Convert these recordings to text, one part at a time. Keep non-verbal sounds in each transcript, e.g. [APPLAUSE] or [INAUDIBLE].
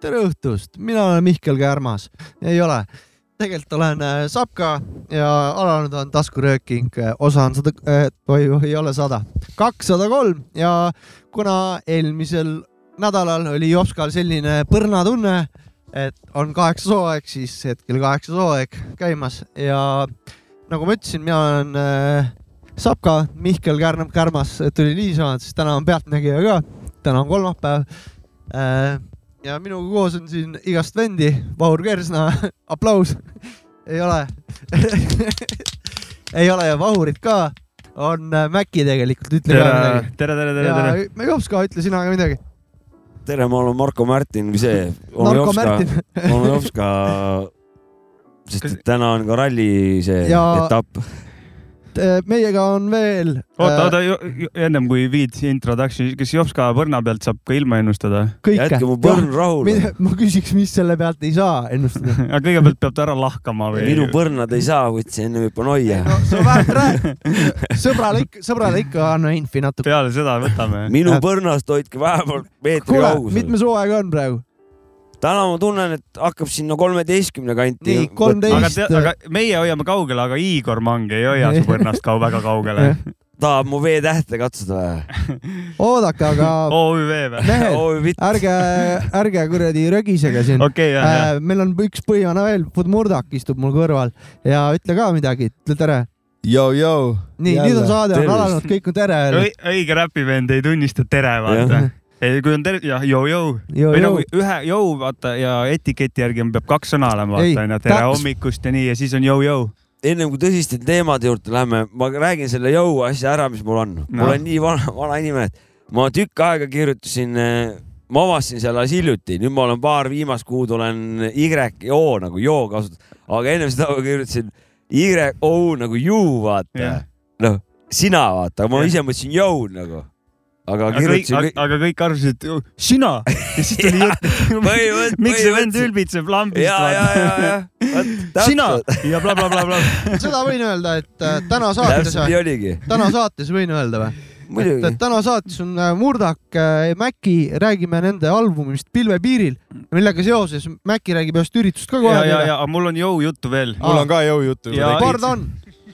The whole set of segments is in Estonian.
tere õhtust , mina olen Mihkel Kärmas , ei ole , tegelikult olen äh, Sapka ja alanud on taskurööking , osa on sada , oi , ei ole sada , kakssada kolm ja kuna eelmisel nädalal oli Jopskal selline põrnatunne , et on kaheksas hooaeg , siis hetkel kaheksas hooaeg käimas ja nagu ma ütlesin , mina olen äh, Sapka , Mihkel Kärn- , Kärmas tuli niisama , siis täna on Pealtnägija ka , täna on kolmapäev äh, ja minuga koos on siin igast vendi , Vahur Kersna , [LAUGHS] aplaus . ei ole . ei ole ja Vahurit ka , on äh, Mäkki tegelikult , ütle ka tere , midagi . tere , tere , tere , tere . ja Jops ka , ütle sina ka midagi . tere , ma olen Marko Märtin või see , onu Marko Jopska , Märtin [LAUGHS] onu Jopska . sest et täna on ka ralli see Ja- ja... etapp . Äh, meiega on veel . eh, oota , oota , ennem kui viid introduction'i , kas Jopska põrna pealt saab ka ilma ennustada ? [LAUGHS] jätke mu kõike . põrn rahule . ma küsiks , mis selle pealt ei saa ennustada . aga kõigepealt peab ta ära lahkama või ? minu põrnad ei saa , võtsin enne juba noia . no sa [LAUGHS] vähemalt räägi . sõbrale ikka , sõbrale ikka anna infi natuke . peale seda võtame . [LAUGHS] minu põrnast hoidke vähemalt meetri kuule , kaugusel . mitmes hooaeg on praegu ? täna ma tunnen , et hakkab sinna kolmeteistkümne kanti . Nii, 13. aga te , aga meie hoiame kaugele , aga Igor Mang ei hoia su põrnast ka väga kaugele . tahab mu V-tähte katsuda või ? oodake , aga OÜV või ? mehed , oi vitt , ärge , ärge kuradi rögisege siin . okei , jah , jah . Äh, meil on üks põhjana veel , Murdak istub mul kõrval ja ütle ka midagi , ütle tere . Jou-jou . nii , nüüd on saade on Tervist. alanud , kõik on tere öelnud . õige räpivend ei tunnista tere , vaata . ei , kui on ter- , jah , joo-joo . või nagu ühe joo , vaata ja etiketi järgi on- peab kaks sõna olema , Ei, vaata onju , tere kaks. hommikust ja nii ja siis on joo-joo . ennem kui tõsiste teemade juurde lähme , ma räägin selle jõu asja ära , mis mul on no. . ma No. olen nii vana , vana inimene , et ma tükk aega kirjutasin , ma avastasin selle alles hiljuti , nüüd ma olen paar viimast kuud olen Y-O nagu joo kasutanud , aga ennem seda ma kirjutasin Y-O nagu you vaata Jah. . noh , sina vaata , ma Jah. ise mõtlesin jõu nagu , aga aga kõik , kirjutasin aga, kõik . aga kõik arvasid , et "Oh, sina ja siis tuli jutt , põhimõtteliselt- [LAUGHS] miks see vend põhimõtteliselt- ülbitseb lambist ja , ja , ja , ja , vaata . sina ja blablabla bla, . Bla, bla. seda võin öelda , et äh, täna saates täpselt , nii oligi , täna saates võin öelda või ? et muidugi et . täna saates on äh, Murdak , Mäki , räägime nende albumist Pilvepiiril , millega seoses Mäki räägib ühest üritust ka ja , kohe Ah. ja ,. ja aga mul on jõujuttu veel . mul on ka jõujuttu Ja- juba . pardon ,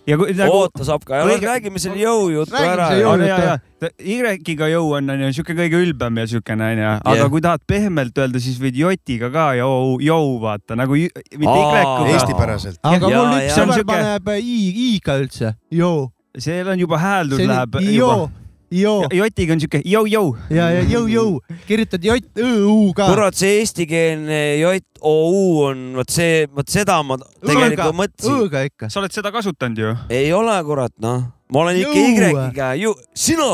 ja kui nagu . oota , Sapka , Kõige- räägime selle jõujutu Räägime ära selle . jõu- ja , ja , ja Y-ga jõu on , onju , siuke kõige ülbem ja siukene , onju , aga Jah. kui tahad pehmelt öelda , siis võid J-ga ka jõu , jõu vaata nagu jõ- mitte Aa, Y-ga , Eestipäraselt . aga Ja, mul üks ja. See on sõber siuke- paneb äh, i , i-ga üldse . joo , seal on juba hääldus see läheb on joo juba ., joo J-ga on siuke jõu-jõu . ja , ja jõu , jõu , kirjutad J , Õ , U ka . kurat , see eestikeelne J-O-U on , vot see , vot seda ma tegelikult mõtlesin . Õ-ga ikka . sa oled seda kasutanud ju ? ei ole , kurat , noh . ma olen Jõu. ikka Y-ga , ju , sina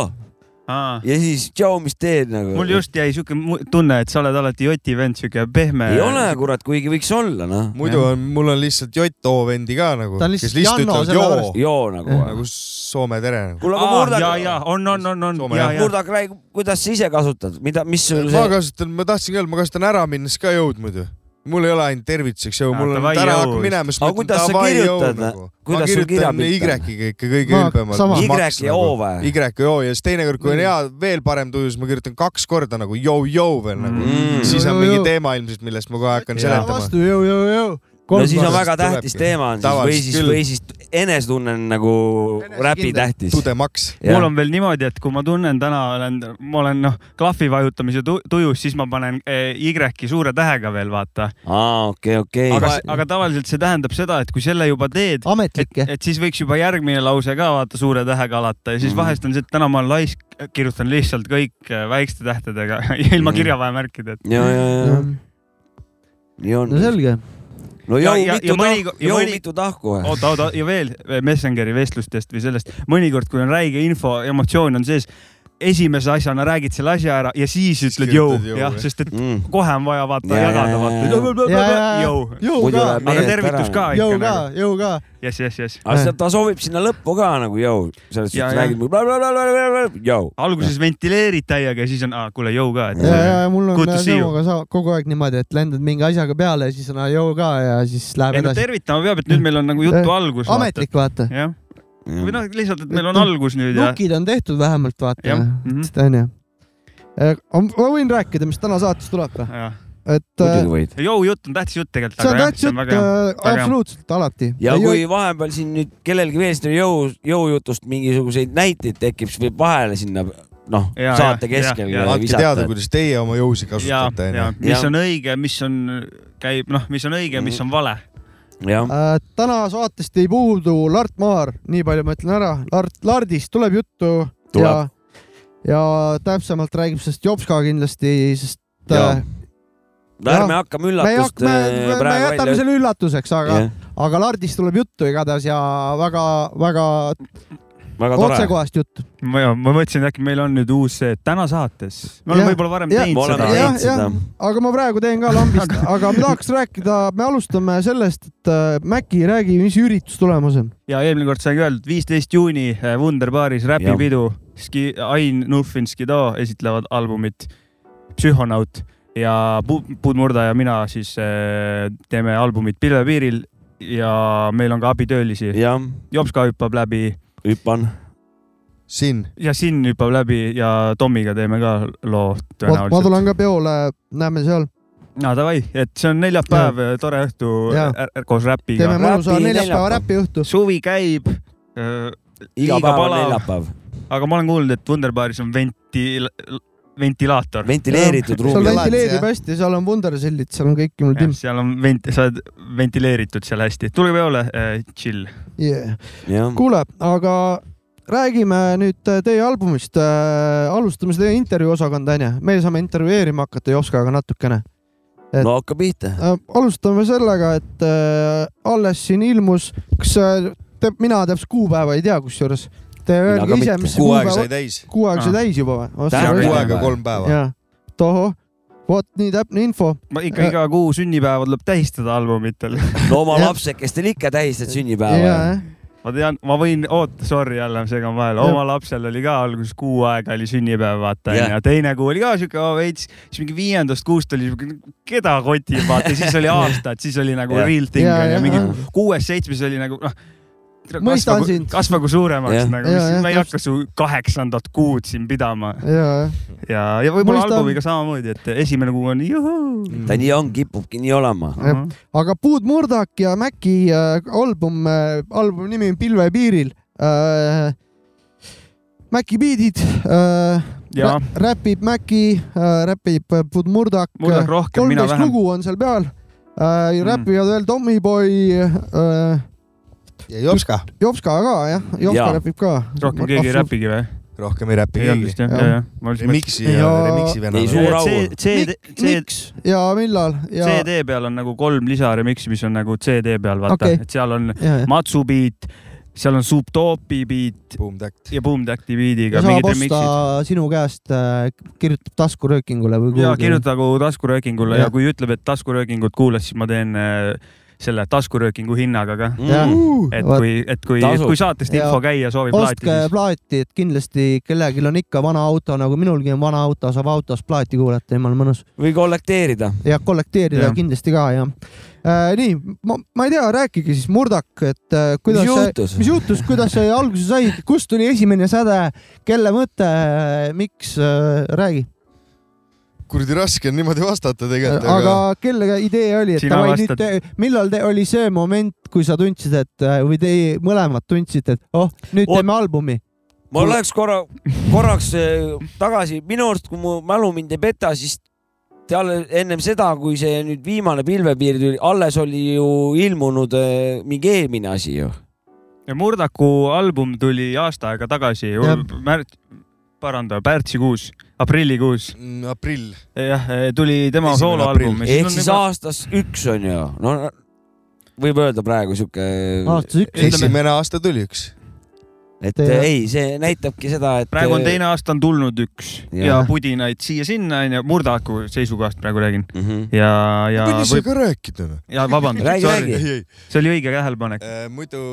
ja siis tšau , mis teed nagu . mul just jäi siuke mu- tunne , et sa oled alati Joti vend , siuke pehme . ei ole , kurat , kuigi võiks olla , noh . muidu on , mul on lihtsalt J-O vendi ka nagu , Ta on kes lihtsalt lihtsalt Janno ütlevad joo sellepärast. joo nagu . nagu soome tere nagu. . kuule , aga ja , ja Murdak , on , on , on , on Soome ja , jah. ja , Murdak , räägi , kuidas sa ise kasutad , mida , mis sul ma see , kasutan , ma tahtsin ka öelda , ma kasutan ära minnes ka jõud mudu . mul ei ole ainult tervituseks jõu , Aa, mul on davai ära jõu. hakka minema , siis ma Aga ütlen kuidas sa davai jõu kirjutad? nagu . ma Kuidas sul kirjutan kirjapilk on? Y-ga ikka kõige Ma- ülbemalt sama. . Y-O või ? Y-O ja siis teinekord , kui on hea , veel parem tuju , siis ma kirjutan kaks korda nagu jõu-jõu veel nagu Mm. mm. . siis on Jõu, mingi jõu. teema ilmselt , millest ma kohe hakkan seletama . vastu , jõu , jõu , jõu . no siis on korda. väga tähtis Tulebki. teema on siis või Tavaliselt siis , küll. või siis enesetunne on nagu räpi tähtis . tudemaks . mul on veel niimoodi , et kui ma tunnen täna olen , ma olen noh , klahvi vajutamise tu- tujus , siis ma panen eh, Y-i suure tähega veel vaata , aa , okei , okei . aga , aga tavaliselt see tähendab seda , et kui selle juba teed , ametlikke . et siis võiks juba järgmine lause ka vaata suure tähega alata ja siis Mhm. vahest on see , et täna ma olen laisk , kirjutan lihtsalt kõik eh, väikeste tähtedega [LAUGHS] ilma Mhm. kirjavahemärkideta . ja , ja , ja , no nii on . selge . no Ja- jõu ja- ja mitu mõni- tahku , ja jõu mõni- mitu tahku või ? oota , eh, oota ja veel Messengeri vestlustest või sellest , mõnikord , kui on räige info , emotsioon on sees , esimese asjana räägid selle asja ära ja siis ütled jõu, jah , sest et mm. kohe on vaja vaata Ja, ja, ja, jagada , ja, ja. Ja, vaata ja, ja. . Jõu muidu ka. läheb aga meelest ära tervitus . ka jõu ikka ka nagu ., jõu ka . jess , jess , jess . aga see- ta soovib sinna lõppu ka nagu jõu , selles Ja, suhtes ja. räägid , jõu . alguses ventileerid täiega ja siis on , kuule jõu ka , et ja , ja mul on Good to see you. Tõnuga sa- kogu aeg niimoodi , et lendad mingi asjaga peale ja siis on jõu ka ja siis läheb ei no edasi . tervitama peab , et nüüd meil on nagu Eh, jutu algus . ametlik , vaata . jah , või noh , lihtsalt , et meil on Nuk- algus nüüd ja . nukid on tehtud vähemalt , vaata Jah, mhm. . onju . Äh, ma võin rääkida , mis täna saates tuleb või ? et äh, muidugi võid . jõu jutt on tähtis jutt tegelikult . see on tähtis jutt , väga hea. absoluutselt alati . ja kui vahepeal siin nüüd kellelgi veel seda jõu , jõujutust mingisuguseid näiteid tekib , siis võib vahele sinna noh , Ja, saate ja, keskel ja, ja. andke teada , visata . kuidas teie oma jõusid ja , kasutate , ja onju . mis Ja. on õige , mis on , käib , noh , mis on õige , mis on vale . jah , Äh, täna saatest ei puudu Lart Maar , nii palju ma ütlen ära , Lart , Lardist tuleb juttu Tuleb. ja , ja täpsemalt räägib sellest Jops ka kindlasti , sest Jaa, äh, ärme hakkame me ei üllatust hakka , me, äh, me- me praegu jätame välja . selle üllatuseks , aga , Jah. aga Lardist tuleb juttu igatahes ja väga-väga väga tore . otsekohast juttu . ma , ma mõtlesin , et äkki meil on nüüd uus see täna saates . me oleme Jah. võib-olla varem Jah. teinud Me oleme seda . teinud. seda. aga ma praegu teen ka lambist , aga ma tahaks rääkida , me alustame sellest , et äh, Mäkki , räägi , mis üritus tulemas on . ja eelmine kord sai öeldud , viisteist juuni äh, Wunderbaaris räpipidu . Ski- , Ain Nufin , Skido esitlevad albumit Psühhonaut ja Pu- Puudmurda ja mina siis äh, teeme albumit Pilvepiiril ja meil on ka abitöölisi . jah , Jops ka hüppab läbi hüppan . siin , ja Sin hüppab läbi ja Tommiga teeme ka loo ma ma tõenäoliselt . tulen ka peole , näeme seal . no davai , et see on neljapäev , tore õhtu Jaa. ä- ä- koos räpiga teeme . mõnusa Räpi neljapäeva neljapäev. räpiõhtu . suvi käib äh, iga Liiga päev on palav. neljapäev . aga ma olen kuulnud , et Wunderbaaris on ventil- , ventilaator . ventileeritud seal ruum . Ventilaat- ventileerib jah. hästi , seal on vundersillid , seal on kõik mul timm . seal on vent- , sa oled ventileeritud seal hästi . tulge peole äh, , chill . Yeah. jah , Mm. kuule , aga räägime nüüd äh, teie albumist . alustame seda intervjuu osakonda onju , me saame intervjueerima hakata Jopskaga natukene . no hakka pihta . alustame sellega , et äh, alles siin ilmus , kas äh, te, mina täpselt kuupäeva ei tea , kusjuures . Te öelge ka ise , mitte. mis kuu aega sai kuupäev , täis . kuu aega sai Ah. täis juba Täna või kuu ? päeva. aega kolm päeva . jah , tohoh , vot nii täpne info . ma ikka iga kuu sünnipäevad tuleb tähistada albumitel . no oma Jah. lapsekestel ikka tähistad jajah sünnipäeva ., ma tean , ma võin , oota , sorry , jälle segan vahele , oma lapsel oli ka alguses kuu aega oli sünnipäev , vaata Jah. onju , teine kuu oli ka siuke oh, veits , siis mingi viiendast kuust oli siuke , keda kotib , vaata , siis oli aasta , et siis oli nagu Jah. yeah. real thing Jah, onju jah. , mingi kuues-seitsmes oli nagu noh . Mõistan sind. kasvagu suuremaks Jah. yeah. nagu Jah, yeah, , jah, yeah, me ei hakka su kaheksandat kuud siin pidama jajah . ja , ja võib-olla Mõistan. albumiga samamoodi , et esimene kuu on juhuu . Mm. ta nii on , kipubki nii olema . Jah. aga Puud Murdak ja Mäki äh, album äh, , albumi nimi on Pilve piiril äh, . Mäki biidid äh, , ja räpib Mäki äh, , räpib äh, Puud Murdak . Murdak rohkem , mina kolmteist vähem . lugu on seal peal äh, Mm. mm. . räpivad veel Tommyboy äh, , ja jops ka , Jopska ka jah , Jopska Jaa. räpib ka . rohkem keegi ei . räpigi või ? rohkem ei räpi ei olnud keegi . vist jah , Jah. jah , jah . ma just Remixi ja, Ja- ja... remixi vennad Ei, on. suur- au. C- CD , CD , miks ja millal ja , CD peal on nagu kolm lisaremix'i , mis on nagu CD peal , vaata Okei. okay. , et seal on ja , ja , Matsu beat , seal on Subtopi beat Boom Tact . ja Boom Tacti beat'iga ja saab mingid osta remix'id . sinu käest äh, , kirjutab taskuröökingule või ja kuhugi. kirjutagu nagu taskuröökingule ja. Jah. ja kui ütleb , et taskuröökingut kuulas , siis ma teen äh, selle taskuröökingu hinnaga ka . Jah. Mm. et Vaat- kui , et kui , Tasub. kui saatest Ja. info käia soovib plaati , Uh, ostke siis plaati , et kindlasti kellelgi on ikka vana auto , nagu minulgi on vana auto , saab autos plaati kuulata , jumala mõnus . või kollekteerida . ja kollekteerida ja. Jah. kindlasti ka jah äh, . nii , ma , ma ei tea , rääkige siis Murdak , et äh, mis kuidas , juhtus ? mis juhtus , kuidas see alguse sai , kust tuli esimene säde , kelle mõte , miks äh, , räägi . kuradi raske on niimoodi vastata tegelikult , aga aga kelle idee oli , et Sina davai nüüd vastad. te, , millal te, oli see moment , kui sa tundsid , et äh, või teie mõlemad tundsite , et oh , nüüd Oot- Oot. teeme albumi . ma läheks korra , korraks eh, tagasi , minu arust , kui mu mälu mind ei peta , siis seal ennem seda , kui see nüüd viimane pilvepiir tuli , alles oli ju ilmunud eh, mingi eelmine asi ju . ja Murdaku album tuli aasta aega tagasi Jah. , märt- , paranda , märtsikuus , aprillikuus . Mm, aprill , jah , tuli tema Esimene sooloalbum . ehk siis aastas üks on ju , no võib öelda praegu sihuke . aastas üks . Ütleme- esimene aasta tuli üks . et ja... ei , see näitabki seda , et . äh, praegu on teine aasta on tulnud üks Jah. ja, ja pudinaid siia-sinna onju , murdaku seisukohast praegu räägin mm . -hmm. ja , ja võin ise võib... ka rääkida noh . ja Räägi, vabandust , räägi. ei , ei , see oli õige tähelepanek . muidu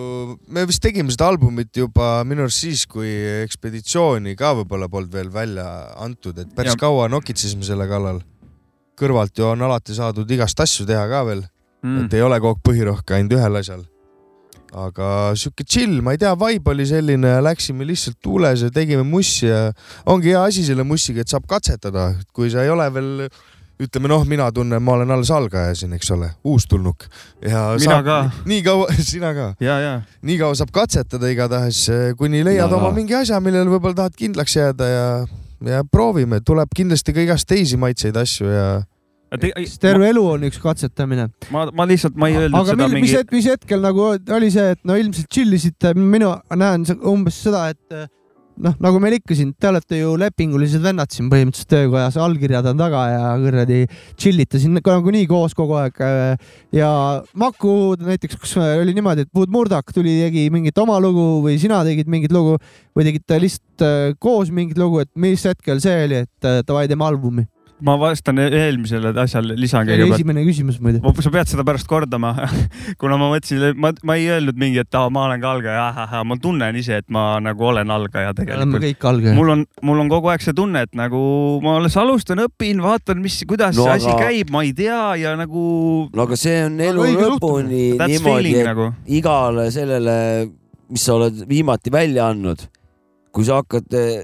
me vist tegime seda albumit juba minu arust siis , kui Ekspeditsiooni ka võib-olla polnud veel välja antud , et päris Ja. ja. kaua nokitsesime selle kallal . kõrvalt ju on alati saadud igast asju teha ka veel mm. , et ei ole kogu aeg põhirohk ainult ühel asjal . aga sihuke chill , ma ei tea , vibe oli selline , läksime lihtsalt tuules ja tegime mussi ja ongi hea asi selle mussiga , et saab katsetada , kui sa ei ole veel ütleme noh , mina tunnen , ma olen alles algaja siin , eks ole , uustulnuk ja Mina saab, ka. [LAUGHS] nii kaua , sina ka , ja , ja nii kaua saab katsetada igatahes , kuni leiad Mina oma ka. mingi asja , millele võib-olla tahad kindlaks jääda ja , ja proovime , tuleb kindlasti ka igast teisi maitseid asju ja Eks terve elu on üks katsetamine . ma , ma lihtsalt , ma ei öelnud aga seda mil, mingi... mis mingi , hetk , mis hetkel nagu oli see , et no ilmselt tšillisite , mina näen se- umbes seda , et eh, noh , nagu meil ikka siin , te olete ju lepingulised vennad siin põhimõtteliselt töökojas , allkirjad on taga ja kuradi tšillite siin nagu- nagunii koos kogu aeg . ja Maku näiteks , kus oli niimoodi , et Wood Murdoch tuli , tegi mingit oma lugu või sina tegid mingit lugu või tegite lihtsalt eh, koos mingit lugu , et mis hetkel see oli , et eh, davai , teeme albumi . ma vastan e-, eelmisele asjale , lisan see oli kõigepealt . esimene küsimus muidu . sa pead seda pärast kordama , [LAUGHS] kuna ma mõtlesin , ma , ma ei öelnud mingi , et aa , ma olen ka algaja , ahahah , ma tunnen ise , et ma nagu olen algaja me oleme tegelikult . kõik algajad . mul on , mul on kogu aeg see tunne , et nagu ma alles alustan , õpin , vaatan , mis , kuidas No no, see asi aga- käib , ma ei tea ja nagu no aga see on elu õige lõpuni that's niimoodi , feeling ε. et nagu . igale sellele , mis sa oled viimati välja andnud , kui sa hakkad eh,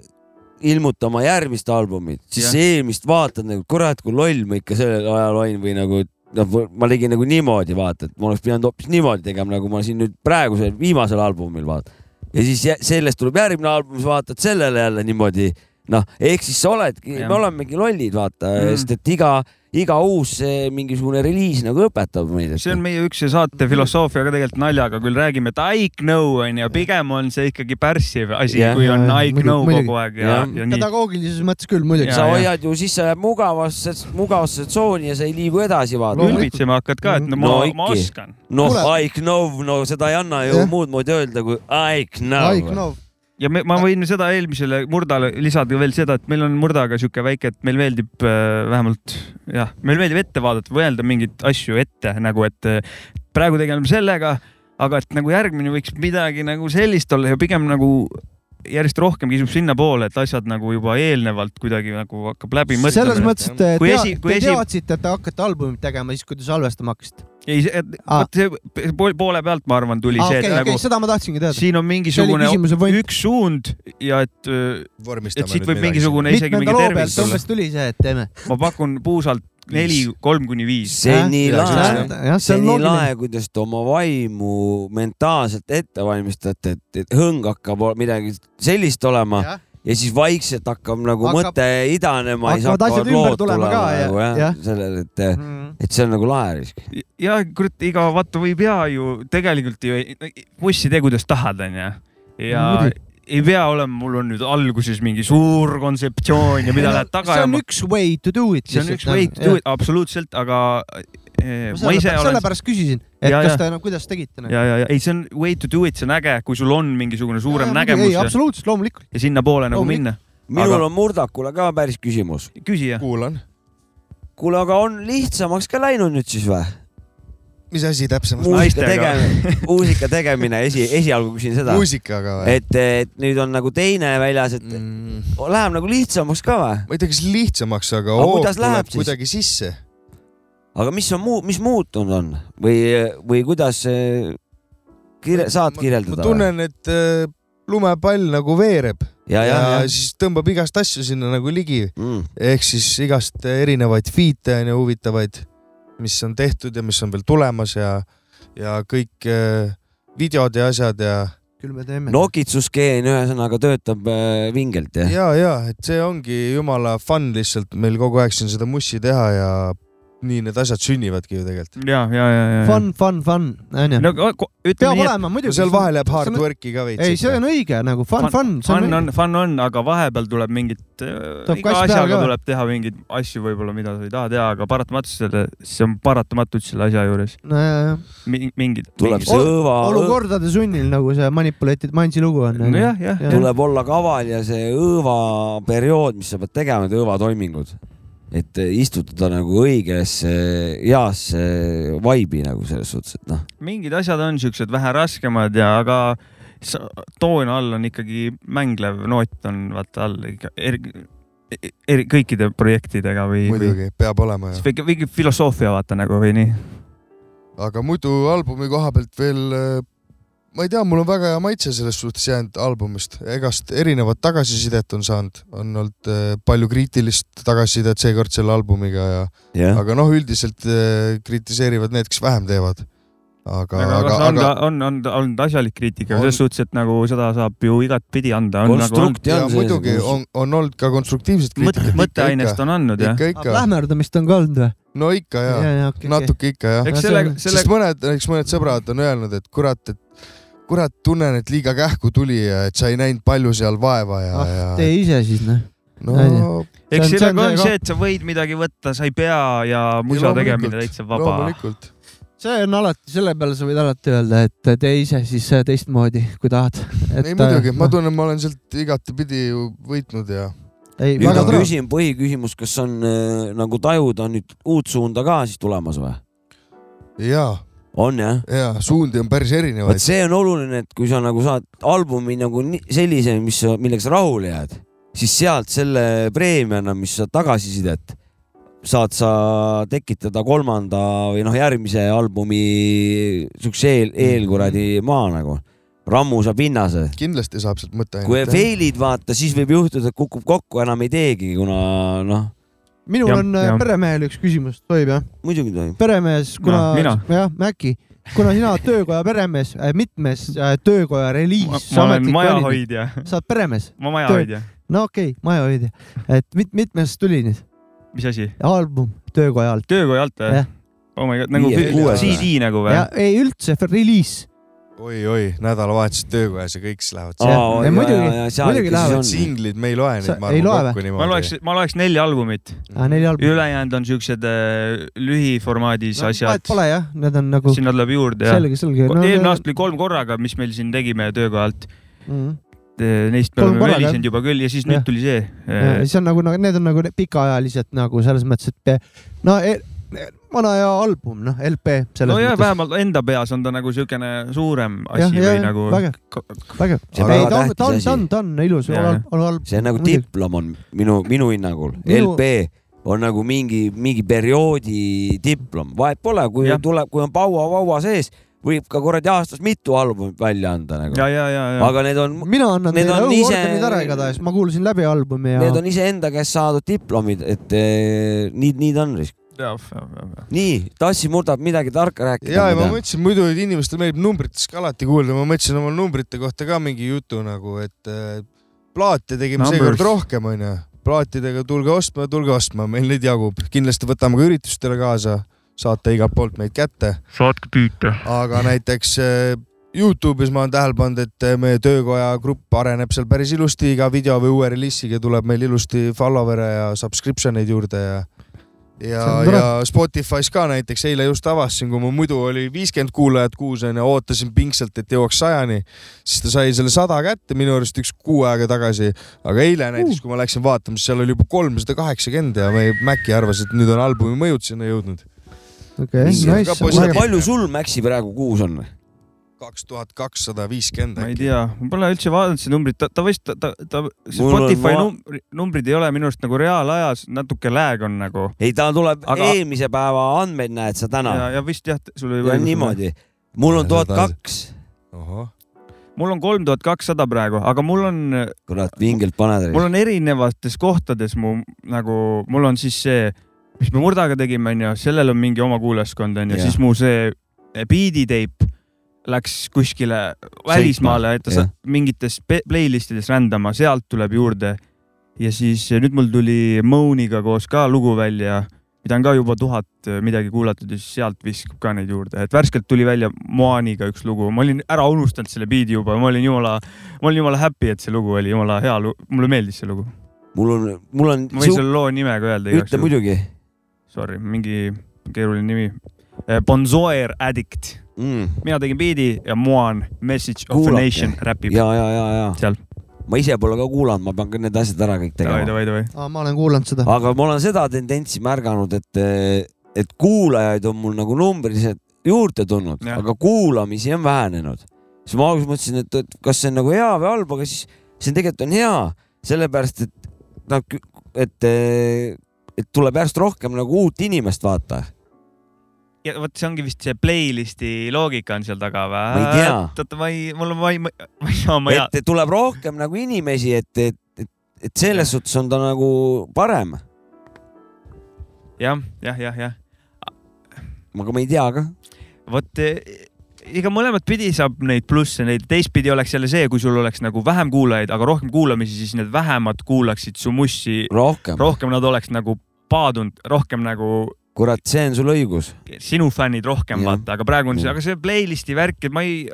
ilmutama järgmist albumit , siis Jah. sa eelmist vaatad nagu , kurat , kui loll ma ikka sellel ajal olin või nagu , noh , ma tegin nagu niimoodi , vaata , et ma oleks pidanud hoopis niimoodi tegema , nagu ma siin nüüd praegusel viimasel albumil vaatan . ja siis jä- sellest tuleb järgmine album , sa vaatad sellele jälle niimoodi , noh , ehk siis sa oledki , Jah. me olemegi lollid , vaata Mm. mm. , sest et iga , iga uus eh, mingisugune reliis nagu õpetab meid . see on meie üks see saate filosoofia ka tegelikult naljaga , küll räägime , et I know on ju , pigem on see ikkagi pärssiv asi Jah. yeah, , kui on Jah, I muidugi, know muidugi. kogu aeg ja, Jah. ja nii . pedagoogilises mõttes küll muidugi . sa Jaa, jaa. hoiad ju sisse mugavasse , mugavasse tsooni ja sa ei liigu edasi , vaata . Loomulikult. ülbitsema hakkad ka , et no ma No no, , ma ikka. oskan . noh Kuule. , I know , no seda ei anna ju Jah. muud moodi öelda kui I Aik know . Nov , ja me, ma võin seda eelmisele murdale lisada veel seda , et meil on murdaga sihuke väike , et meil meeldib äh, vähemalt jah , meil meeldib ette vaadata , mõelda mingeid asju ette nagu , et äh, praegu tegeleme sellega , aga et nagu järgmine võiks midagi nagu sellist olla ja pigem nagu järjest rohkem kisub sinnapoole , et asjad nagu juba eelnevalt kuidagi nagu hakkab läbi selles mõtlema . mõttes , et te, Kui tea, esi- kui te esi- teadsite , et te hakkate albumit tegema , siis kui te salvestama hakkasite . ei , Aa. vot see po- poole pealt , ma arvan , tuli see , Ah, okei , et okei , nagu seda ma tahtsingi teada . siin on see oli mingisugune küsimuse point . üks suund ja et , vormistame et siit võib mingisugune isegi mingi mitmenda loo tervis pealt olla . umbes tuli see , et teeme . ma pakun puusalt neli , kolm kuni viis . see on nii Jah, lahe , jah , see on see on nii loogiline . lahe , kuidas te oma vaimu mentaalselt ette valmistate , et , et hõng hakkab ol- midagi sellist olema ja, Jah. ja siis vaikselt hakkab nagu hakkab, Hakkab- mõte idanema , siis hakkavad asjad hakkavad ümber lood tulema tulema ka ja- nagu jah ja. jah. , sellel , et , et see on nagu lahe risk . ja kurat , iga vattu võib ja ju tegelikult ju ei- bussi tee , kuidas tahad , onju . ja Muidugi. ei pea olema , mul on nüüd alguses mingi suur kontseptsioon ja mida lähed [LAUGHS] taga Mhm. see on ajama . üks way to do it . nagu. see on üks way to do it , absoluutselt , aga eh, ma ise olen sellepärast küsisin , et Jaa, kas jah. te , no kuidas tegite ? nagu. ja , ja , ja ei , see on way to do it , see on äge , kui sul on mingisugune suurem nägemus ei , ja, absoluutselt , loomulikult . ja sinnapoole nagu Loomulik- minna . minul Aga- aga... on Murdakule ka päris küsimus . küsija , kuulan , kuule , aga on lihtsamaks ka läinud nüüd siis või ? mis asi täpsemalt ? muusika Naistega. tegemine , muusika tegemine , esi , [LAUGHS] esialgu küsin seda , muusikaga või ? et , et nüüd on nagu teine väljas , et Mm, läheb nagu lihtsamaks ka või ? ma ei tea , kas lihtsamaks , aga Aga hoog kuidas läheb tuleb siis? kuidagi sisse . aga mis on muu , mis muutunud on või , või kuidas eh, kirje- , saad ma kirjeldada ? tunnen , et äh, lumepall nagu veereb ja , ja , ja, ja, ja ja . siis tõmbab igast asju sinna nagu ligi , Mm. ehk siis igast äh, erinevaid feat'e on ju huvitavaid , mis on tehtud ja mis on veel tulemas ja , ja kõik äh, videod ja asjad ja , küll me teeme . nokitsuskeen ühesõnaga töötab eh, vingelt jah ja. ? ja , ja et see ongi jumala fun lihtsalt meil kogu aeg siin seda mussi teha ja nii need asjad sünnivadki ju tegelikult . ja , ja , ja , ja . fun , fun , fun , onju . no ko- ütleme peab nii , olema muidugi . seal vahel jääb hard see on- work'i ka veits . ei , see on õige nagu fun , Fun- fun , et see on fun õige . on , fun on , aga vahepeal tuleb mingit , Tuleb iga kass peale asjaga ka. tuleb teha mingeid asju võib-olla , mida sa ei taha teha , aga paratamatult selle , see on paratamatud selle asja juures . nojah , mingid . tuleb Ol- sõva , olukordade sunnil nagu see Manipulated Mindsi lugu on . nojah , jah , Jah. jah . tuleb olla kaval ja see õõvaperiood , mis sa pead tegema , need õõvatoimingud , et istutada nagu õigesse heasse vaibi nagu selles suhtes , et noh , mingid asjad on siuksed vähe raskemad ja , aga sa- toona all on ikkagi mänglev noot on vaata all ikka eri, eri , kõikide projektidega või , või muidugi , peab olema ju . mingi, mingi filosoofia vaata nagu või nii . aga muidu albumi koha pealt veel , ma ei tea , mul on väga hea maitse selles suhtes jäänud albumist , egast erinevat tagasisidet on saanud , on olnud eh, palju kriitilist tagasisidet seekord selle albumiga ja , jah . aga noh , üldiselt eh, kritiseerivad need , kes vähem teevad . aga , aga , aga aga , on aga ka , on , on olnud asjalik kriitika On- selles suhtes , et nagu seda saab ju igatpidi anda . nagu- konstrukt ja jah . muidugi nagu nagu on , on olnud ka konstruktiivset mõtte , kriitikat . mõtteainest on andnud jah . ikka , ikka , lähmerdamist on ka olnud või ? no ikka ja, ja , natuke ikka jah . Eks sellega- eks sellega , sest sellega , mõned , näiteks mõned sõbrad on öelnud , et kurat , et kurat , tunnen , et liiga kähku tuli ja et sa ei näinud palju seal vaeva ja ah , ja tee ise siis noh . no see on- eks see on sellega on see ka- see , et sa võid midagi võtta , sa ei pea ja musa loomulikult, tegemine täitsa vaba . loomulikult . see on alati , selle peale sa võid alati öelda , et tee ise siis äh, teistmoodi , kui tahad . äh, noh, ei muidugi , ma tunnen , ma olen sealt igatepidi ju võitnud ja ei , nüüd väga on tore . küsin põhiküsimus , kas on äh, nagu tajuda nüüd uut suunda ka siis tulemas või ? ja , on jah ? ja suundi on päris vot erinevaid . see on oluline , et kui sa nagu saad albumi nagu nii- sellise , mis , millega sa rahule jääd , siis sealt selle preemiana , mis sa tagasisidet , saad sa tekitada kolmanda või noh , järgmise albumi siukse eel , Mhm. eelkuradi maa nagu , rammusa pinnase . kindlasti saab sealt kui mõtteainet . fail'id vaata , siis võib juhtuda , et kukub kokku , enam ei teegi , kuna noh , minul Jah, on äh, jah. peremehel üks küsimus , tohib jah ? muidugi tohib . peremees , No, kuna mina. , jah , Mäkki , kuna sina oled töökoja peremees , mitmes äh, töökoja ma reliis , ma olen majahoidja , sa oled peremees , ma majahoidja . no okei okay, , majahoidja , et mit, mitmes tuli nüüd mis asi ? album töökoja alt töökoja alt või Jah. ? oh my god , nagu Viies, kü- kuues CD nagu või ja ? ei üldse f- reliis , oi-oi , nädalavahetused töökojas ja kõik siis lähevad Ah, Aa, . ja muidugi- muidugi lähevad singlid me ei loe Sa- neid , ma ei loe arvan või? Ah, kokku ma loeks niimoodi ., ma loeks neli albumit , neli albumi . ülejäänud on siuksed äh, lühiformaadis asjad , Pole jah , need on nagu sinna tuleb juurde ja selge , selge . eelmine aasta oli kolm korraga , mis meil siin tegime töökoja alt , mm. neist me Kolm oleme korraga, välisenud juba küll ja siis Jah. nüüd tuli see . äh, see on nagu , need on nagu pikaajalised nagu selles mõttes , et pe- no e- e- vana hea album , noh , LP selles nojah , mõttes . vähemalt enda peas on ta nagu siukene suurem asi või nagu . vägev , vägev . See ta on väga tähtis on , ta on , ta asi. on , ta on ilus , Jaa. on halb . see on nagu Muidugi. diplom on minu , minu hinnangul Minu- minu... , LP on nagu mingi , mingi perioodi diplom , vahet pole , kui Jah. ja. tuleb , kui on paua-vaua sees , võib ka kuradi aastas mitu albumit välja anda nagu , ja , ja , ja , ja . aga need on , mina annan Need teile on ise- õhuordenid ära igatahes , ma kuulasin läbi albumi ja need on iseenda käest saadud diplomid , et eh, nii , nii ta on . nii , Tassi murdab midagi tarka ja , rääkida ja ma . mõtlesin muidu , et inimestele meeldib numbrites ka alati kuulda , ma mõtlesin oma numbrite kohta ka mingi jutu nagu , et äh, plaate tegime Numbers. seekord rohkem , onju . plaatidega tulge ostma , tulge ostma , meil neid jagub , kindlasti võtame ka üritustele kaasa , saate igalt poolt meid kätte , saatke püüta . aga näiteks äh, Youtube'is ma olen tähele pannud , et äh, meie töökoja grupp areneb seal päris ilusti , iga video või uue reliisiga tuleb meil ilusti follower'e ja subscription eid juurde ja ja See on , tore. ja Spotify's ka näiteks eile just avastasin , kui mul muidu oli viiskümmend kuulajat kuus onju , ootasin pingsalt , et jõuaks sajani , siis ta sai selle sada kätte minu arust üks kuu aega tagasi , aga eile näiteks , kui ma läksin vaatama , siis seal oli juba kolmsada kaheksakümmend ja meie Maci arvas , et nüüd on albumi mõjud sinna jõudnud . okei , Mis- nice ka . positiivne. vägev. palju sul Maxi praegu kuus on ? kaks tuhat kakssada viiskümmend ma ei tea , ma pole üldse vaadanud seda numbrit , ta , ta vist , ta , ta, ta , see Mul on Spotify va- numbri, numbrid ei ole minu arust nagu reaalajas , natuke lag on nagu . ei , ta tuleb Aga- aga... eelmise päeva andmeid näed sa täna ja , ja vist jah , sul ja oli . niimoodi . mul on Ja tuhat seda- kaks , ohoh , mul on kolm tuhat kakssada praegu , aga mul on , kurat , vingelt paned . mul on erinevates kohtades mu nagu , mul on siis see , mis me Murdaga tegime , onju , sellel on mingi oma kuulajaskond , onju , Jah. siis mu see biiditeip läks kuskile välismaale , et ta jah. saab mingites pe- playlist ides rändama , sealt tuleb juurde . ja siis nüüd mul tuli Mooniga koos ka lugu välja , mida on ka juba tuhat äh, midagi kuulatud ja siis sealt viskab ka neid juurde, et värskelt tuli välja Moaniga üks lugu, ma olin ära unustanud selle biidi juba, ma olin jumala, ma olin jumala happy, et see lugu oli jumala hea lugu, mulle meeldis see lugu. mul on , mul on . ma võin selle loo nime ka öelda igaks ütle juhuks , muidugi sorry , mingi keeruline nimi . Bonzoer Addict , mm. . mina tegin biidi ja Moan Message of Kuulake. a Nation räpib . ja , ja , ja , ja . Seal. . ma ise pole ka kuulanud , ma pean ka need asjad ära kõik davai , tegema . davai , davai . ah, . ma olen kuulanud seda . aga ma olen seda tendentsi märganud , et , et kuulajaid on mul nagu numbriliselt juurde tulnud , Jah. aga kuulamisi on vähenenud . siis ma alguses mõtlesin , et , et kas see on nagu hea või halb , aga siis see on tegelikult on hea , sellepärast et nad , et , et tuleb järjest rohkem nagu uut inimest vaata . ja vot see ongi vist see playlist'i loogika on seal taga või ? Ma ei tea. oota , ma ei , mul on , ma ei , ma ei [LAUGHS] saa , ma ei et tuleb rohkem nagu inimesi , et , et , et , et selles suhtes on ta nagu parem , jah , jah , jah , jah . aga ma ei tea ka vot eh, ega mõlemat pidi saab neid plusse , neid teistpidi oleks jälle see , kui sul oleks nagu vähem kuulajaid , aga rohkem kuulamisi , siis need vähemad kuulaksid su mussi , rohkem . rohkem nad oleks nagu paadunud , rohkem nagu kurat , see on sul õigus . sinu fännid rohkem Jah. vaata , aga praegu on see , Jah. aga see playlist'i värk , et ma ei ,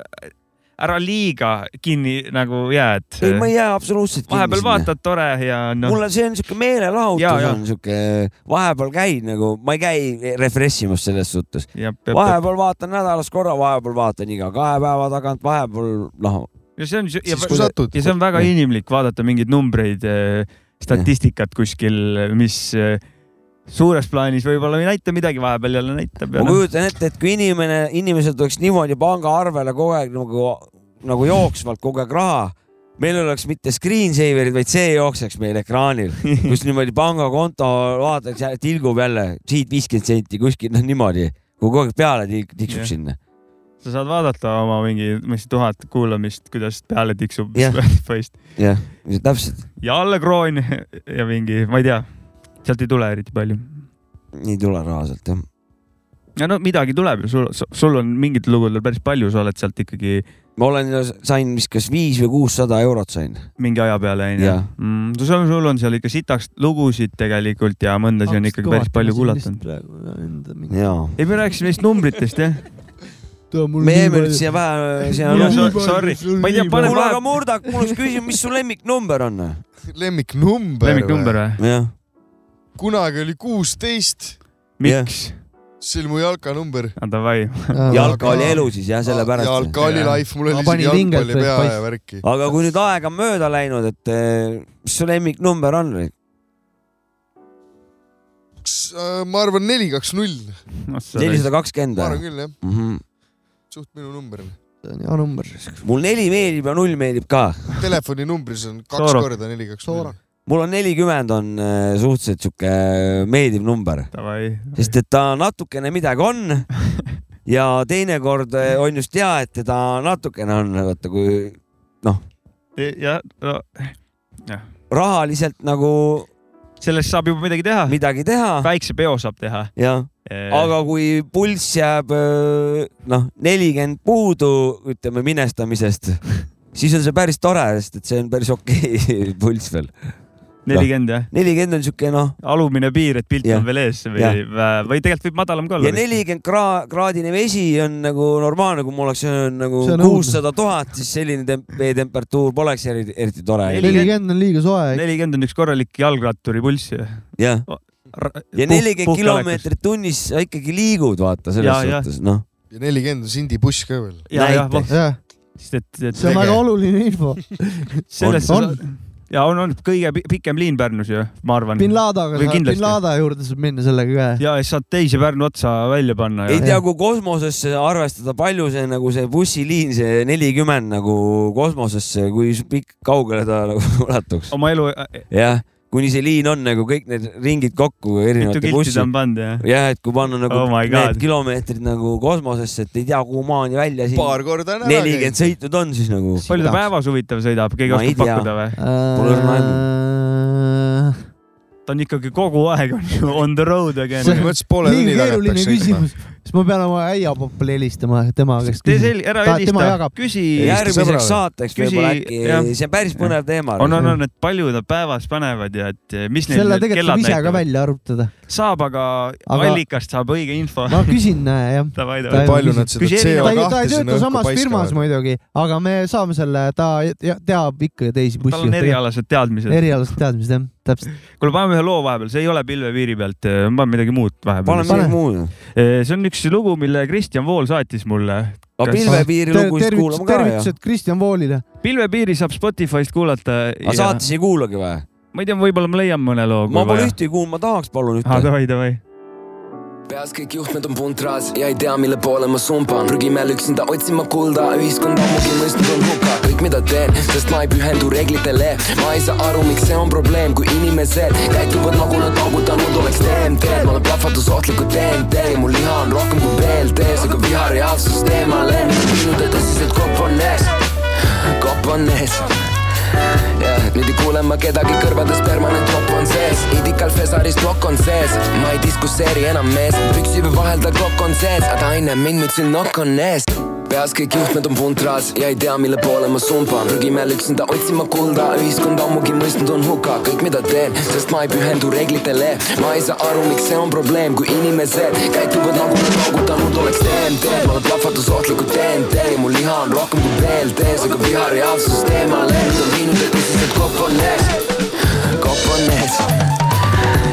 ära liiga kinni nagu jää , et ei , ma ei jää absoluutselt kinni vahepeal sinna . vaatad , tore ja noh . mul on , see on siuke meelelahutus Jaa, jaa. on siuke , vahepeal käid nagu , ma ei käi refresh imas selles suhtes . ja vahepeal vaatan nädalas korra , vahepeal vaatan iga kahe päeva tagant , vahepeal noh , see on , ja siis kui satud ja . see on väga Jah. inimlik vaadata mingeid numbreid , statistikat kuskil , mis eh, suures plaanis võib-olla ei näita midagi , vahepeal jälle näitab ja ma noh , kujutan ette , et kui inimene , inimesel tuleks niimoodi pangaarvele kogu aeg nagu , nagu jooksvalt kogu aeg raha , meil ei oleks mitte screensaver'id , vaid see jookseks meil ekraanil , kus niimoodi pangakonto vaadatakse , tilgub jälle siit viiskümmend senti kuskil , noh niimoodi , kogu aeg peale tilk- tiksub Jah. yeah. sinna . sa saad vaadata oma mingi , mis tuhat kuulamist , kuidas peale tiksub [LAUGHS] Jah. Spotify'st jah , täpselt ja Alle Kroon [LAUGHS] ja mingi , ma ei tea , sealt ei tule eriti palju . ei tule raha sealt jah . ja no midagi tuleb ju , sul , sul on mingitel lugudel päris palju , sa oled sealt ikkagi ma olen , sain vist kas viis või kuussada eurot sain . mingi aja peale onju Jah. mm, . sul , sul on seal ikka sitaks lugusid tegelikult ja mõndasid on ikkagi päris palju kuulatud . kuulata . jaa . ei , me rääkisime neist numbritest jah . me jäime nüüd siia vähe , siia Mul on no, . so- sorry. Ma ei tea, pane- kuule , aga Murdak , mul oleks küsimus , mis su lemmiknumber on ? lemmiknumber . lemmiknumber . või ? jah . kunagi oli kuusteist , miks ? see oli mu jalkanumber . no Ah, davai , jalka oli elu siis jah , sellepärast . jalka oli Jaa. life , mul Ma oli panin isegi jalgpalli vingelt, et pea ja paist- värki . aga kui nüüd aeg on mööda läinud , et eh, mis su lemmiknumber on ? äh, ma arvan neli , kaks , null . nelisada kakskümmend ma või Mhm. arvan ? küll jah , suht minu number . see on hea number . mul neli meeldib ja null meeldib ka . telefoninumbris on kaks Sooro. korda neli , kaks , null Sooro. . mul on nelikümmend on eh, suhteliselt sihuke meeldiv number , davai . sest et ta natukene midagi on [LAUGHS] ja teinekord eh, on just hea , et teda natukene on , vaata kui E, ja no, rahaliselt nagu sellest saab juba midagi teha , midagi teha väikse peo saab teha . E, jah , aga kui pulss jääb öö, noh , nelikümmend puudu , ütleme minestamisest , siis on see päris tore , sest et see on päris okei [LAUGHS] pulss veel . nelikümmend jah , nelikümmend on siuke noh , alumine piir , et pilt Jah. on veel ees või Jah. , või tegelikult võib madalam ka ja olla . nelikümmend kraa- , kraadine vesi on nagu normaalne , kui mul oleks öö, nagu See on õudne. kuussada tuhat , siis selline tem- vee temperatuur poleks eriti , eriti tore . Neli- nelikümmend on liiga soe . nelikümmend on üks korralik jalgratturi pulss ju . jah , ja nelikümmend kilomeetrit tunnis sa ikkagi liigud , vaata selles Jaa, jah. suhtes , noh . ja nelikümmend on Sindi buss ka veel . ja , jah , näiteks. jah , sest et , et see on Tege- väga oluline info . sellest On. sa saad . ja on , on kõige pi- pikem liin Pärnus ju , ma arvan . bin Ladaga Või saab , kindlasti. bin Lada juurde saab minna sellega ka . ja siis saad teise Pärnu otsa välja panna ei ja tea , kui kosmosesse arvestada , palju see nagu see bussiliin , see nelikümmend nagu kosmosesse , kui s- pikk , kaugele ta nagu [LAUGHS] ulatuks . oma elu , jah , kuni see liin on nagu kõik need ringid kokku mitu erinevate kilti ta on bussidega . pannud ja . jah , et kui panna nagu Oh my need God. kilomeetrid nagu kosmosesse , et ei tea , kuhu maani välja siin paar korda on ära nelikümmend sõitud on siis nagu . palju ta päevas huvitav sõidab , keegi Ma ei Äh, oskab tea. pakkuda või ? Pole õrna aimu. õrna . ta on ikkagi kogu aeg on ju on the road again . Selles mõttes poole tunni nii tagant keeruline peaks sõitma . küsimus , siis ma pean oma äiapopile helistama tema käest . tee sel- , ära Ta- tema helista jagab. , küsi . järgmiseks sõbrale. saateks Küsi- võib-olla äkki jah. , see on päris põnev teema . on , on , on , et palju nad päevas panevad ja et eh, mis neil selle need tegelikult kellad saab ise ka näitavad . välja arvutada . saab , aga Aga- allikast saab õige info . ma [LAUGHS] küsin , jah . Davai , Ta- davai . palju nad seda Küsi ta ei , ta CO2 ei tööta sinna õhku samas firmas paiskavad . muidugi , aga me saame selle , ta ja- teab ikka ju teisi tal on bussijuhte . erialased teadmised . erialased teadmised jah , täpselt . kuule , paneme ühe loo vahepeal , see ei ole pilvepiiri pealt , ma panen midagi muud pane vahepeal . Pane. midagi muud . see on üks lugu , mille Kristjan Vool saatis mulle . aga Kas- Ah, pilvepiiri lugu siis tervitused , kuulame ka ju . tervitused Kristjan Voolile . pilvepiiri saab Spotify'st kuulata . aga saates ei kuulagi või ? ma ei tea , võib-olla ma leian mõne loo . ma pole . ühtegi kuulnud , ma tahaks , palun aa , ühte . davai , davai . peas kõik juhtmed on puntras ja ei tea , mille poole ma sumban . prügimäel üksinda otsima kulda , ühiskond ammugi mõistnud on hukka . kõik , mida teen , sest ma ei pühendu reeglitele . ma ei saa aru , miks see on probleem , kui inimesed käituvad nagu nad augutanud oleks DMT-d . ma olen plahvatusohtliku DMT , mu liha on rohkem kui BLT , seega viha reaalsus teemale . minu tõsiselt kopp on ees , kopp on ees jah , nüüd ei kuule ma kedagi kõrvades , permanent jopp on sees , idikal fesaris plokk on sees , ma ei diskusseeri enam mees , püksipea vahel tal klokk on sees , aga ta ei näe mind , nüüd siin nokk on ees peas kõik juhtmed on puntras ja ei tea , mille poole ma sumban , prügimäel üksinda otsima kulda , ühiskond ammugi mõistnud on hukka , kõik , mida teen , sest ma ei pühendu reeglitele , ma ei saa aru , miks see on probleem , kui inimesed käituvad nagu nad paugutanud oleks DMT , ma olen plahvatusohtlikult DMT , mu liha on rohkem kui BLT , seega viha reaalsus teemale , nüüd on viinud , et tõsiselt kopp on ees , kopp on ees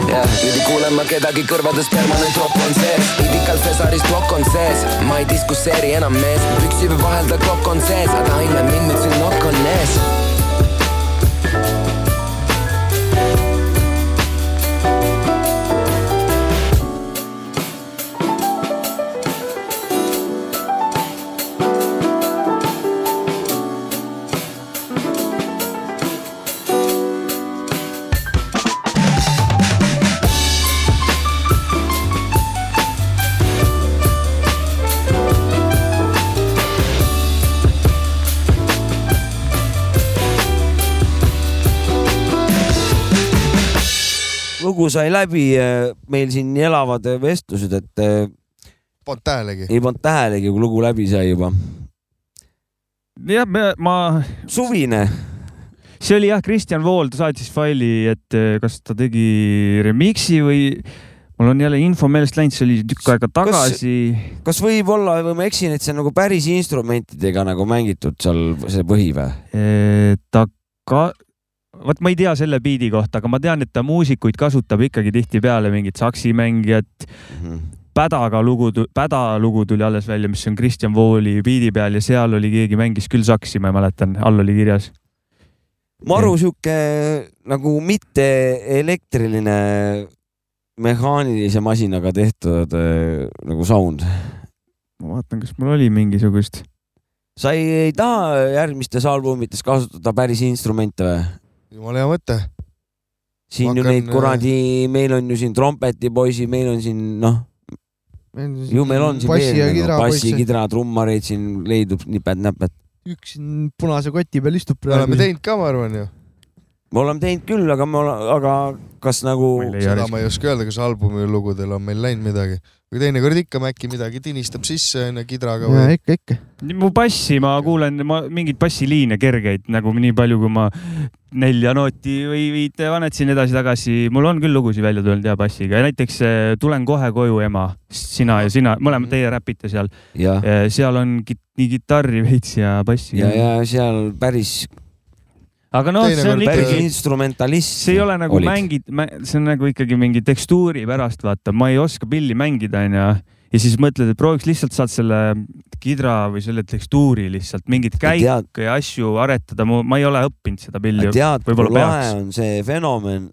jah , nüüd ei kuule ma kedagi kõrvades , permanent ropp on sees , idikal fesaris plokk on sees , ma ei diskusseeri enam mees , püksipea vahel ta klokk on sees , aga ta ei näe mind , nüüd siin nokk on ees lugu sai läbi , meil siin elavad vestlused , et eh, pannud tähelegi . ei pannud tähelegi , kui lugu läbi sai juba . jah , ma , suvine , see oli jah , Kristjan Vool , ta saatis faili , et eh, kas ta tegi remix'i või mul on jälle info meelest läinud , see oli tükk aega tagasi . kas võib-olla , või ma eksin , et see on nagu päris instrumentidega nagu mängitud seal see põhi või ? eh, ta ka , vot ma ei tea selle biidi kohta , aga ma tean , et ta muusikuid kasutab ikkagi tihtipeale mingit saksimängijat , Mhm. Pädaga lugu , Päda lugu tuli alles välja , mis on Kristjan Vooli biidi peal ja seal oli keegi mängis küll saksi , ma mäletan , all oli kirjas . maru sihuke nagu mitte elektriline mehaanilise masinaga tehtud eh, nagu sound . ma vaatan , kas mul oli mingisugust . sa ei, ei taha järgmistes albumites kasutada päris instrumente või ? jumala hea mõte . siin ju Hakkan, neid kuradi , meil on ju siin trompetipoisi , meil on siin noh , ju meil on siin passi ja veel nagu bassi , kidrapoiss , kidra , trummareid siin leidub nipet-näpet . üks siin punase koti peal istub me oleme praegu . teinud ka , ma arvan ju . me oleme teinud küll , aga me oleme , aga kas nagu seda ma ei oska öelda , kas albumi lugudel on meil läinud midagi . aga teinekord ikka Maci midagi tinistab sisse onju kidraga või . ikka , ikka . mu bassi ma kuulen , ma mingeid bassiliine kergeid nagu nii palju , kui ma nelja nooti või viite vanetasin edasi-tagasi . mul on küll lugusid välja tulnud ja bassiga ja näiteks eh, Tulen kohe koju , ema , sina ja sina , Mhm. mõlemad teie räpite seal . ja , seal on kit- nii kitarri veits ja bassi . ja , ja seal päris , aga noh , see on Teinekord päris ikkagi , instrumentalist . see ei ole nagu Olid. . mängid , see on nagu ikkagi mingi tekstuuri pärast , vaata , ma ei oska pilli mängida , onju . ja siis mõtled , et prooviks lihtsalt saad selle kidra või selle tekstuuri lihtsalt mingit käike tead , ja asju aretada , ma ei ole õppinud seda pilli . tead , kui võib-olla lahe peaks. on see fenomen ,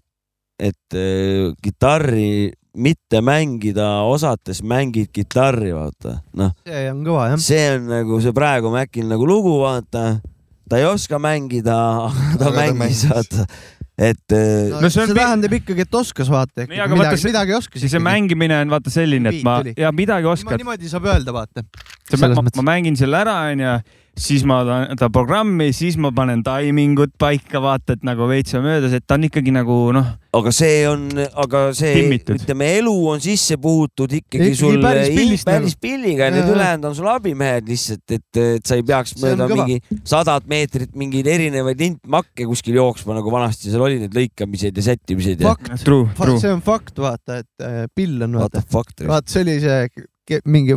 et äh, kitarri mitte mängida osates mängid kitarri , vaata , noh . see on kõva jah . see on nagu see praegu Macil nagu lugu , vaata . ta ei oska mängida , aga ta Aga ta mängis , mängis. vaata . et äh, no, no No see see, on see pi- tähendab ikkagi , et oskas vaata Nii, ikkagi aga vaata midagi , see- midagi oskas . siis see mängimine on vaata selline , et ma Beat tuli. ja midagi oskad . oskad , niimoodi saab öelda , vaata . ma, selles ma, mõttes. ma mängin selle ära , onju siis ma panen ta programmi , siis ma panen timing ut paika , vaata , et nagu veits on möödas , et ta on ikkagi nagu noh , aga see on , aga see , Timmitud. ütleme , elu on sisse puhutud ikkagi Ikkagi sul päris i- pillist nagu. päris pilliga ja need Jaa. ülejäänud on sul abimehed lihtsalt , et , et sa ei peaks See on mööda kõva. mingi sadat meetrit mingeid erinevaid lintmakke kuskil jooksma , nagu vanasti seal oli need lõikamised ja sättimised ja fakt , true , true . see on fakt , vaata , et äh, pill on , what vaata the . fuck . vaat see oli see ke- mingi ,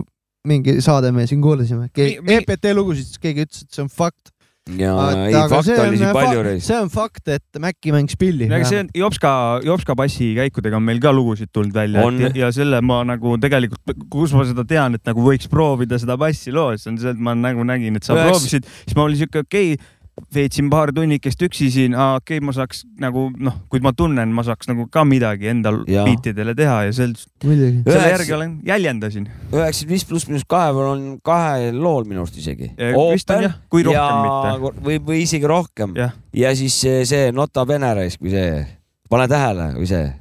mingi saade me siin kuulasime , Mi- mi- EPT lugusid , siis keegi ütles , et see on fakt . ja ei , fakte oli siin palju reis . see on fakt , et Maci mängis pilli . aga see on Jopska , Jopska passi käikudega on meil ka lugusid tulnud välja On. et- ja, ja selle ma nagu tegelikult , kus ma seda tean , et nagu võiks proovida seda passi loos , on see , et ma nagu nägin , et sa Üheks- proovisid , siis ma olin siuke okei okay, veetsin paar tunnikest üksi siin , okei okay, , ma saaks nagu noh , kui ma tunnen , ma saaks nagu ka midagi endal Jaa. biitidele teha ja sel , muidugi . selle Üheks- järgi olen , jäljendasin . üheksakümmend viis pluss miinus kahe peal on kahel lool minu arust isegi . vist on jah , kui rohkem ja mitte . või , või isegi rohkem Jah. . ja siis see- see Nota Bene raisk või see , pane tähele või see .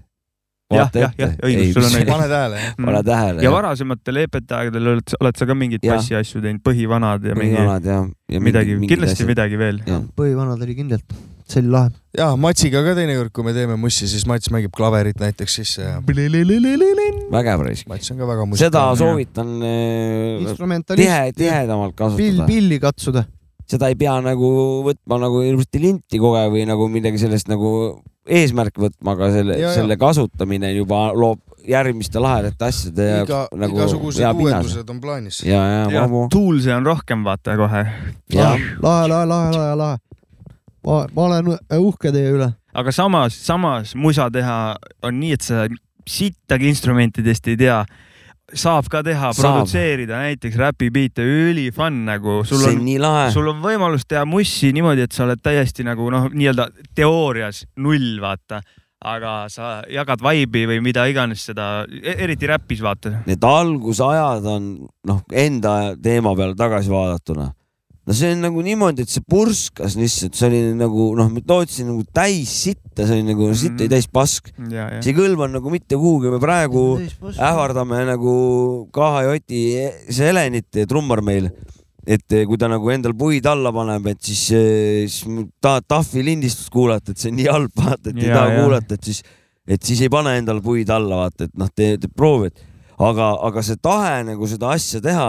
Jah, jah, jah, õigus, sul on õigus. pane tähele , jah . [LAUGHS] pane tähele . Mm. ja varasematel E EPT aegadel oled , oled sa ka mingeid Jah. passi asju teinud , põhivanad ja mingi vanad ja, ja midagi , kindlasti midagi veel . põhivanad oli kindlalt , see oli lahe . ja Matsiga ka teinekord , kui me teeme mussi , siis Mats mängib klaverit näiteks sisse ja midagi . vägev raisk . Mats on ka väga seda muusikaline . soovitan äh, tihe , instrumentalist , tihedamalt pill , kasutada . pilli katsuda . seda ei pea nagu võtma nagu hirmsasti linti kogu aeg või nagu midagi sellest nagu eesmärk võtma , aga selle Ja, , ja. selle kasutamine juba loob järgmiste lahedate asjade iga jaoks , nagu hea igasugused pinnase . uuendused on plaanis . ja , ja , ja ammu , Tools'e on rohkem , vaata kohe . ja lahe , Ah, lahe , lahe , lahe , lahe . ma , ma olen uhke teie üle . aga samas , samas musa teha on nii , et sa sittagi instrumentidest ei tea . saab ka teha , Saab. produtseerida näiteks räpibiite , üli fun nagu . sul see on on nii lahe . sul on võimalus teha mussi niimoodi , et sa oled täiesti nagu noh , nii-öelda teoorias null , vaata , aga sa jagad vaibi või mida iganes seda , eriti räpis , vaata . Need algusajad on noh , enda teema peale tagasi vaadatuna . no see on nagu niimoodi , et see purskas lihtsalt , see oli nagu noh , ma tootsin nagu täis sitta , see oli nagu sitt oli Mhm. täis pask . ja , ja see ei kõlba nagu mitte kuhugi , me praegu Mhm. ähvard . ähvardame nagu KHJ-i Selenit , trummar meil , et kui ta nagu endal puid alla paneb , et siis , siis tahad tahvi lindistust kuulata , et see on nii halb , vaata , et ei Jaa, taha jaa. kuulata , et siis , et siis ei pane endal puid alla , vaata , et noh , tee , tee proovi , et aga , aga see tahe nagu seda asja teha ,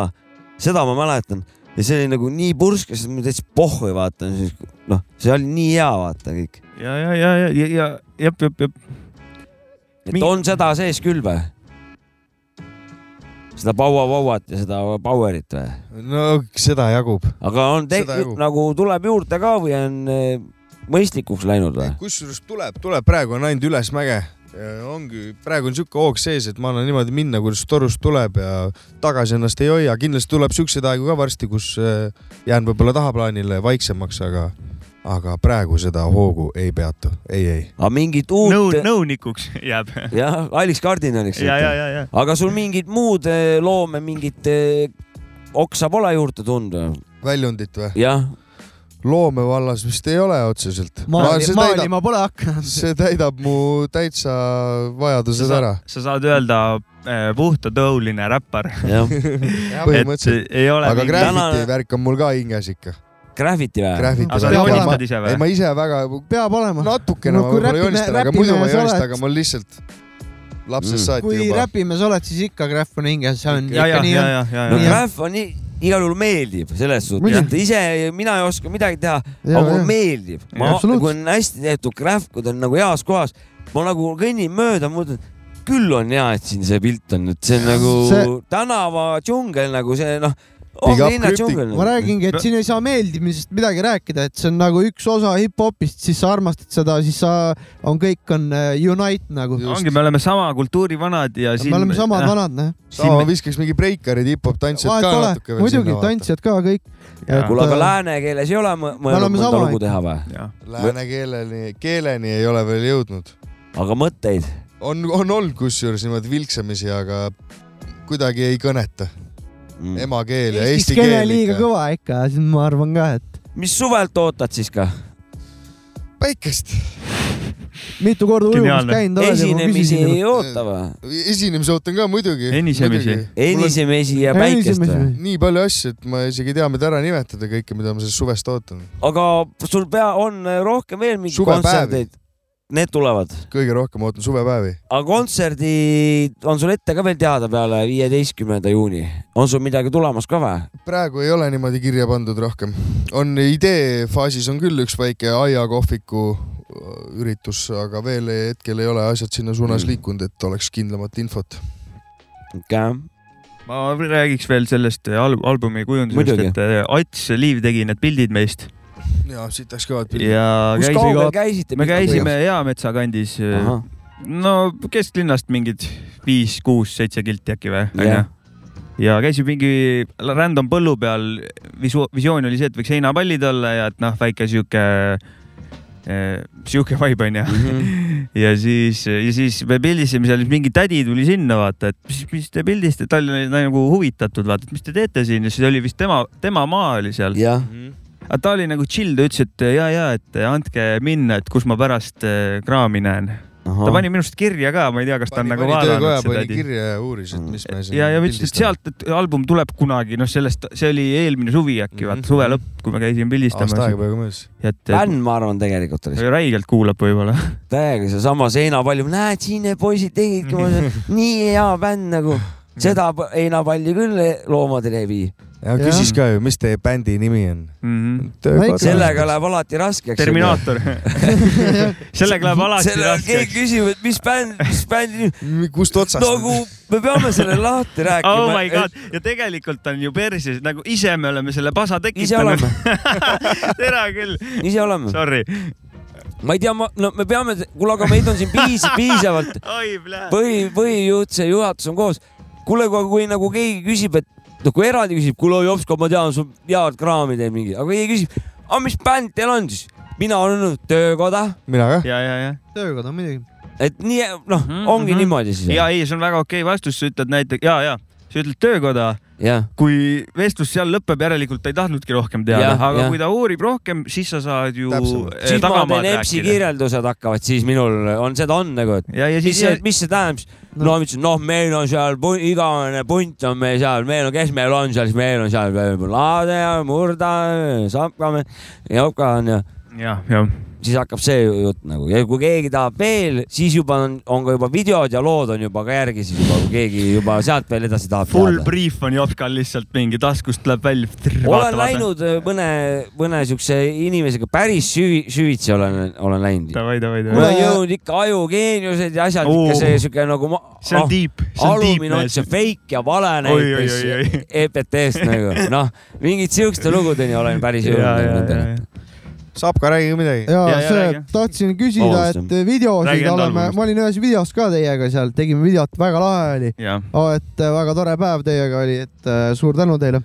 seda ma mäletan ja see oli nagu nii purskas , et ma täitsa pohhu ei vaadanud , noh , see oli nii hea , vaata kõik , ja , ja , ja , ja , ja , ja , jep , jep , jep . et Mingi- on seda sees küll või ? seda Paua-Pauat ja seda Powerit või ? no seda jagub . aga on te- Seda jagub. nagu tuleb juurde ka või on eh, mõistlikuks läinud või ? kusjuures tuleb , tuleb , praegu on ainult ülesmäge . ongi , praegu on sihuke hoog sees , et ma annan niimoodi minna , kuidas torust tuleb ja tagasi ennast ei hoia . kindlasti tuleb siukseid aegu ka varsti , kus äh, jään võib-olla tahaplaanile vaiksemaks , aga , aga praegu seda hoogu ei peatu , ei , ei . aga mingit nõu- , uut , nõunikuks jääb . jah , Alice Cardinaliks . ja , ja , ja , ja . aga sul mingid muud eh, loome , mingit eh, oksa pole juurde tulnud ? väljundit või ? jah , loomevallas vist ei ole otseselt . maali , maali täidab , ma pole hakanud . see täidab mu täitsa vajadused [LAUGHS] ära . sa saad öelda eh, puhtatõuline räppar , jah . [LAUGHS] et eh, põhimõtteliselt . ei ole . aga graffiti Tänane- värk on mul ka hinges ikka . Graffiti või ? graffiti aga sa Peab olema. värk . joonistad ise ei , või ? ma ise väga peab olema . natukene Noh, No no, ma kui võib-olla räpi- joonistan , aga räpimees muidu ma ei joonista , oled- aga mul lihtsalt lapsest Mm. mm. saati kui juba . räpimees oled , siis ikka Grahv on hinges , see on ja , ja ikka , nii ja , on . ja , ja , no Nii ja . graff on nii , igal juhul meeldib selles suhtes , Muidugi. et ise , mina ei oska midagi teha , aga mulle meeldib . ma , absoluutselt. kui on hästi tehtud graff , kui ta on nagu heas kohas , ma nagu kõnnin mööda , mõtlen , küll on hea , et siin see pilt on , et see on nagu see... See- tänava džungel nagu see noh , on Big up linna Cryptic. džungel . ma räägingi , et siin ei saa meeldimisest midagi rääkida , et see on nagu üks osa hip-hopist , siis sa armastad seda , siis sa , on kõik on äh, unite nagu . Just. ongi , me oleme sama kultuuri vanad ja siin . me oleme samad vanad , noh . sama viskaks mingi breikarid , hip-hop tantsijad vahet ka pole natuke , veel muidugi , tantsijad ka kõik . Jaa. kuule , aga lääne keeles ei ole mõ- mõelnud Äh, oleme mõnda sama, lugu ikka. teha või ? vanad . Lääne keeleni , keeleni ei ole veel jõudnud . aga mõtteid ? on , on olnud kusjuures niimoodi vilksamisi , aga kuidagi ei kõneta . Mm. emakeel ja eesti keel keel liiga ikka . kõva ikka , siis ma arvan ka , et mis suvelt ootad siis ka ? päikest . mitu korda ujumas Geniaalne. käinud oled ja ma esinemisi küsisin . nagu- ei oota või ? esinemisi ootan ka muidugi . Enisemisi. . enisemisi ja päikest või ? nii palju asju , et ma isegi ei tea , mida ära nimetada kõike , mida ma sellest suvest ootan . aga sul pea , on rohkem veel mingeid Suvepäevi. kontserteid ? Need tulevad , kõige rohkem ootan suvepäevi . aga kontserdid on sul ette ka veel teada peale viieteistkümnenda juuni , on sul midagi tulemas ka või ? praegu ei ole niimoodi kirja pandud rohkem . on idee faasis on küll üks väike aiakohviku äh, üritus , aga veel ei- hetkel ei ole asjad sinna suunas Mm. liikunud , et oleks kindlamat infot . okei , ma räägiks veel sellest al- albumi kujundusest , Muidugi. et äh, Ats Liiv tegi need pildid meist ja siit läks kõvad pildid . ja kus käisime kaugel ka , käisite ? me käisime Eametsa kandis , eh, no kesklinnast mingid viis , kuus , seitse kilti äkki või , Jah. onju . ja käisime mingi random põllu peal , visu- , visioon oli see , et võiks heinapallid olla ja et noh , väike sihuke , sihuke vibe onju . [LAUGHS] ja siis , ja siis me pildistasime seal , mingi tädi tuli sinna vaata , et mis , mis te pildistate , ta oli nagu huvitatud vaata , et mis te teete siin ja siis oli vist tema , tema maa oli seal . jah , aga ta oli nagu chill , ta ütles , et ja , ja , et andke minna , et kus ma pärast eh, kraami näen . ta pani minust kirja ka , ma ei tea , kas ta on pani nagu pani töökoja , vaadanud pani seda tädi. . kirja ja uuris , et mis me siin . Mm. ja , ja ütles , et . sealt et album tuleb kunagi , noh , sellest , see oli eelmine suvi äkki , vaata suve lõpp , kui me käisime Mhm. aasta pildistamas . aega peaaegu möödas . et et- fänn , ma arvan , tegelikult oli see . räigelt kuulab võib-olla . täiega seesama seinapall , näed , siin need poisid tegidki , ma [LAUGHS] olen nii hea bänd nagu , seda p- heinapalli küll loomadele ei vii . ja küsis ka ju , mis teie bändi nimi on ? sellega läheb alati raskeks . [LAUGHS] [LAUGHS] Terminaator . sellega läheb alati keegi raskeks . küsib , et mis bänd , mis bändi , kust otsast ? nagu me peame selle lahti rääkima . oh my god , ja tegelikult on ju perses , nagu ise me oleme selle pasa ise tekitanud [LAUGHS] oleme ., tere küll , ise oleme . sorry . ma ei tea , ma , no me peame , kuule , aga meid on siin [LAUGHS] piis- , piisavalt , oi , plää . põhi , põhijuht , see juhatus on koos . kuule , aga kui nagu keegi küsib , et noh , kui eraldi küsib , kuule Jopsko , ma tean , sul head kraami teeb mingi , aga keegi küsib , aga mis bänd teil on siis ? mina olen töökoda , mina kah . ja , ja , ja . töökoda muidugi . et nii noh Mhm, , ongi mhm. niimoodi siis . ja ei , see on väga okei vastus , sa ütled näiteks ja , ja sa ütled töökoda , jah , äh, kui vestlus seal lõpeb , järelikult ta ei tahtnudki rohkem teada , Jah, aga jah. kui ta uurib rohkem , siis sa saad ju Täpsemalt. eh, siis ma tagamaad teen EMS-i rääkida . kirjeldused hakkavad , siis minul on seda on nagu , et ja , ja mis siis see , mis see tähendab siis ? No. no ma ütlesin , noh , meil on seal pu- igavene punt on meil seal , meil on , kes meil on seal , siis meil on seal Laade ja Murda , Sapkamäe , Jopka on ja jah , jah . siis hakkab see ju- jutt nagu ja kui keegi tahab veel , siis juba on , on ka juba videod ja lood on juba ka järgi , siis juba kui keegi juba sealt veel edasi tahab Full teada . brief on Jopskal lihtsalt mingi taskust läheb välja . olen läinud öö, mõne , mõne siukse inimesega päris süvi- , süvitsi olen , olen läinud . davai , davai , mul davai . on jõudnud ikka ajugeeniused ja asjad ikka Oo. see siuke nagu ma, see on deep , see on deep alumine on see . fake ja vale Oi, oi, oi, näiteks oi. EPT-st nagu noh , mingite siukeste lugudeni olen [LAUGHS] päris jõudnud nendele . saab ka räägime midagi . ja, Ja- ja ja see räägi. , tahtsin küsida , Vabandust. et äh, videosid Räägi enda oleme , algusest. ma olin ühes videos ka teiega seal , tegime videot , väga lahe oli jah , oh, . et äh, väga tore päev teiega oli , et äh, suur tänu teile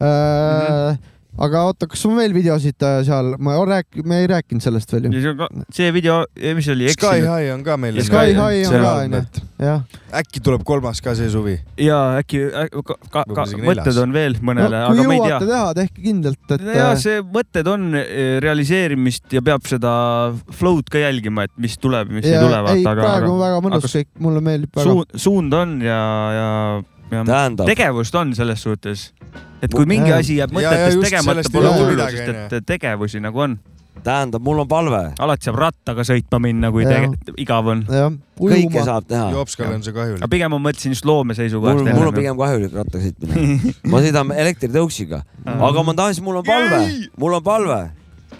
äh, . Mhm. aga oota , kas on veel videosid äh, seal , ma olen rääk- , me ei rääkinud sellest veel ju . see video , mis see oli , Sky eksinud High on ka meil . Sky High on see ka on onju , jah . äkki tuleb kolmas ka see suvi . ja äkki äk- ka, ka, ka, Võib-olla isegi neljas. mõtted on veel no mõnele no, , kui aga ma ei jõuate tea . teha , tehke kindlalt , et ja äh, see mõtted on eh, realiseerimist ja peab seda flow'd ka jälgima , et mis tuleb , mis ja, ei tule , ei , vaata , aga, praegu on aga väga mõnus aga- kõik , mulle meeldib väga . suund , suund on ja , ja , ja tähendab , tegevust on selles suhtes , et kui mingi Jaa. asi jääb Ja- ja mõtetes just tegemata sellest , pole ei ole hullu , midagi, sest et tegevusi nagu on , tähendab , mul on palve , alati saab rattaga sõitma minna , kui Jaa. tege- igav on . jah , kõike ujuma . saab teha . Jopskale on see kahjulik aga . pigem ma mõtlesin just loome seisukohast . mul , mul on pigem kahjulik rattaga sõitmine . ma sõidan elektritõuksiga , aga ma tahan , mul on palve , mul on palve ,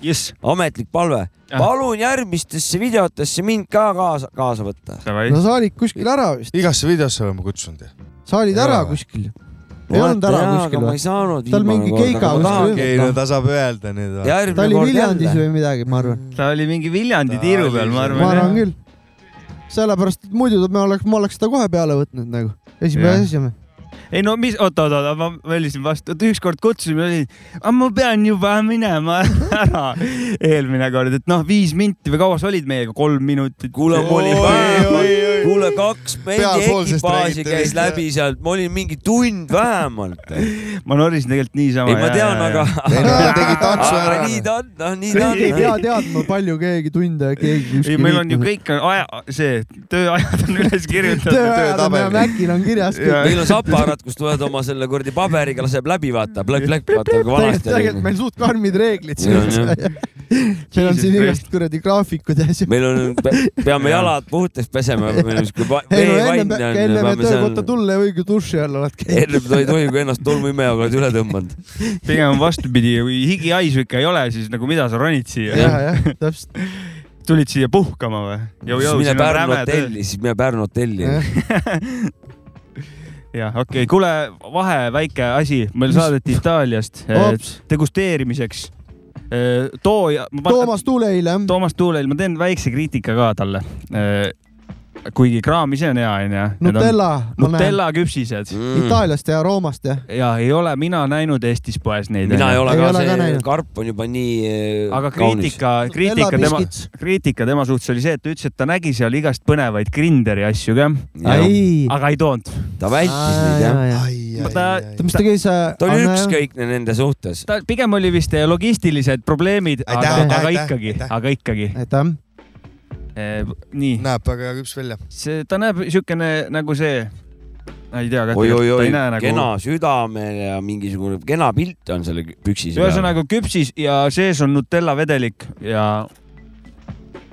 jess , ametlik palve . Jah. palun järgmistesse videotesse mind ka kaasa , kaasa võtta . davai no . sa olid kuskil ära vist , igasse videosse oleme kutsunud . sa olid Ei ära ole või? kuskil . ei olnud ära kuskil ma või ei ? saanud . Tal mingi keiga kuskil ei no ta saab öelda nüüd . ta oli Viljandis või midagi , ma arvan . ta oli mingi Viljandi Ta tiiru oli peal , ma seal. arvan . ma arvan . küll . sellepärast , et muidu me oleks , ma oleks seda kohe peale võtnud nagu . esimene Jah. asi on . ei no mis , oota , oota , oota , ma välisin vastu , et ükskord kutsusime , olin , aga ma pean juba minema [LAUGHS] ära eelmine kord , et noh , viis minti või kaua sa olid meiega , kolm minutit . kuule , mul oli Oi, päev oi, oi, kuule , kaks bändi Pealpoolsest ekipaasi räägite käis vist, läbi sealt , ma olin mingi tund vähemalt . ei , ma norisin tegelikult niisama . ma tean , aga . ei no ta tegi tantsu aga ära . nii ta on , noh nii ta keegi ei on pea . teadma , palju keegi tunde keegi ei , meil on ju . kõik on aja , see tööajad on üles kirjutatud . tööajad on meil töötabel. Mäkil on kirjas Jaa. kõik . meil on sapaarad , kus tuleb oma selle kuradi paberiga laseb läbi , vaata , plõkk , plõkk , vaata kui vanasti tegelikult oli . meil suht karmid reeglid siin Jaa, üldse . meil on Jesus siin Christ. igast kuradi graafikud ja asju . meil on , peame jalad puhtaks pesema , kui pa- ei no veevann enne , on . enne töökohta tulla ei või , kui duši all oled käinud . ennem ta ei tohi , kui ennast tolmuimejaga oled üle tõmmanud . pigem vastupidi , kui higihaisu ikka ei ole , siis nagu mida sa ronid siia ? ja , jah , täpselt . tulid siia puhkama või ? siis mine Pärnu hotelli , siis mine Pärnu hotelli . jah , okei okay. , kuule , vahe väike asi , meil Mis? saadeti Itaaliast eh, Ops. degusteerimiseks eh, tooja . Toomas Tuule eile . Toomas Tuuleil , ma teen väikse kriitika ka talle . kuigi kraam ise on hea , onju . Nutella , ma näen . Nutella küpsised Mm. Itaaliast ja Roomast ja . ja ei ole mina näinud Eestis poes neid . mina ei ole Ei ka , ole ka see näinud. karp on juba nii eh, aga kaunis . kriitika , kriitika Nutella tema , biskits. kriitika tema suhtes oli see , et ta ütles , et ta nägi seal igast põnevaid Grinderi asju ka , ei . aga ei toonud . ta vältis neid jah . ta- oota , mis ta käis ? äh, ta oli . ükskõikne nende suhtes . ta pigem oli vist eh, logistilised probleemid , Aitäh, aga , aitäh, aga aitäh, ikkagi , aitäh. aga ikkagi . aitäh . nii , näeb väga küps välja . see , ta näeb siukene nagu see , ei tea , ta oi-oi-oi ei näe , nagu kena südamel ja mingisugune kena pilt on selle püksis . ühesõnaga küpsis ja sees on Nutella vedelik ja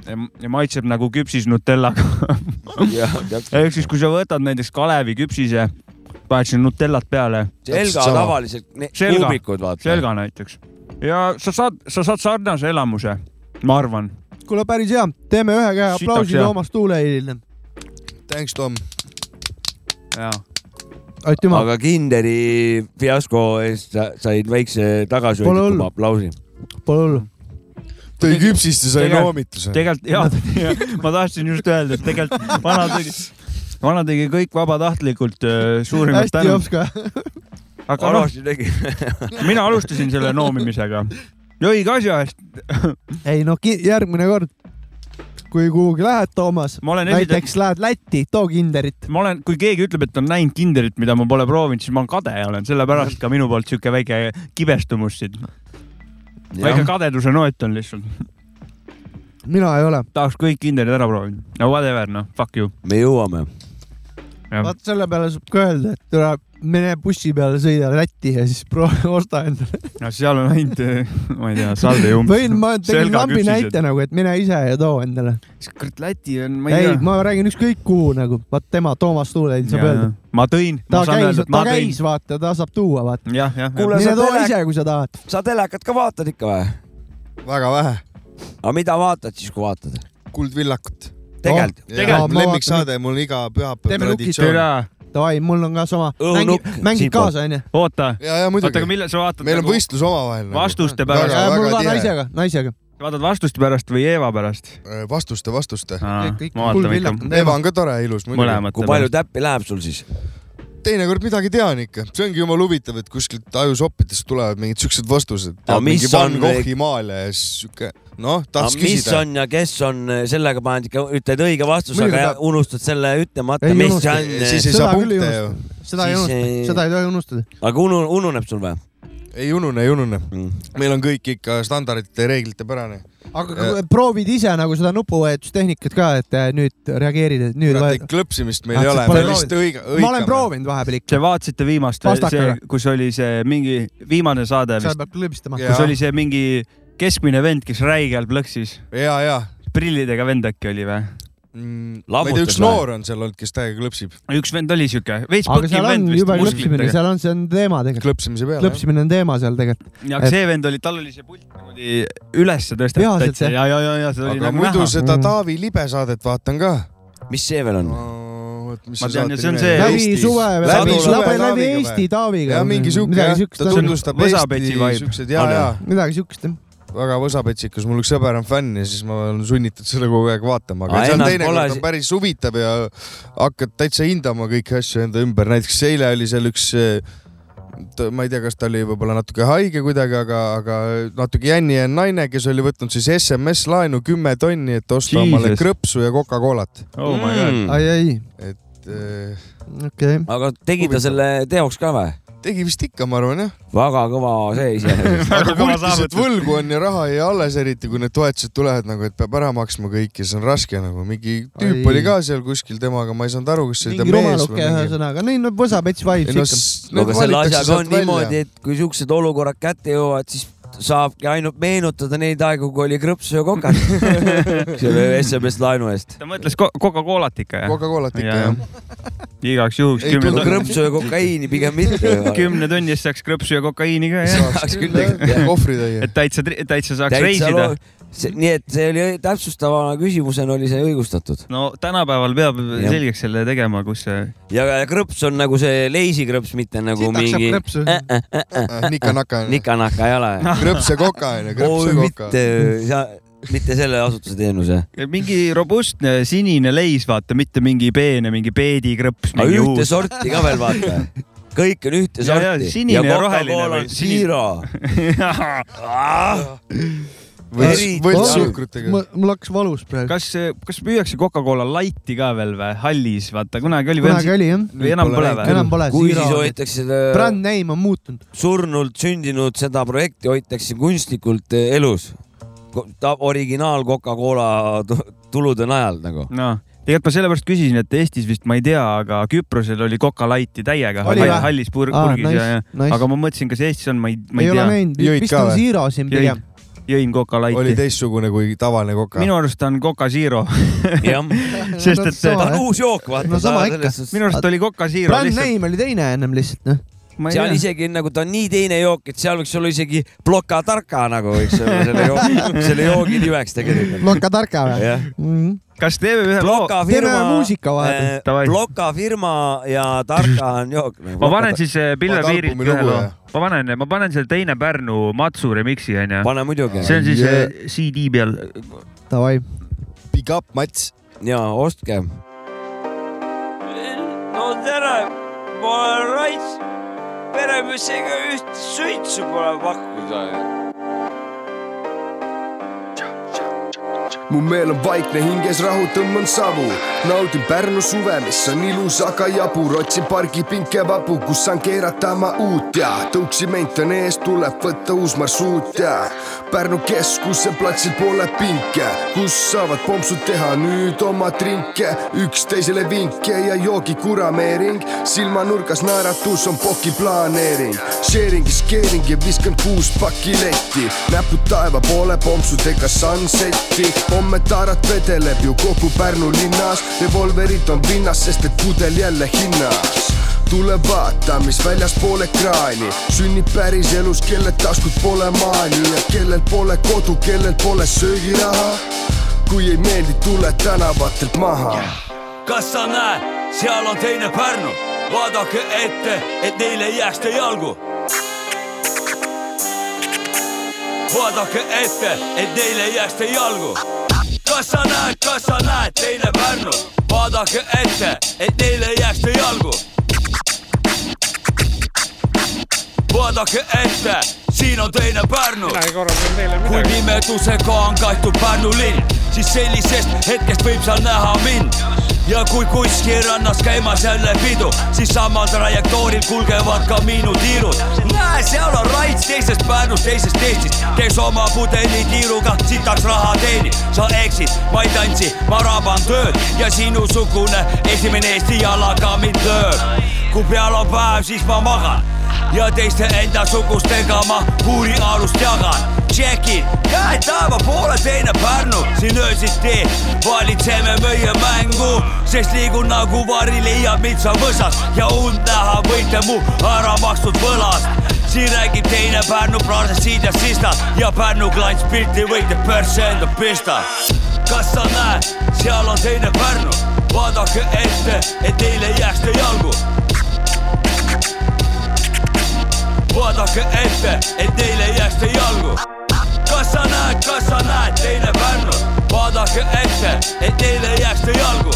ja ja maitseb nagu küpsis Nutellaga . [LAUGHS] [LAUGHS] ehk siis , kui sa võtad näiteks Kalevi küpsise , paned sinna Nutellat peale , selga Sama. tavaliselt , Selga. kuubikud vaata . selga näiteks ja sa saad , sa saad sarnase elamuse , ma arvan . kuule , päris hea , teeme ühe käe Sitaks aplausi hea. Toomas Tuuleilile . Thanks , Tom . aitüma , aga Kinderi fiasko eest sa- said väikse Pole hullu. tagasihoidliku aplausi . pole hullu . tõi küpsist ja sai Tegelikult- noomituse . tegelikult [LAUGHS] ja ma tahtsin just öelda , et tegelikult vana tegi , vana tegi kõik vabatahtlikult , suurimad hästi tänud , jops ka . aga noh , arvasti tegi . mina alustasin selle noomimisega . õige asja eest , ei no ki- järgmine kord , kui kuhugi lähed , Toomas , ma olen esitanud näiteks lähed Lätti , too kinderit . ma olen , kui keegi ütleb , et on näinud Tinderit , mida ma pole proovinud , siis ma kade olen , sellepärast ka minu poolt sihuke väike kibestumus siin , väike kadeduse noot on lihtsalt . mina ei ole , tahaks kõik Tinderid ära proovida . no whatever , noh , fuck you . me jõuame . vaat selle peale saab ka öelda , et tule mine bussi peale , sõida Lätti ja siis proovi , [LAUGHS] osta endale . no seal on ainult , ma ei tea , salde ja umbes . nagu võin , ma tegin lambi näite . nagu , et mine ise ja too endale . kurat , Läti on , ma ei ei , tea . ma räägin ükskõik kuhu nagu , vaat tema , Toomas Tuuleil saab öelda . ma tõin , ta ma saan käis öelda ,, et ta ma tõin . käis , vaata , ta saab tuua , vaata . jah , jah , Kuule, mine sa too tele- ise , kui sa tahad . sa telekat ka vaatad ikka või ? väga vähe . aga mida vaatad siis , kui vaatad ? Kuldvillakut . tegelikult Tegelikult. mu lemmiksaade , mul iga pühapäev Teeme lukid. traditsioon . türa , davai , mul on ka sama . Õhunukk, mängid siinpool. kaasa , onju . oota , ja , ja oota , aga muidugi . millal sa vaatad meil on nagu võistlus omavahel . vastuste Väga- pärast , Äh, mul ka väga tihe. naisega , naisega . vaatad vastuste pärast või Eeva pärast ? Äh, vastuste , kõik vastuste . ma vaatan ikka kuldvillakad. Eva on ka tore ja ilus . mõlemat . kui palju täppi läheb sul siis ? teinekord midagi tean ikka , see ongi jumala huvitav , et kuskilt ajusoppidest tulevad mingid siuksed vastused . Aga mis mingi Van on- Goghi maalia ja siis siuke , noh , tahaks mis küsida . on ja kes on , sellega paned ikka , ütled õige vastuse , Muidugi aga ta- unustad selle ütlemata , Ei mis unusta. see on . siis ei Seda saa küll ei punkte ju . seda ei Siis unusta ei- , seda ei tohi unustada . aga unu- , ununeb sul või ei unune , ei unune . mm. ? meil on kõik ikka standardite ja reeglite pärane . aga kui Äh, proovid ise nagu seda nupuvajutustehnikat ka , et äh, nüüd reageerid , et nüüd vajutad . klõpsimist meil Ah, ei sa ole , pole me lihtsalt õiga , õigame . ma olen . proovinud vahepeal ikka , Te vaatasite viimast , see Pastakaga. , kus oli see mingi viimane saade seal vist , peab klõbistama . Jaa. kus oli see mingi keskmine vend , kes räigelt plõksis , ja , ja . prillidega vend äkki oli või ? Mm, ma ei Lammutas tea , üks või? noor on seal olnud , kes täiega klõpsib üks vend oli siuke veits aga põkim seal on vend vist , jube klõpsimine , musklitega . seal on , see on teema tegelikult . klõpsimise peale . klõpsimine on teema seal tegelikult . aga see vend oli , tal oli see pult niimoodi ülesse tõstetud Peaasi, et täitsa see- ja , ja , ja , ja seda oli aga nagu muidu näha . seda Mm. Taavi Libe saadet vaatan ka . mis see veel on ? Ma tean, ja see on see- läbi suve , läbi Sadu- suve , läbi Eesti Taaviga . ja mingi siuke midagi , ta siukest on , tutvustab Võsapetsi Eesti vibe. siukseid ja , On, ja midagi siukest jah . väga võsapetsikus , mul üks sõber on fänn ja siis ma olen sunnitud seda kogu aeg vaatama , aga Aa, seal ennast teinekord pole on si- päris huvitav ja hakkad täitsa hindama kõiki asju enda ümber , näiteks eile oli seal üks äh, ma ei tea , kas ta oli võib-olla natuke haige kuidagi , aga , aga natuke jänni jänn naine , kes oli võtnud siis SMS laenu kümme tonni , et osta Jesus. omale krõpsu ja Coca-Colat . oh my god . Mm. [LAUGHS] Hmm. ai , ai , et eh, okei okay. . aga tegi ta Huvitav. selle teoks ka või ? tegi vist ikka , ma arvan jah . väga kõva see [LAUGHS] iseenesest . aga kõva kultis , et saavutus. võlgu on ja raha ei jää alles , eriti kui need toetused tulevad nagu , et peab ära maksma kõik ja see on raske nagu . mingi tüüp Ai. oli ka seal kuskil temaga , ma ei saanud aru , kas see oli ta mingi mees rumaluke või mingi . ühesõnaga , neil on võsa pets vibes ei no ikka . s- no need aga selle valitakse asjaga on sealt välja . niimoodi , et kui siuksed olukorrad kätte jõuavad , siis saabki ainult meenutada neid aegu , kui oli krõpsu ja [LAUGHS] kokas . selle SMS laenu eest . ta mõtles ko- Coca-Colat ikka jah ? Coca-Colat ikka Jaa, jah . igaks juhuks Ei kümne tulnud tonni , krõpsu ja kokaiini pigem mitte . kümne tonni eest saaks krõpsu ja kokaiini ka jah . saaks küll jah . kohvritäie et . täitsa , täitsa saaks reisida . nii et see oli täpsustava küsimusena oli see õigustatud . no tänapäeval peab Jah. selgeks selle tegema , kus äh, see ja ja krõps on nagu see leisikrõps , mitte nagu siit hakkab mingi krõpsu . Äh, nika-naka äh, on ju . nikanaka ei ole . krõps ja koka on ju , krõps oi ja , koka . mitte , mitte selle asutuse teenuse . mingi robustne sinine leis , vaata , mitte mingi peene , mingi peedikrõps , aga mingi ühte uus . sorti ka veel vaata . kõik on ühte Ja, ja, sorti . sinine ja roheline Coca-Cola on või- Zero . võlts , Eri- võlts Oi, suhkrutega . mul hakkas valus praegu . [LAUGHS] kas , kas müüakse Coca-Cola Lighti ka veel või , hallis , vaata kunagi oli kunagi veel , oli jah , või enam pole või ? enam pole . kui siis hoitakse seda bränd name on muutunud . surnult sündinud seda projekti hoitakse kunstlikult eh, elus . ta originaal Coca-Cola tu- tulude najal nagu . [LAUGHS] noh , tegelikult ma sellepärast küsisin , et Eestis vist ma ei tea , aga Küprosel oli Coca Lighti täiega Oli hall- või? hallis pur- Aa, purgis ja , ja , nice. aga ma mõtlesin , kas Eestis on , ma ei , ma ei ei ole tea , näinud , Jõid vist ka on või? Zero siin Jõid. pigem . jõin Coca oli Lighti . teistsugune kui tavaline koka . minu arust ta on Coca Zero , [LAUGHS] jah , [LAUGHS] Sest et- ta on uus jook , vaata . No sama ikka. minu arust oli Coca Zero bränd lihtsalt , name oli teine ennem lihtsalt noh . ma seal ei tea , isegi nagu ta on nii teine jook , et seal võiks olla isegi plokatarka nagu võiks olla selle joogi , [LAUGHS] selle joogi nimeks tegelikult . Loka tarka või ? Mhm. jah , kas teeme ühe loo ? ploka teeme firma . muusika vahepeal. Davai. ploka firma ja tarka on jook . nagu ma panen . siis eh, Pille Ma tarpun Piirilt või ühe lugu, loo jah? , ma panen , ma panen selle teine Pärnu Matsu remix'i onju . pane muidugi see on siis Yeah. yeah. CD peal . Davai , Big up , Mats . ja ostke . no tere , ma olen Raits , peremehega üht suitsu pole pakkuda . mu meel on vaikne , hinges rahu , tõmban savu , naudin Pärnu suve , mis on ilus , aga jabur , otsin pargipinke vabu , kus saan keerata oma uut ja tõuksiment on ees , tuleb võtta uus marsruut ja Pärnu keskuse platsil pole pinke , kus saavad pomsud teha nüüd oma trinke , üksteisele vinke ja joogi kurameering , silmanurgas naeratus on poki planeering , sharing is caring ja viskan kuus pakki letti , näpud taeva poole pomsudega sunset'i , homme taarat vedeleb ju kogu Pärnu linnas , revolverid on pinnas , sest et pudel jälle hinnas tule vaata , mis väljaspool ekraani sünnib päris elus , kelle taskud pole maani ja kellel pole kodu , kellel pole söögiraha . kui ei meeldi , tule tänavatelt maha yeah. . kas sa näed , seal on teine Pärnu , vaadake ette , et neile ei jääks te jalgu . vaadake ette , et neile ei jääks te jalgu . kas sa näed , kas sa näed , teine Pärnu , vaadake ette , et neile ei jääks te jalgu . vaadake ette , siin on teine Pärnu . kui pimedusega on kaetud Pärnu linn , siis sellisest hetkest võib seal näha mind . ja kui kuskil rannas käimas jälle pidu , siis samal trajektooril kulgevad ka minu tiirud . näe , seal on Raits teisest Pärnust , teisest Eestist , kes oma pudelitiiruga sitaks raha teenib . sa eksid , ma ei tantsi , ma raban tööd ja sinusugune esimene Eesti jalaga mind lööb . kui peal on päev , siis ma magan ja teiste endasugustega ma puurialust jagan . tšekin , käed taeva poole , teine Pärnu , siin öösiti valitseme meie mängu , sest liigun nagu vari leiab mind sa võsas ja und näha võite mu ära makstud võlast . siin räägib teine Pärnu plaasesiid ja sista ja Pärnu klants pilti võite persse enda pista . kas sa näed , seal on teine Pärnu , vaadake ette , et neile ei jääks te jalgu vaadake ette , et neile ei jääks te jalgu . kas sa näed , kas sa näed , teine Pärnu , vaadake ette , et neile ei jääks te jalgu .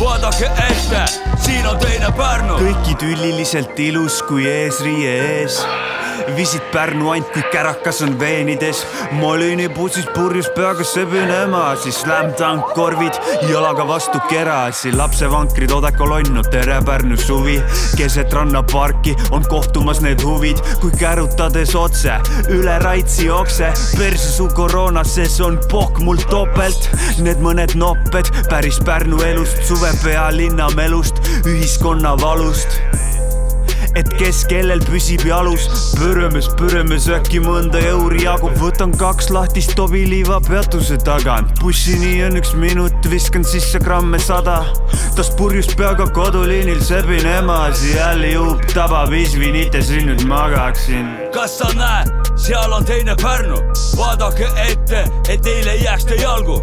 vaadake vaadake ette , siin on teine Pärnu . kõik idülliliselt ilus kui eesriie ees . visid Pärnu ant , kui kärakas on veenides . Molini bussis purjus peaga sebinema , siis slam dunk korvid jalaga vastu kerasi . lapsevankrid odekolonn on tere Pärnu suvi . keset rannaparki on kohtumas need huvid , kui kärutades otse üle Raitsi okse . perse su koroona , see see on pohk mul topelt . Need mõned nopped päris Pärnu elust , suve pealinna melust , ühiskonna valust et kes kellel püsib jalus . pürõmes , pürõmes äkki mõnda euri jagub , võtan kaks lahtist tobi liiva peatuse tagant . bussini on üks minut , viskan sisse gramme sada . tas purjus peaga koduliinil sebin emasi , jälle juub tabab , isvinites siin nüüd magaksin kas sa näed , seal on teine Pärnu , vaadake ette , et neile ei jääks te jalgu .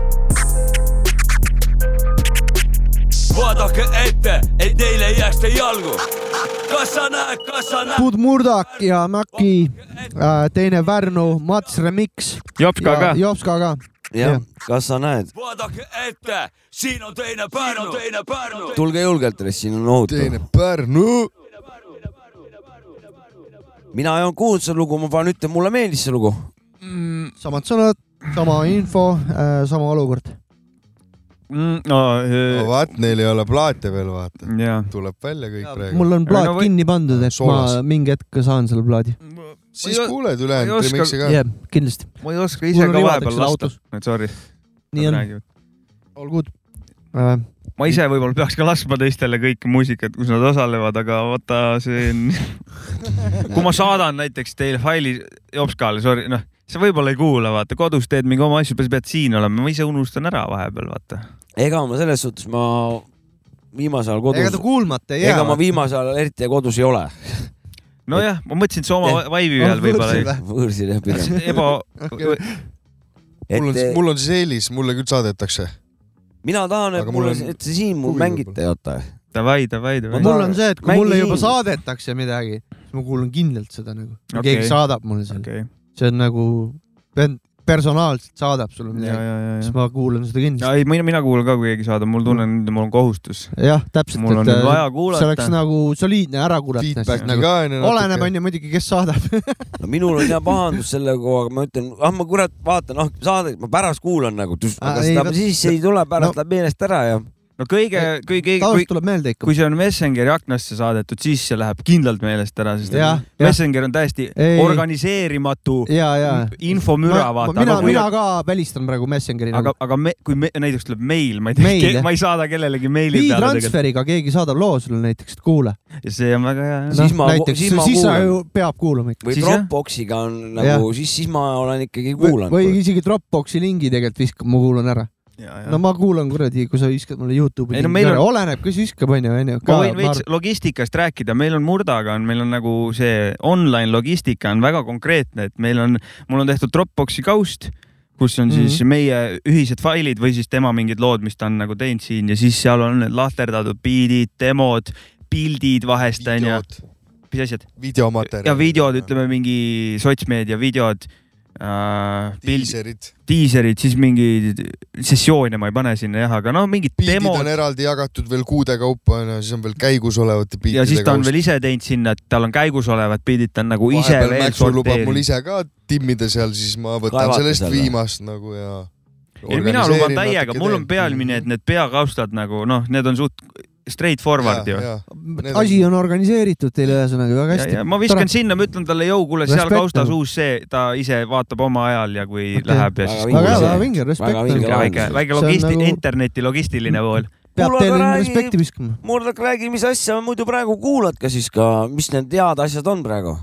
vaadake ette , et neile ei jääks te jalgu . kas sa näed , kas sa näed ? Bud Murdak ja Maki , teine Pärnu , Mats Remix . Jopska ka. Jopska ka . jah , kas sa näed ? vaadake ette , siin on teine Pärnu , teine Pärnu . tulge julgelt , siin on ohutu teine . Pärnu . mina ei olnud kuulnud seda lugu , ma pean ütlema , mulle meeldis see lugu . samad sõnad , sama info , sama olukord . no äh, vaat neil ei ole plaate veel , vaata , jaa . tuleb välja kõik praegu . mul on plaat No või- kinni pandud , et Soolas. ma mingi hetk saan selle plaadi . siis Ma ei- kuuled ma ei ülejäänud oska- remix'i ka . jah , kindlasti . ma ei oska ise Mul on ka rivad, eks vahepeal ole, lasta autos. . Sorry . nii on , all good . ma ise võib-olla peaks ka laskma teistele kõik muusikat , kus nad osalevad , aga vaata , [LAUGHS] see on , kui ma saadan näiteks teile faili Jopskale , sorry , noh , sa võib-olla ei kuula , vaata , kodus teed mingi oma asju , sa pead siin olema , ma ise unustan ära vahepeal , vaata . ega ma selles suhtes , ma viimasel ajal ega ta kodus , kuulmata ei ega jää ma . viimasel ajal eriti kodus ei ole . nojah , ma mõtlesin , et sa oma Eh, vaivi on peal võib-olla võõrsil võõrsil jah pigem . ei- eba , mul on eh, et , mul on siis eelis , mulle küll saadetakse . mina tahan , aga et mul mulle on , et see siin mul huvi mängite , vaata . davai , davai , davai . mul on see , et kui Mängi mulle juba nii. saadetakse midagi , siis ma kuulan kindlalt seda nagu . Okei. keegi saadab mulle selle , okei , see on nagu , personaalselt saadab sulle ja , midagi , ja , ja , siis ja . ma kuulan seda kindlasti . ei , mina , mina kuulan ka , kui keegi saadab , mul tunnen , mul on kohustus . jah , täpselt , mul on et nüüd äh, vaja see oleks kuulata . nagu soliidne ära kuulata . Feedback'i Nagu, ka onju . oleneb onju muidugi , kes saadab . no minul on hea pahandus selle koha , aga ma ütlen , ah ma kurat vaatan , ah saadet ma pärast kuulan nagu , Ah, aga ei, seda vot- siis ei tule , pärast no- läheb meelest ära ja no kõige , kui keegi , kui taust tuleb meelde ikka . kui see on Messengeri aknasse saadetud , siis see läheb kindlalt meelest ära , sest et jah , jah , Messenger on täiesti Ei. ei. organiseerimatu ja , ja . infomüra , vaata , mina aga , kui mina , ka välistan praegu Messengeri aga nagu ., aga me, kui me, näiteks tuleb meil , ma ei tea Meil, jah. ke, , ma ei saada kellelegi meili peale tegelikult e-transferiga keegi saadab loo sulle näiteks , et kuule . ja see on väga hea . Siis ma- siis siis ma sa kuulan. ju peab kuulama ikka . või Siis jah. Dropboxiga on nagu , siis , siis ma olen ikkagi kuulanud . või isegi Dropboxi lingi tegelikult viskab , ma kuulan ära . no no, ma kuulan kuradi , kui sa viskad mulle Youtube'i Ei, no lingi meil ära , on- oleneb , kes viskab onju , onju . ma võin veits logistikast rääkida , meil on Murdaga on , meil on nagu see online logistika on väga konkreetne , et meil on , mul on tehtud Dropboxi kaust , kus on siis Mhm. mm -hmm. meie ühised failid või siis tema mingid lood , mis ta on nagu teinud siin ja siis seal on need lahterdatud biidid , demod , pildid vahest onju , mis asjad . videomaterjal . ja videod , ütleme mingi sotsmeedia videod äh, , pildid , diiserid . diiserid , siis mingi sessioone ma ei pane sinna jah , aga noh , mingid pildid demod on eraldi jagatud veel kuude kaupa onju , siis on veel käigus olevate ja siis pildide ta on veel ise teinud sinna , et tal on käigus olevad pildid , ta on nagu ise vahepeal veel Mäksu lubab mul sorteerinud . ise ka timmida seal , siis ma võtan Kaevata sellest selle. viimast nagu ja . ei , mina luban täiega , mul on pealmine , et need peakaustad nagu noh , need on suht straight forward ju . need on- asi on organiseeritud teil ühesõnaga väga Ja, ja hästi . ma viskan Tore. sinna , ma ütlen talle , jõu , kuule , seal Respekt kaustas nagu. uus see , ta ise vaatab oma ajal ja Okei. kui okay. läheb ja Väga siis vinge väga hea , see. väga vinge , Väga vinge, respekt . väga väike , väike See on logisti- nagu- nagu... , interneti logistiline [LAUGHS] pool . peab Kuule, teile aga räägi- respekti viskama . Murdak , räägi , mis asja muidu praegu kuulad ka siis ka , mis need head asjad on praegu ?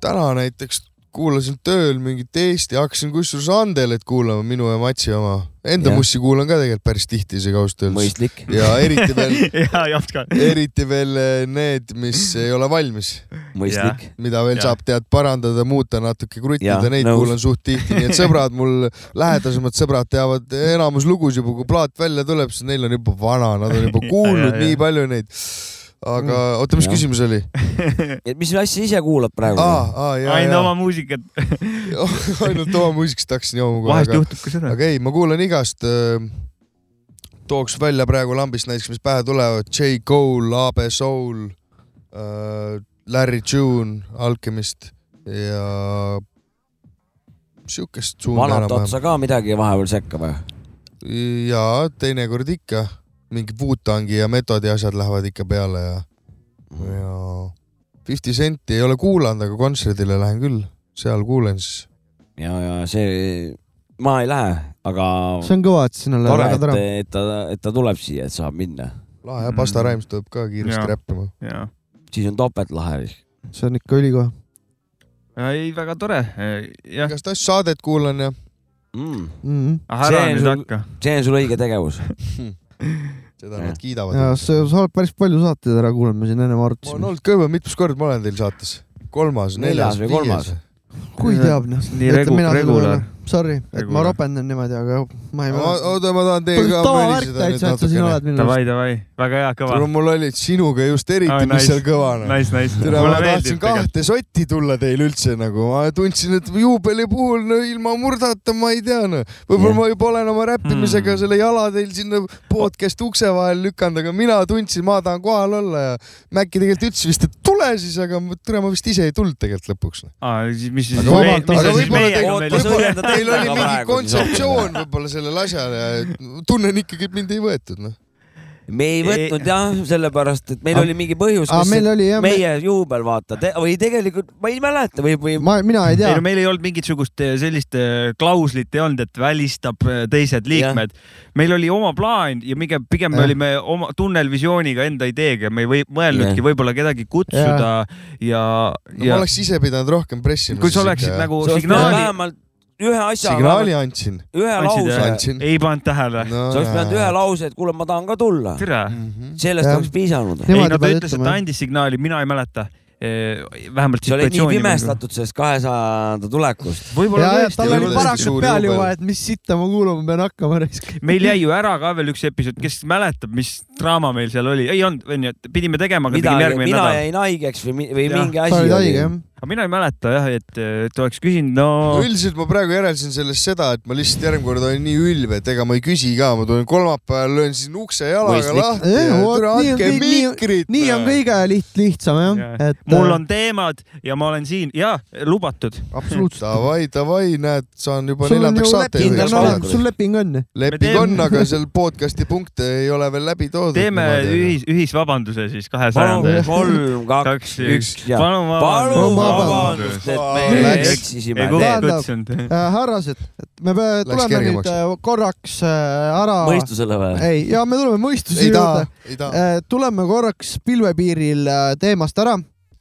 täna näiteks kuulasin tööl mingit Eesti , hakkasin kusjuures Andelet kuulama , minu ja Matsi oma . Enda Jah. mussi kuulan ka tegelikult päris tihti isegi ausalt öeldes . mõistlik . ja eriti [LAUGHS] veel , ja , Jopska . eriti veel eh, need , mis ei ole valmis , mõistlik . mida veel Jah. ja. saab tead parandada , muuta natuke , kruttida Jah, , neid nõus. nõus. kuulan suht tihti , nii et sõbrad mul , lähedasemad sõbrad teavad enamus lugusid juba , kui plaat välja tuleb , siis neil on juba vana , nad on [LAUGHS] juba Ja, kuulnud ja, ja. nii palju neid . aga oota , mis Jah. Nagu küsimus oli ? et mis asja ise kuulad praegu ? aa , aa , ja , ainult ja [LAUGHS] oma muusikat . ainult oma muusikast hakkasin jooma kohe , vahest aga , juhtub ka seda . aga ei , ma kuulan igast äh, tooks välja praegu lambist näiteks , mis pähe tulevad , J Cole , AB Soul äh, , Larry June Alchemist ja siukest suunda vanat enam-vähem . otsa ka midagi vahepeal sekka või ? ja teinekord ikka mingi Wutangi ja Metodi asjad lähevad ikka peale ja , ja Fifty Centi ei ole kuulanud , aga kontserdile lähen küll , seal kuulen siis . ja , ja see , ma ei lähe , aga see on kõva , et sinna läheb tore , väga et tore ., et ta , et ta tuleb siia , et saab minna . lahe , Pasta Raims tuleb ka Jaa. kiiresti räppima . jaa . siis on topeltlahe . see on ikka ülikoha . ei , väga tore , jah . igast asju saadet kuulan ja Mm. ära See on nüüd sul- hakka . see on sul õige tegevus . seda Jah. nad kiidavad . ja see , sa oled päris palju saateid ära kuulanud , me siin ennem ma olen arutasime . olnud kõva , mitmes kord ma olen teil saates ? kolmas , Neljas neljas või kolmas? ? kui teab , noh . nii regu- , regulaar .. Sorry , et ma Regular. rapendan niimoodi , aga ma ei mäleta . oota , ma tahan teiega ka tavavärk möliseda nüüd täitsa , et sa siin natukene . oled minu arust . Davai , davai , väga hea , kõva . mul olid sinuga just Aa, eriti , nice. mis seal kõva on . Nice , nice . tere , ma tahtsin . kahte sotti tulla teil üldse nagu , ma tundsin , et juubeli puhul no ilma murdata ma ei tea no. , Jah. võib-olla Mm. ma juba olen oma räppimisega Hmm. selle jala teil sinna podcast ukse vahel lükanud , aga mina tundsin , ma tahan kohal olla ja Mäkki tegelikult ütles vist , et tule siis , aga ma- tere , ma vist ise ei tulnud tegelikult lõpuks . noh. aa , siis mis siis Aga vabalt- mis aga sa siis võib-olla te- meiega Oota, sa meil ühendad- Teil oli Aga mingi praegu siis kontseptsioon võib-olla sellel asjal ja et tunnen ikkagi , et mind ei võetud noh . me ei Ei- võtnud jah , sellepärast et meil Aa. oli mingi põhjus , aa , mis meil oli jah , meie juubel vaata Te, või tegelikult ma ei mäleta või , või ma , mina ei tea ei no . meil ei olnud mingisugust eh, sellist eh, klauslit ei olnud , et välistab eh, teised liikmed . meil oli oma plaan ja pigem , pigem me Jah. olime oma tunnelvisiooniga enda ideega , me ei või, mõelnudki Jah. võib-olla kedagi kutsuda ja , no ma ja oleks ise pidanud rohkem pressima . kui sa oleksid nagu sa oleks pidanud signaali , vähemalt ühe asja , signaali andsin . ühe andsid eh, lause , andsin. ei pannud tähele . sa oleks pidanud ühe lause , et kuule , ma tahan ka tulla . tere . Mhm. sellest Jah. oleks piisanud . Nemad ei no ta peavad ütles , et ütlema, ta andis signaali , mina ei mäleta . vähemalt sa olid nii situatsiooni . pimestatud sellest kahesajanda tulekust . ja võib-olla , ja tal oli Võib-olla tõesti paraku suur peal juubel. juba , et mis sitta ma kuulama pean hakkama . meil jäi ju ära ka veel üks episood , kes mäletab , mis draama meil seal oli , ei olnud , onju , et pidime tegema , aga mina tegime järgmine nädal . jäin haigeks või , või Jah. mingi sa olid haige asi jah ?? aga mina ei mäleta jah , et , et oleks küsinud , no üldiselt ma praegu järeldasin sellest seda , et ma lihtsalt järgmine kord olin nii ülbe , et ega ma ei küsi ka , ma tulen kolmapäeval , löön siin ukse jalaga Mõistlik. lahti Eh, ja vot, tere nii on andke kõik- nii on- mikrit . nii on . kõige liht- , lihtsam jah , Jah. et . mul on teemad ja ma olen siin ja lubatud . absoluutselt . Davai , davai , näed , saan juba sul on neljandaks ju saate leping juhiks on kindel olla . olemas , sul leping on . leping Me on , teeme- aga seal podcast'i punkte ei ole veel läbi toodud . teeme ühis , ühisvabanduse siis kahesajanda palun eest . kolm , kaks kaks ,, üks üks . ja palun palun Palun vabandust , vabandust . et Ei, me läks- ei eksisime . Tähendab- kutsunud . Äh, härrased , et me pea- Läks tuleme nüüd kergemaks. äh, korraks äh, ära . mõistusele või ? ei , ja me tuleme mõistuse ei taha Äh, juurde ., ei taha . tuleme korraks pilvepiiril äh, teemast ära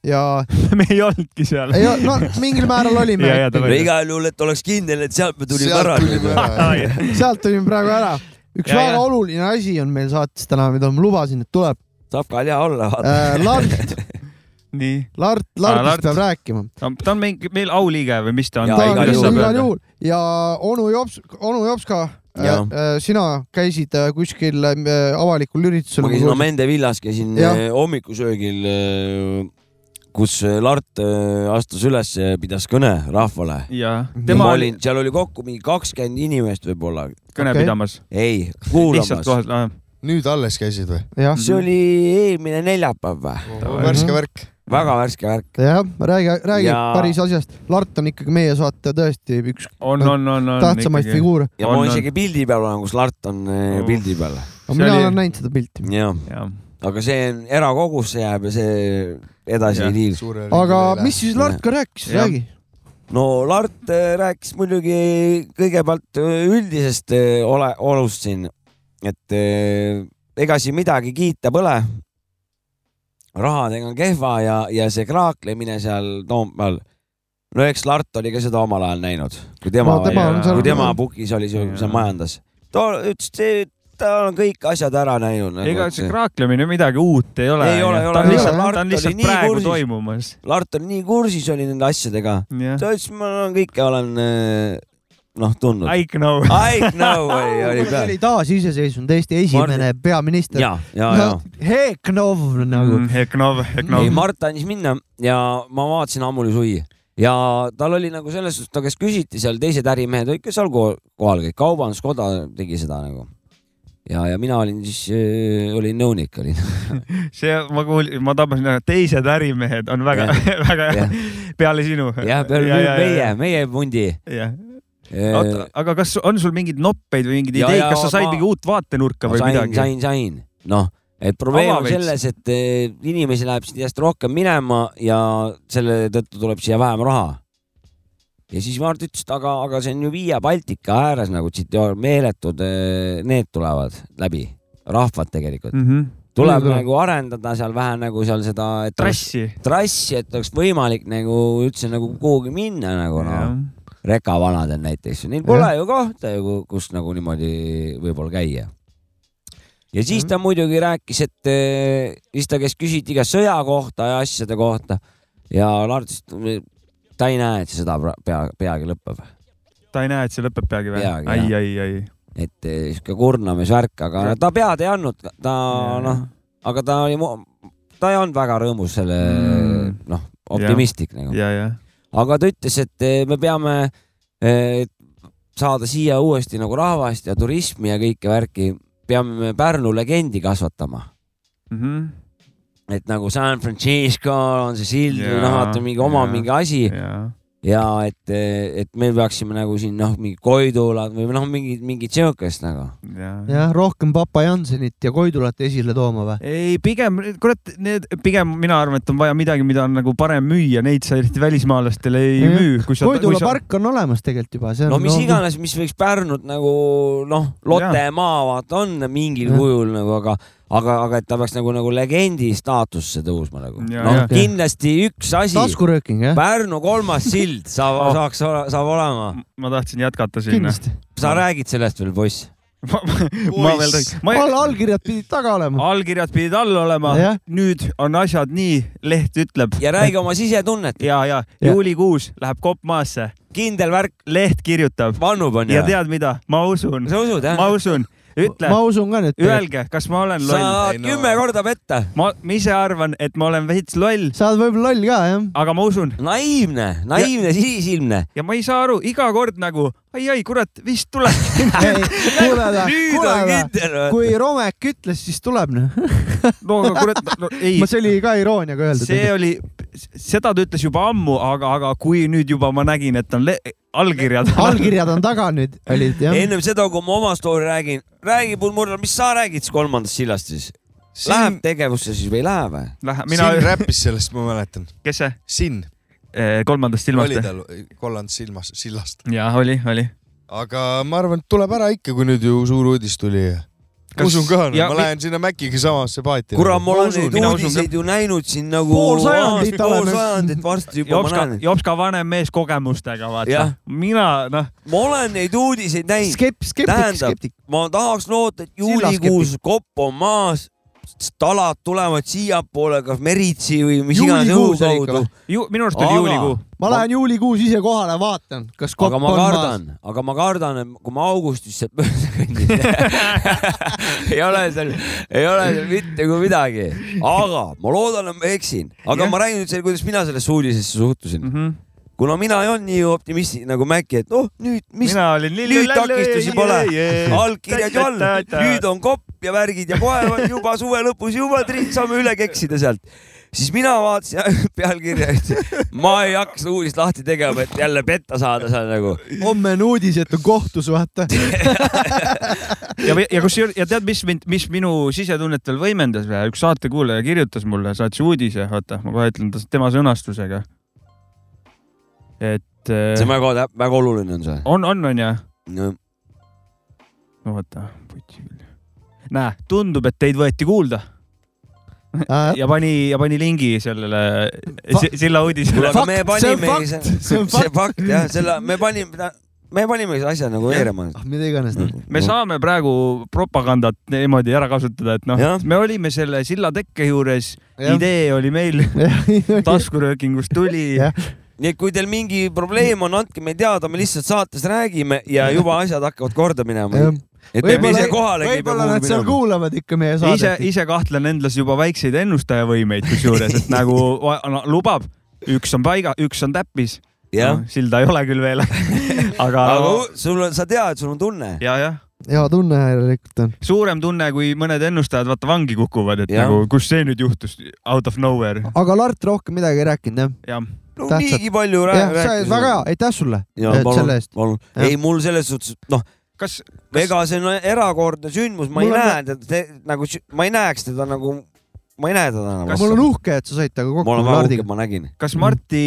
ja , [LAUGHS] me ei olnudki seal . ei [LAUGHS] no mingil määral olime Ja, ja, . davai. igal juhul , et oleks kindel , et sealt me tulime sealt ära . [LAUGHS] tulime ära . ja sealt tulime praegu ära . üks Ja, väga ja. oluline asi on meil saates täna , mida ma lubasin , et tuleb . saab ka hea olla , vaata . Äh, Lart , nii , Lart , Lart. Lartist peab rääkima . ta on mingi meil auliige või mis ta on Jaa, ta ? on igal igal juhul. juhul , igal juhul ja onu Jops , onu Jopska äh, Jaa. , sina käisid äh, kuskil äh, avalikul üritusel . ma käisin Amende villas , käisin Jah. eh, hommikusöögil , kus Lart eh, astus üles ja pidas kõne rahvale . ja ma tema oli olin , seal oli kokku mingi kakskümmend inimest võib-olla , kõne Okei. pidamas , ei , lihtsalt Ah. kuulamas . kohas . nüüd alles käisid või ? jah , see oli eelmine neljapäev või ? Oh. värske värk . väga värske värk . jah , räägi , räägi Ja- päris asjast . Lart on ikkagi meie saate tõesti üks on , on , on , on . tähtsamaid . figuuره . ja on, On, ma on. isegi pildi peal olen , kus Lart on eh, Oh. pildi peal . aga See mina oli- olen näinud seda pilti . jah , jah , aga see on erakogusse jääb ja see edasi Jah. ei liigu . aga mis siis Lart ka rääkis , Jah. räägi . no Lart eh, rääkis muidugi kõigepealt eh, üldisest eh, ole , olust siin , et eh, ega siin midagi kiita pole . rahadega on kehva ja , ja see kraaklemine seal Toompeal . no eks Lart oli ka seda omal ajal näinud , kui tema No tema on veel- seal- kui tema pukis oli , Jaa. seal majandas . ta ütles , et ta on kõik asjad ära näinud nagu, ega et see kraaklemine midagi uut ei ole . Ei ole, ei ole, ta on ei lihtsalt ole. , ta on Lart oli lihtsalt nii praegu kursis. toimumas . Lart on nii kursis oli nende asjadega . jah , ta ütles , ma olen kõike olen eh, noh tundnud . I [LAUGHS] know . I know [LAUGHS] oli , oli see peal . oli taasiseseisvunud Eesti esimene peaminister . ja , ja , ja . Heknov Mm, nagu . Heknov , Heknov ei ,. Mart andis minna ja ma vaatasin ammu oli suvi ja tal oli nagu selles suhtes , ta kes küsiti seal teised ärimehed olid ka seal ko- kohal kõik , kaubanduskoda tegi seda nagu . ja , ja mina olin siis , olin nõunik [LAUGHS] olin . see , ma kuulsin , ma tabasin ära , teised ärimehed on väga , [LAUGHS] väga jah. peale sinu . jah , peale meie , meie äh, pundi . jah , aga kas on sul mingeid noppeid või mingeid ideid , kas sa said mingi uut vaatenurka või sain, midagi ? sain , sain , noh , et probleem Ava on veits. selles , et eh, inimesi läheb siit järjest rohkem minema ja selle tõttu tuleb siia vähem raha . ja siis Mart ütles , et aga , aga see on ju Via Baltica ääres nagu siit ju meeletud , need tulevad läbi , rahvad tegelikult mm . Mhm. -hmm. tuleb Muidugi tuleb. nagu arendada seal vähe nagu seal seda , et Trassi. , trassi , et oleks võimalik nagu üldse nagu kuhugi minna nagu noh rekavanadel näiteks , neil pole ju kohta ju , kus nagu niimoodi võib-olla käia . ja siis ta muidugi rääkis , et eh, siis ta käis küsiti iga sõja kohta ja asjade kohta ja Lart ütles , et ta ei näe , et see sõda pra- pea , peagi lõpeb . ta ei näe , et see lõpeb peagi või ? Peagi, ai , jah. ai , ai . et eh, sihuke kurnamisvärk , aga no ta pead ei andnud , ta noh , aga ta oli , ta ei olnud väga rõõmus selle mm. noh , optimistlik nagu . ja , ja . aga ta ütles , et eh, me peame eh, saada siia uuesti nagu rahvast ja turismi ja kõike värki , peame me Pärnu legendi kasvatama . Mhm. et nagu San Francisco on see sild või Jaa, noh , vaata mingi oma jaa, mingi asi ja et , et me peaksime nagu siin noh , mingi Koidulad või noh , mingid mingid siukest nagu . jah , rohkem Papa Jansenit ja Koidulat esile tooma või ? ei , pigem , kurat , need , pigem mina arvan , et on vaja midagi , mida on nagu parem müüa , neid sa eriti välismaalastele ei Jah. müü . Mm. Koidula park on olemas tegelikult juba , see on nagu no mis iganes , mis võiks Pärnut nagu noh , Lotte maa vaata on mingil Jah. kujul nagu , aga , aga , aga et ta peaks nagu , nagu legendi staatusse tõusma nagu . Jaa, noh jah. , kindlasti üks asi , taskurööking jah ? [LAUGHS] Pärnu kolmas sild saab Oh. oh. , saaks , saab olema . ma tahtsin jätkata sinna . kindlasti . Mm. sa räägid sellest veel , poiss ? [LAUGHS] ma veel räägin . ma ei , alla allkirjad pidid taga olema . allkirjad pidid all olema Jah. , nüüd on asjad nii , leht ütleb ja räägi oma sisetunnet , ja , ja Jah. juulikuus läheb kopp maasse , kindel värk leht kirjutab vannub on ja ju . tead mida , ma usun , sa usud jah ma ? usun , ütle ma , usun ka nüüd . öelge , kas ma olen sa loll . saad kümme korda petta . ma ise arvan , et ma olen veits loll , sa oled võib-olla loll ka jah ? aga ma usun naiivne , naiivne , sinisilmne . ja ma ei saa aru , iga kord nagu ai-ai , kurat , vist tuleb . [LAUGHS] kuule ta , nüüd kuule on ta kindel . kui Romek ütles , siis tuleb noh . no aga kurat , no ei , see oli ka irooniaga öeldud . see oli , seda ta ütles juba ammu , aga , aga kui nüüd juba ma nägin , et on le- allkirjad . allkirjad on taga nüüd olid jah . ennem seda , kui ma oma story räägin , räägi pulmurra , mis sa räägid siis kolmandast sillast siis ? Läheb Siin , tegevusse siis või ei lähe või ? [LAUGHS] Lähe , mina , Siin räppis sellest , ma mäletan . kes see Siin Eh, kolmandast silmast oli ? tal kolland silmas , sillast . jah , oli , oli . aga ma arvan , et tuleb ära ikka , kui nüüd ju suur uudis tuli . Kas- usun ka , ja ma mi- lähen sinna Maciga samasse paati . Nagu kurat , ma olen usun, neid mina usun uudiseid ju näinud siin nagu Pool sajandit aast- pool oleme- sajandit varsti juba ma Jopska , näen . Jopska vanem mees kogemustega , vaata Jah. . mina , noh , ma olen neid uudiseid näinud . skept- , skeptik , tähendab skeptik ., ma tahaks loota , et Sillaskeptik. juulikuus kopp on maas , talad tulevad siiapoole , kas Meritsi või mis iganes õhu Juulikuus oli ikka kaudu . ju- , minu arust oli Aga- juulikuu . ma lähen juulikuus ise kohale , vaatan , kas kopp aga on ma maas . kardan , aga ma kardan , et kui ma augustisse mööda kõndin , [LAUGHS] ei ole seal , ei ole seal mitte kui midagi . aga ma loodan , et ma eksin , aga Jah. ma räägin nüüd selle , kuidas mina sellesse uudisesse Mm. suhtusin . mina kuna mina ei olnud nii optimistlik nagu Mäkki , et oh nüüd , mis olin lilli . nüüd takistusi pole , allkirjad ju all , nüüd on kopp ja värgid ja kohe [LAUGHS] on juba suve lõpus juba tri- saame üle keksida sealt . siis mina vaatasin [LAUGHS] pealkirja , et ma ei hakka uudist lahti tegema , et jälle petta saada seal nagu . homme on uudis , et on kohtus , vaata . ja , ja kusjuures ja tead , mis mind , mis minu sisetunnet veel võimendas või ? üks saatekuulaja kirjutas mulle , saatis uudise , oota , ma kohe ütlen ta- tema sõnastusega . et eh, see on väga täp- , väga oluline on see on , on , on ju ? no, . no vaata , putsi küll . näe , tundub , et teid võeti kuulda Ah, ja pani , ja pani lingi sellele si- silla uudisele . aga me see on panime fakt , see on see fakt . fakt jah , selle me panime , me panime selle asja nagu veerema . ah, mida iganes . noh. me saame praegu propagandat niimoodi ära kasutada , et noh Jah. , me olime selle silla tekke juures , idee oli meil , [LAUGHS] taskuröökingust tuli Jah. nii et kui teil mingi probleem on , andke meile teada , me lihtsalt saates räägime ja juba asjad hakkavad korda minema . et me ise kohalegi ei pea võib-olla nad seal kuhugi minema . kuulavad ikka meie ise , saadet . ise kahtlen endas juba väikseid ennustajavõimeid kusjuures , et nagu va- no, lubab , üks on paiga , üks on täppis . jah , silda ei ole küll veel , aga, aga aga... nagu, u- sul on , sa tead , sul on tunne . ja , jah , hea tunne järelikult on . suurem tunne , kui mõned ennustajad vaata vangi kukuvad , et ja. Jah. nagu kus see nüüd juhtus , out of nowhere . aga Lart rohkem midagi ei rääkinud jah ? jah . No niigi palju rää- jah , sa oled rääkisid. väga hea , aitäh sulle ja et palun selle eest ,. palun . Jah. ei , mul selles suhtes , noh , kas , ega see on erakordne sündmus , ma ei Mul on- näe teda nagu , ma ei näeks teda nagu , ma ei näe teda enam . mul on uhke , et sa said temaga ma kokku olen väga uhke , Lardiga . et ma nägin . kas Marti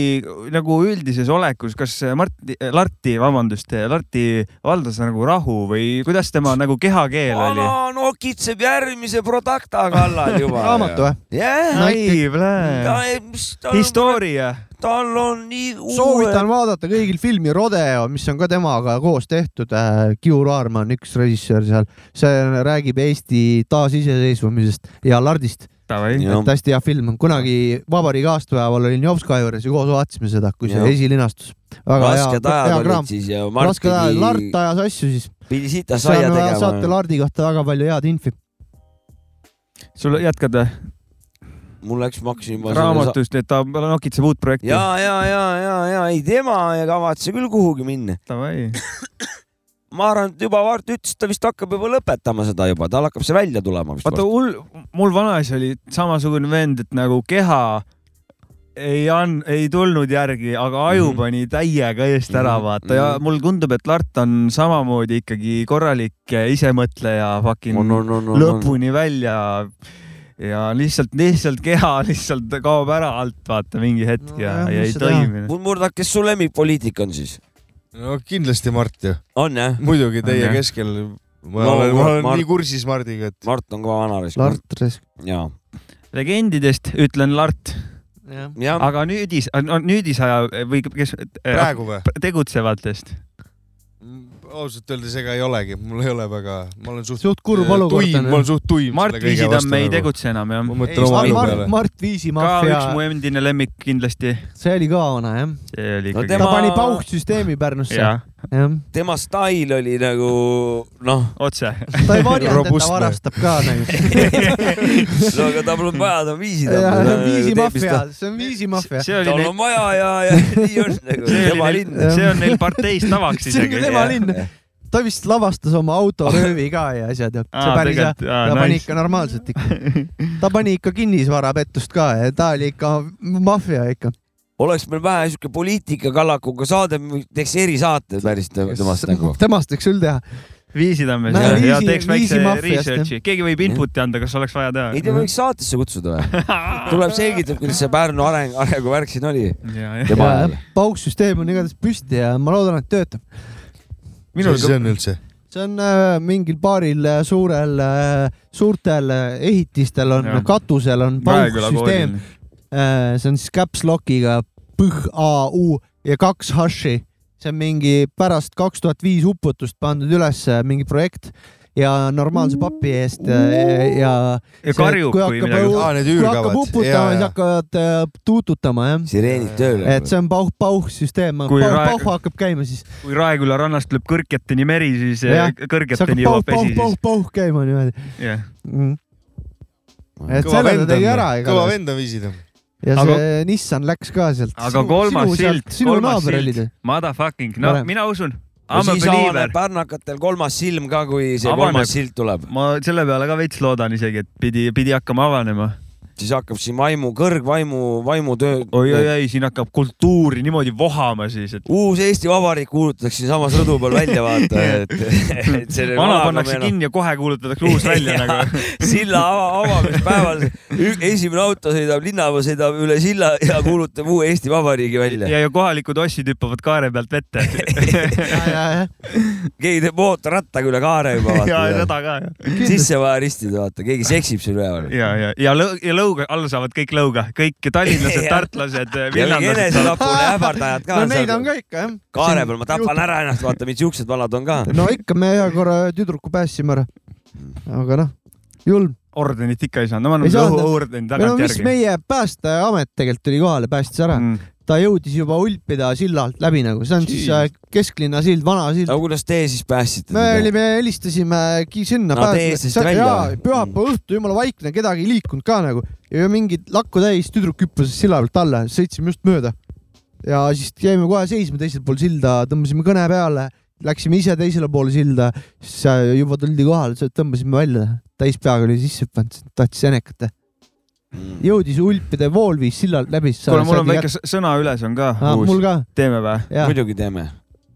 nagu üldises olekus , kas Marti , Larti , vabandust , Larti valdas nagu rahu või kuidas tema nagu kehakeel oli ? vana nokitseb järgmise Producta kallal juba . [LAUGHS] raamatu või ? jah , ai , plee . Historia . tal on nii soovitan vaadata kõigil filmi Rodeo , mis on ka temaga koos tehtud . Kiur Aarma on üks režissöör seal , see räägib Eesti taasiseseisvumisest ja Lardist . Davai . et hästi hea film , kunagi vabariigi aastapäeval olin Jopska juures ja koos vaatasime seda , kui see Jah. esilinnastus . rasked ajad olid siis ja Mart rasked ajad , Lart pidi , ajas asju siis . pidi sita seal saia on vaja saate tegema . Lardi kohta väga palju head infi . sul jätkad või ? mul läks , ma hakkasin juba . raamatust , et ta nokitseb uut projekti . ja , ja , ja , ja , ja ei tema ei kavatse küll kuhugi minna . davai . ma arvan , et juba Mart ütles , et ta vist hakkab juba lõpetama seda juba , tal hakkab see välja tulema vist . vaata , mul , mul vanaisa oli samasugune vend , et nagu keha ei an- , ei tulnud järgi , aga Mhm. aju mm -hmm. pani täiega eest ära , vaata ja mulle tundub , et Lart on samamoodi ikkagi korralik eh, isemõtleja , fucking On, on, on, on, lõpuni välja ja lihtsalt , lihtsalt keha lihtsalt kaob ära alt , vaata mingi hetk ja jah, , ja mis ei sa toimi . Murdak , kes su lemmikpoliitik on siis ? no kindlasti Mart ju , on jah ? muidugi teie jah. keskel . ma No, olen , ma olen Mart- nii kursis Mardiga , et Mart on kõva vanareis . Lart Resk . ja , legendidest ütlen Lart , ja aga nüüdis , nüüdisaja või kes äh, praegu või ? tegutsevatest . ausalt öeldes ega ei olegi , mul ei ole väga , ma olen suht . suht kurb olukord Äh, tuim , ma on olen . suht tuim . Mart Viisitamm nagu. ei . tegutse enam jah ma Ei, mõtlen oma Mart- elu Mart- peale . Mart Viisi ka maffia üks , mu endine lemmik kindlasti . see oli ka vana jah . see oli No ikkagi ta tema- pani pauhtsüsteemi Pärnusse . jah jah , tema stail oli nagu noh , otse . ta ei varjanud , et ta Robustne. varastab ka nagu . no aga tal on vaja , ta on Äh, jah , viisitamm . viisi maffia , see on viisi maffia . see oli tal neil , on vaja ja , ja nii on nagu [LAUGHS] see tema oli linn . neil , see on neil parteis [LAUGHS] tavaks see on isegi . tema linn . ta vist lavastas oma autoröövi ka ja asjad ja see Aa, päris hea . tegelikult, aa, ta pani nice. ikka normaalselt ikka . ta pani ikka kinnisvarapettust ka ja ta oli ikka maffia ikka . oleks meil vähe siuke poliitikakallakuga saade , teeks erisaate päris te- temast nagu . temast võiks küll teha . Viisitammes Näe, ja, ja viisi- teeks väikse viisimaffiast, jah. research'i , keegi võib input'i anda , kas oleks vaja ei teha . tea , võiks saatesse kutsuda [LAUGHS] või ? tuleb selgitab , kuidas see Pärnu areng , arenguvärk siin oli tema ajal . pauksüsteem on igatahes püsti ja ma loodan , et töötab . minul see on üldse . see on äh, mingil paaril äh, suurel äh, , suurtel äh, ehitistel on Jah. , katusel on pauksüsteem . see on siis caps lock'iga PHU ja kaks hashi . see on mingi pärast kaks tuhat viis uputust pandud üles äh, mingi projekt ja normaalse papi eest äh, ja . ja karjub , kui midagi . Aa, need kui hakkab üürgavad. Jaa, uputama , siis jaa. hakkavad äh, tuututama jah . sireenid tööle . et see on pauh , pauh-süsteem , Kui rae- pauh-pauh hakkab käima siis . kui Raeküla rannast tuleb kõrgeteni meri , siis eh, Jah. see hakkab kõrgeteni jõuab vesi siis . pauh-pauh-pauh-pauh käima niimoodi . jah , et selle ta tegi ära kõva igatahes . vend on Viisitamm . ja Aga- see Nissan läks ka sealt . aga kolmas silt , sinu kolmas naaber oli ta [LAUGHS] silt , motherfucking , no Parem. mina usun . ja I m a siis believer avaneb . pärnakatel kolmas silm ka , kui see Avaneb. kolmas silt tuleb , ma selle peale ka veits loodan isegi , et pidi , pidi hakkama avanema . siis hakkab siin vaimu , kõrgvaimu , vaimutöö . oi , oi , oi , siin hakkab kultuuri niimoodi vohama siis , et uus Eesti Vabariik kuulutatakse siinsamas rõdu peal välja , vaata , [LAUGHS] et, et selle vana vanaga noh. pannakse meil on- kinni ja kohe kuulutatakse uus [LAUGHS] välja [LAUGHS] Jaa. nagu . silla ava, avamispäeval ü- esimene auto sõidab , linnapea sõidab üle silla ja kuulutab uue Eesti Vabariigi välja . ja , ja kohalikud ossid hüppavad kaare pealt [LAUGHS] vette . keegi teeb mootorrattaga üle kaare [LAUGHS] juba ja vaata . seda ka . sisse vaja ristida , vaata , keegi seksib seal üleval . ja , ja , ja lõu- , ja lõuga , all saavad kõik lõuga , kõik tallinlased , [LAUGHS] Jah. tartlased , ja mingi villandlased . enesetapule ähvardajad ka no neid on . ka ikka jah . kaare peal ma tapan ära ennast , vaata , mis siuksed vanad on ka . no ikka , me ühe korra ühe tüdruku päästsime ära . aga noh , julm . ordenit ikka ei saanud , no ma Ei annan saanud. õhu ordeni või no mis tagantjärgi . meie päästeamet tegelikult tuli kohale , päästis Mm. ära . ta jõudis juba Ulpida silla alt läbi nagu , see on siis äh, kesklinna sild , vana sild no . kuidas te siis päästsite ? me olime , helistasimegi sinna . No te eestlastest välja või? pühapäeva õhtu , jumala vaikne , kedagi ei liikunud ka nagu ja mingid lakku täis , tüdruk hüppas silla pealt alla , sõitsime just mööda . ja siis jäime kohe seisma teisel pool silda , tõmbasime kõne peale , läksime ise teisele poole silda , siis äh, juba tuldi kohale , tõmbasime välja , täis peaga oli sisse hüpanud , tahtis senekat . Mm. jõudis ulpide vool , viis sillalt läbi . kuule , mul on väike s- sõna üles on ka Ah, mul uus . ka , teeme või ? jah , muidugi teeme .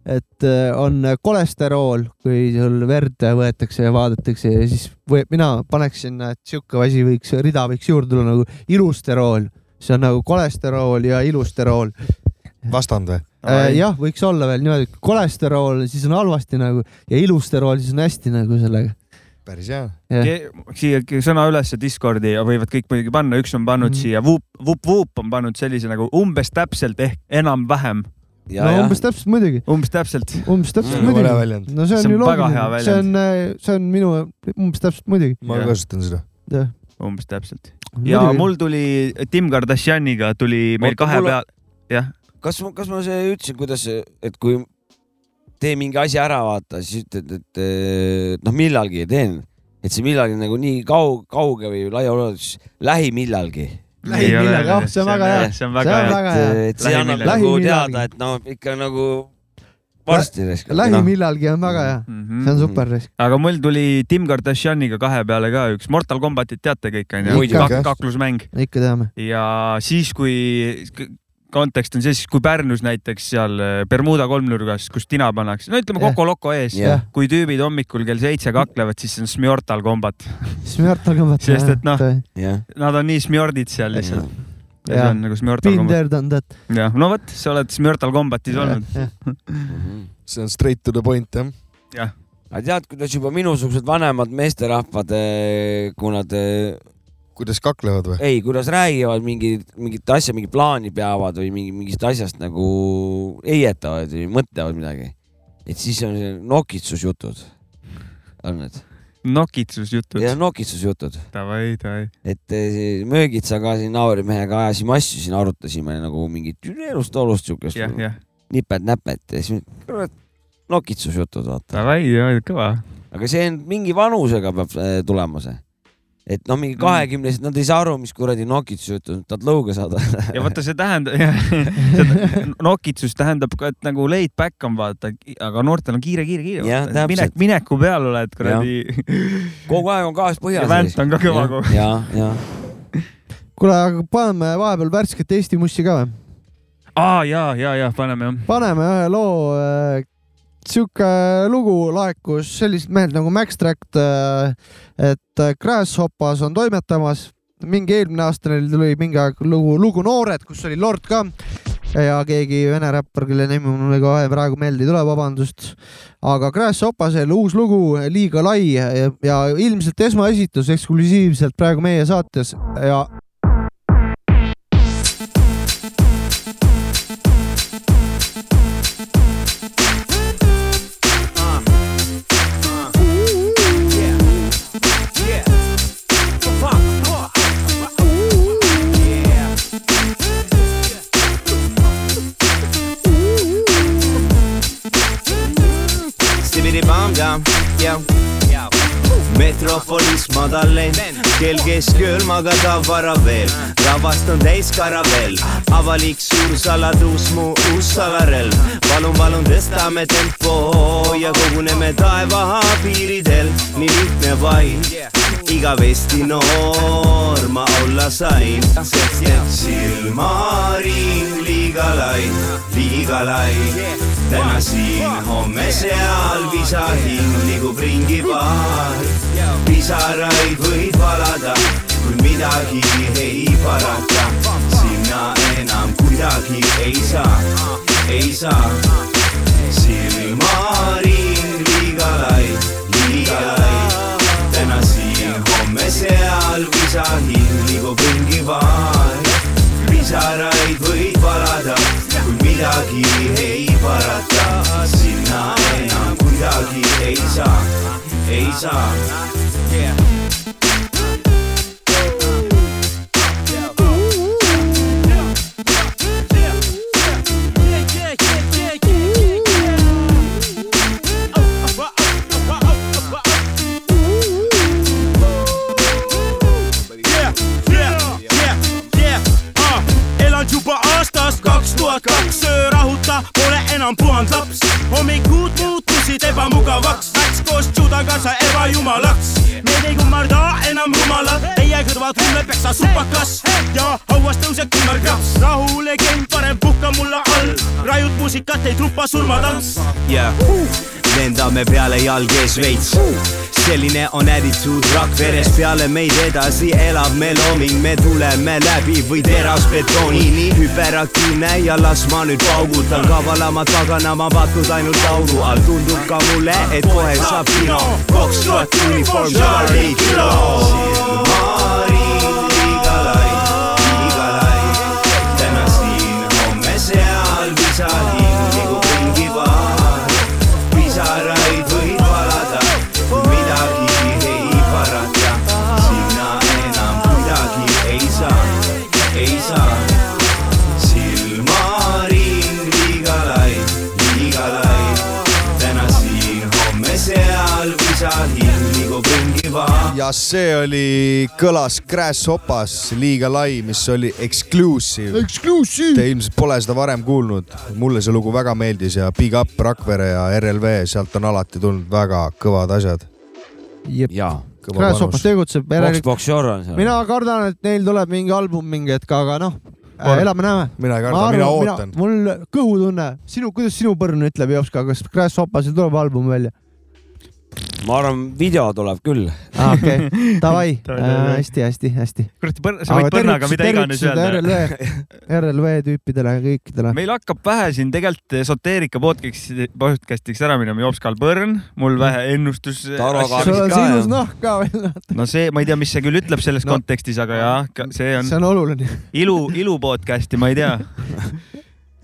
et äh, on kolesterool , kui sul verd võetakse ja vaadatakse ja siis või mina paneks sinna , et sihuke asi võiks , rida võiks juurde tulla nagu ilusterool , see on nagu kolesterool ja ilusterool . vastand või ? Äh, jah , võiks olla veel niimoodi , kolesterool , siis on halvasti nagu ja ilusterool , siis on hästi nagu sellega . päris hea . siia k- sõna ülesse Discordi ja võivad kõik muidugi panna , üks on pannud Mhm. mm. siia vup , vup , vup on pannud sellise nagu umbes täpselt ehk enam-vähem , no ja , ja umbes täpselt muidugi , umbes täpselt . umbes täpselt Mm, muidugi ole . väljend. no see See on ju on väga hea loogiline , see on , see on minu umbes täpselt muidugi . ma Jah. kasutan seda . umbes täpselt . ja muidugi. mul tuli Tim Kardashianiga tuli meil Oota, kahe mul- peal , jah , kas , kas ma see ütlesin , kuidas , et kui tee mingi asi ära , vaata , siis ütled , et eh, noh , millalgi teen , et see millalgi nagu nii kaug- , kauge või laia ulatus , lähimillalgi . Lähimillalgi, ah, see on väga hea. see on See väga on hea . väga hea. et see annab Lähimillalgi. nagu Lähimillalgi. teada , et no ikka nagu varsti . lähimillalgi on väga hea , see on -hmm. super . aga mul tuli Tim Kardashianiga kahe peale ka üks Mortal Combatit teate kõik onju Muidugi. Kak , kaklusmäng ikka teame . ja siis , kui k- kontekst on see , siis kui Pärnus näiteks seal äh, Bermuda kolmnurgas , kus tina pannakse , no ütleme Jah. Coco-Loco ees Jah. kui tüübid hommikul kell seitse kaklevad , siis see on Smjortal kombat . siis me Artur ka mõtleme . Sest et noh, jah , Nad on nii Smjordid seal lihtsalt . ja see Jah. on nagu Smjortal kombat . Pinder on tead . jah , no vot , sa oled Smjortal kombatis olnud . Mhm. see on straight to the point jah . aga tead , kuidas juba minusugused vanemad meesterahvad , kui nad , kuidas kaklevad või ? ei , kuidas räägivad mingi , mingit asja , mingi plaani peavad või mingi , mingist asjast nagu heietavad või mõtlevad midagi . et siis on see nokitsusjutud , on need , nokitsusjutud . need on nokitsusjutud , davai , davai . et eh, möögitsaga siin naaberimehega ajasime asju siin , arutasime nagu mingit elust olust siukest jah , jah , nipet-näpet ja siis kurat nokitsusjutud , vaata . davai , davai , kõva . aga see on mingi vanusega peab äh, tulema see . et noh , Mm. mingi kahekümnesed , nad ei saa aru , mis kuradi nokitsus jutud , nad tahavad lõuga saada . ja vaata , see tähendab , [LAUGHS] see nokitsus tähendab ka , et nagu laid back on vaata , aga noortel on kiire , kiire , Jah, kiire . täpselt. minek , mineku peal oled kuradi . [LAUGHS] kogu aeg on gaas põhjas . Ja vänt on ka kõva kogu aeg . ja , ja . kuule , aga paneme vahepeal värsket Eesti mussi ka või ? aa , ja , ja , ja paneme jah . paneme ühe loo . sihuke lugu laekus selliselt mehelt nagu Max Tract , et äh, Grasshoppers on toimetamas . mingi eelmine aasta neil tuli mingi aeg lugu , lugu Noored , kus oli Lord ka ja keegi vene räppar , kelle nimi mulle kohe praegu meelde ei tule , vabandust . aga Grasshoppersel uus lugu , liiga lai ja, ja ilmselt esmaesitus eksklusiivselt praegu meie saates ja Sibiri bam-jam , jah . metropolis madal lend , kell keskööl magada vara veel , rabast on täis karavell , avalik suur saladuus , mu uus salarelv . palun , palun tõstame tempo ja koguneme taeva piiridel , nii lihtne vaid igavesti noor ma olla sain , sest et silmaring liiga lai , liiga lai . täna siin , homme seal , visahind liigub ringi paar . pisaraid võib valada , kui midagi ei parata . sinna enam kuidagi ei saa , ei saa . silmaring liiga lai , liiga lai täna siin , homme seal , visahind liigub ringi vaid . pisaraid võid valada , kui midagi ei parata , sinna enam kuidagi ei saa , ei saa . uh. elan juba aastast kaks tuhat kaks , öö rahuta , pole enam puhand laps . hommikud muutus enam rumalad , teie kõrval tunneb peksa supakas ja hauas tõuseb kummerkaps . rahulegend , parem puhka mulla all , rajud muusikat , ei trupa surmatants . yeah. . lendame peale jalg ees veits . selline on attitude rakk veres , peale meid edasi elab me looming , me tuleme läbi või terasbetoonini . hüperaktiivne ja las ma nüüd paugutan , kavalama tagana ma patud ainult augu all , tundub ka mulle , et kohe saab kino . kaks tuhat uniform , Charlie kilo . täna siin , homme seal , pisaril liigub ringi paar . pisaraid võib valada , midagi ei parata , sinna enam kuidagi ei saa , ei saa . silmaring , liiga lai , liiga lai , täna siin , homme seal , pisaril liigub ringi paar . ja see oli , kõlas Grasshopas liiga lai , mis oli exclusive . Exclusive . Te ilmselt pole seda varem kuulnud , mulle see lugu väga meeldis ja Big Up Rakvere ja RLV , sealt on alati tulnud väga kõvad asjad . jaa . Grasshoppas tegutseb Box järelikult . Box Shore on seal . mina kardan , et neil tuleb mingi album mingi hetk , aga noh , Ma- elame-näeme . mina ei karda , mina ootan . mul kõhutunne , sinu , kuidas sinu põrn ütleb , Jopska , kas Grasshoppasil tuleb album välja ? ma arvan , video tuleb küll . aa , Ah, okei , davai , [LAUGHS] Davai, davai. hästi-hästi , hästi . kurat , sa võid põrnaga mida iganes öelda . RLV , RLV tüüpidele ja kõikidele . meil hakkab vähe siin tegelikult esoteerika podcast'i , podcast'iks ära minema , Jopskal Põrn , mul vähe ennustus . Taro sul Kaabis on ka, sinus jah. nahk ka veel , no see , ma ei tea , mis see küll ütleb selles No. no. kontekstis , aga jah , see on see on oluline . ilu , ilu podcast'i , ma ei tea .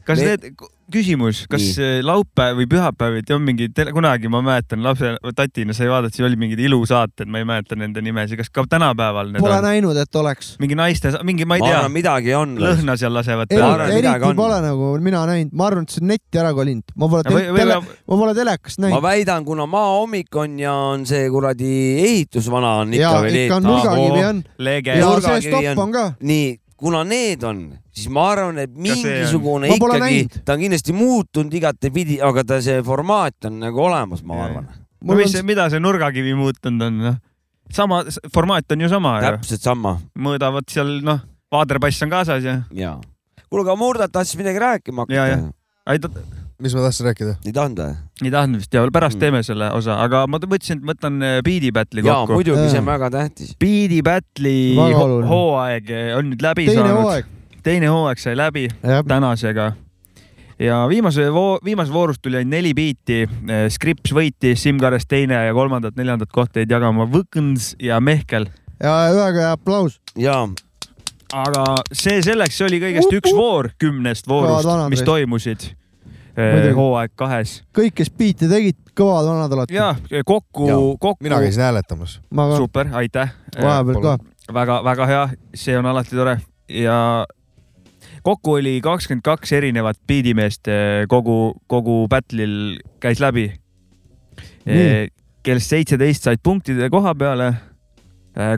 kas Me- need , küsimus , kas nii. laupäev või pühapäeviti on mingi , kunagi ma mäletan lapse , tatina sai vaadata , siis olid mingid ilusaated , ma ei mäleta nende nimesid , kas ka tänapäeval need Pole on ? näinud , et oleks . mingi naiste , mingi , ma ma ei tea arvan ,, midagi on . lõhna seal lasevad Ei, Ma arvan, peale . midagi eriti on. pole nagu mina näinud , ma arvan , et see on netti ära kolinud , ma pole Või- te- tele , võib-olla ma pole telekast ma näinud . väidan , kuna maahommik on ja on see kuradi ehitusvana on ikka ja veel ikka on eetris . nurgakivi on lege ja Nurgakivi see stopp on- on ka . nii , kuna need on , siis ma arvan , et see on? mingisugune Ma pole ikkagi näinud. , ta on kindlasti muutunud igatepidi , aga ta , see formaat on nagu olemas , ma Jaa. arvan . no mis , mida see nurgakivi muutunud on , noh ? sama , formaat on ju sama ju , täpselt sama mõõdavad seal , noh , vaaderpass on kaasas ja , ja . kuule , aga Murdat tahtis midagi rääkima Jaa, hakata jah. . ei ta , mis ma tahtsin rääkida ? ei tahtnud või ? ei tahtnud vist ja pärast Mm. teeme selle osa , aga ma t- mõtlesin , et võtan eh, Beat'i battle'i jaa , kokku . muidugi , see Jaa. on väga tähtis . Beat'i battle'i Väga ho oluline. hooaeg eh, on nüüd läbi teine saanud , hooaeg . teine hooaeg sai läbi tänasega ja viimase vo viimases voorus tuli ainult neli biiti . Scripps võitis , Simkares teine ja kolmandat-neljandat kohta jäid jagama Võkns ja Mehkel . ja ühega aplaus . jaa , aga see selleks , see oli Uhuh. kõigest üks voor kümnest voorust Kõvad vanad , mis meist. toimusid eh, Muidugi. hooaeg kahes kõik , kes biite tegid , kõvad vanad olete . ja kokku Jaa. , kokku mina käisin hääletamas . ma ka super , aitäh . vahepeal ka . väga-väga hea , see on alati tore ja kokku oli kakskümmend kaks erinevat biidimeest eh, kogu , kogu battle'il käis läbi . Nii. kellest seitseteist said punktide koha peale .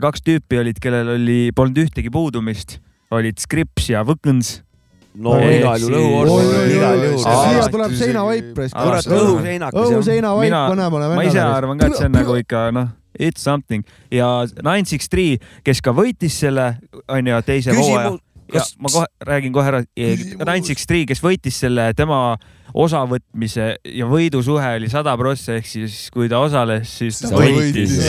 kaks tüüpi olid , kellel oli , polnud ühtegi puudumist , olid Scripps ja Võkns . no Oi, igal juhul siis- õhuorg Oi, oi, on oi, igal oi, juhul . oi, oi, kurat oi. , tuleb seinavaip raisk. Kurat, õhuseinakas jah . õhuseina vaip Mina- vanemale ma ise . arvan ka , et see on nagu ikka noh , it's something ja Nine Six Three , kes ka võitis selle , onju , teise hooaja . küsimus , kas Kas- ma kohe räägin kohe ära , Küsimus. Nine Six Three , kes võitis selle , tema osavõtmise ja võidusuhe oli sada prossa , ehk siis kui ta osales , siis Ta võitis .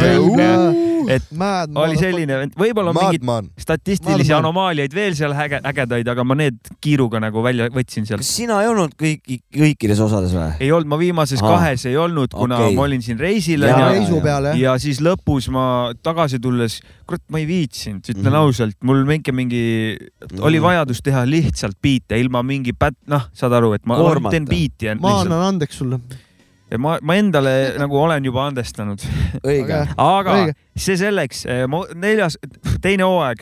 et Mad oli . selline , võib-olla on mingeid Madman , statistilisi Madman. anomaaliaid veel seal äge , ägedaid , aga ma need kiiruga nagu välja võtsin sealt . kas sina ei olnud kõik , kõikides osades või ? ei olnud , ma viimases Aa. kahes ei olnud , kuna Okei. ma olin siin reisil Jaa, ja jaa, onju jaa. reisu peal jah . ja siis lõpus ma tagasi tulles , kurat , ma ei viitsinud , ütlen Mhm. ausalt , mul mingi , mingi oli vajadus teha lihtsalt biite ilma mingi pät- , noh , saad aru , et ma Koormata. teen biiti ja ma lihtsalt annan andeks sulle . ja ma , ma endale nagu olen juba andestanud , õige . aga Õige. see selleks , ma neljas , teine hooaeg ,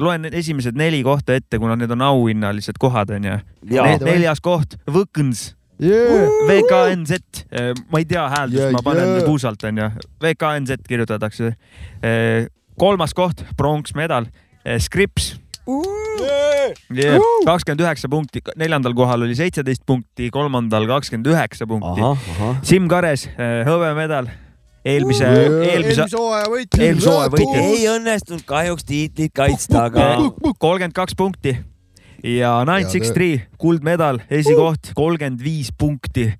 loen esimesed neli kohta ette , kuna need on auhinnalised kohad onju . jaa , Need- neljas koht , Võkns , VKNZ , ma ei tea hääldust Yeah, , ma panen yeah. puusalt onju , VKNZ kirjutatakse . kolmas koht , pronksmedal , Scripps yeah. , kakskümmend üheksa punkti , neljandal kohal oli seitseteist punkti , kolmandal kakskümmend üheksa punkti . ahah , ahah . Siim Kares , hõbemedal eelmise , eelmise , hooaja võitja . eelmise hooaja võitja . ei õnnestunud kahjuks tiitlit kaitsta , aga kolmkümmend kaks punkti ja nine six three , kuldmedal , esikoht kolmkümmend viis punkti .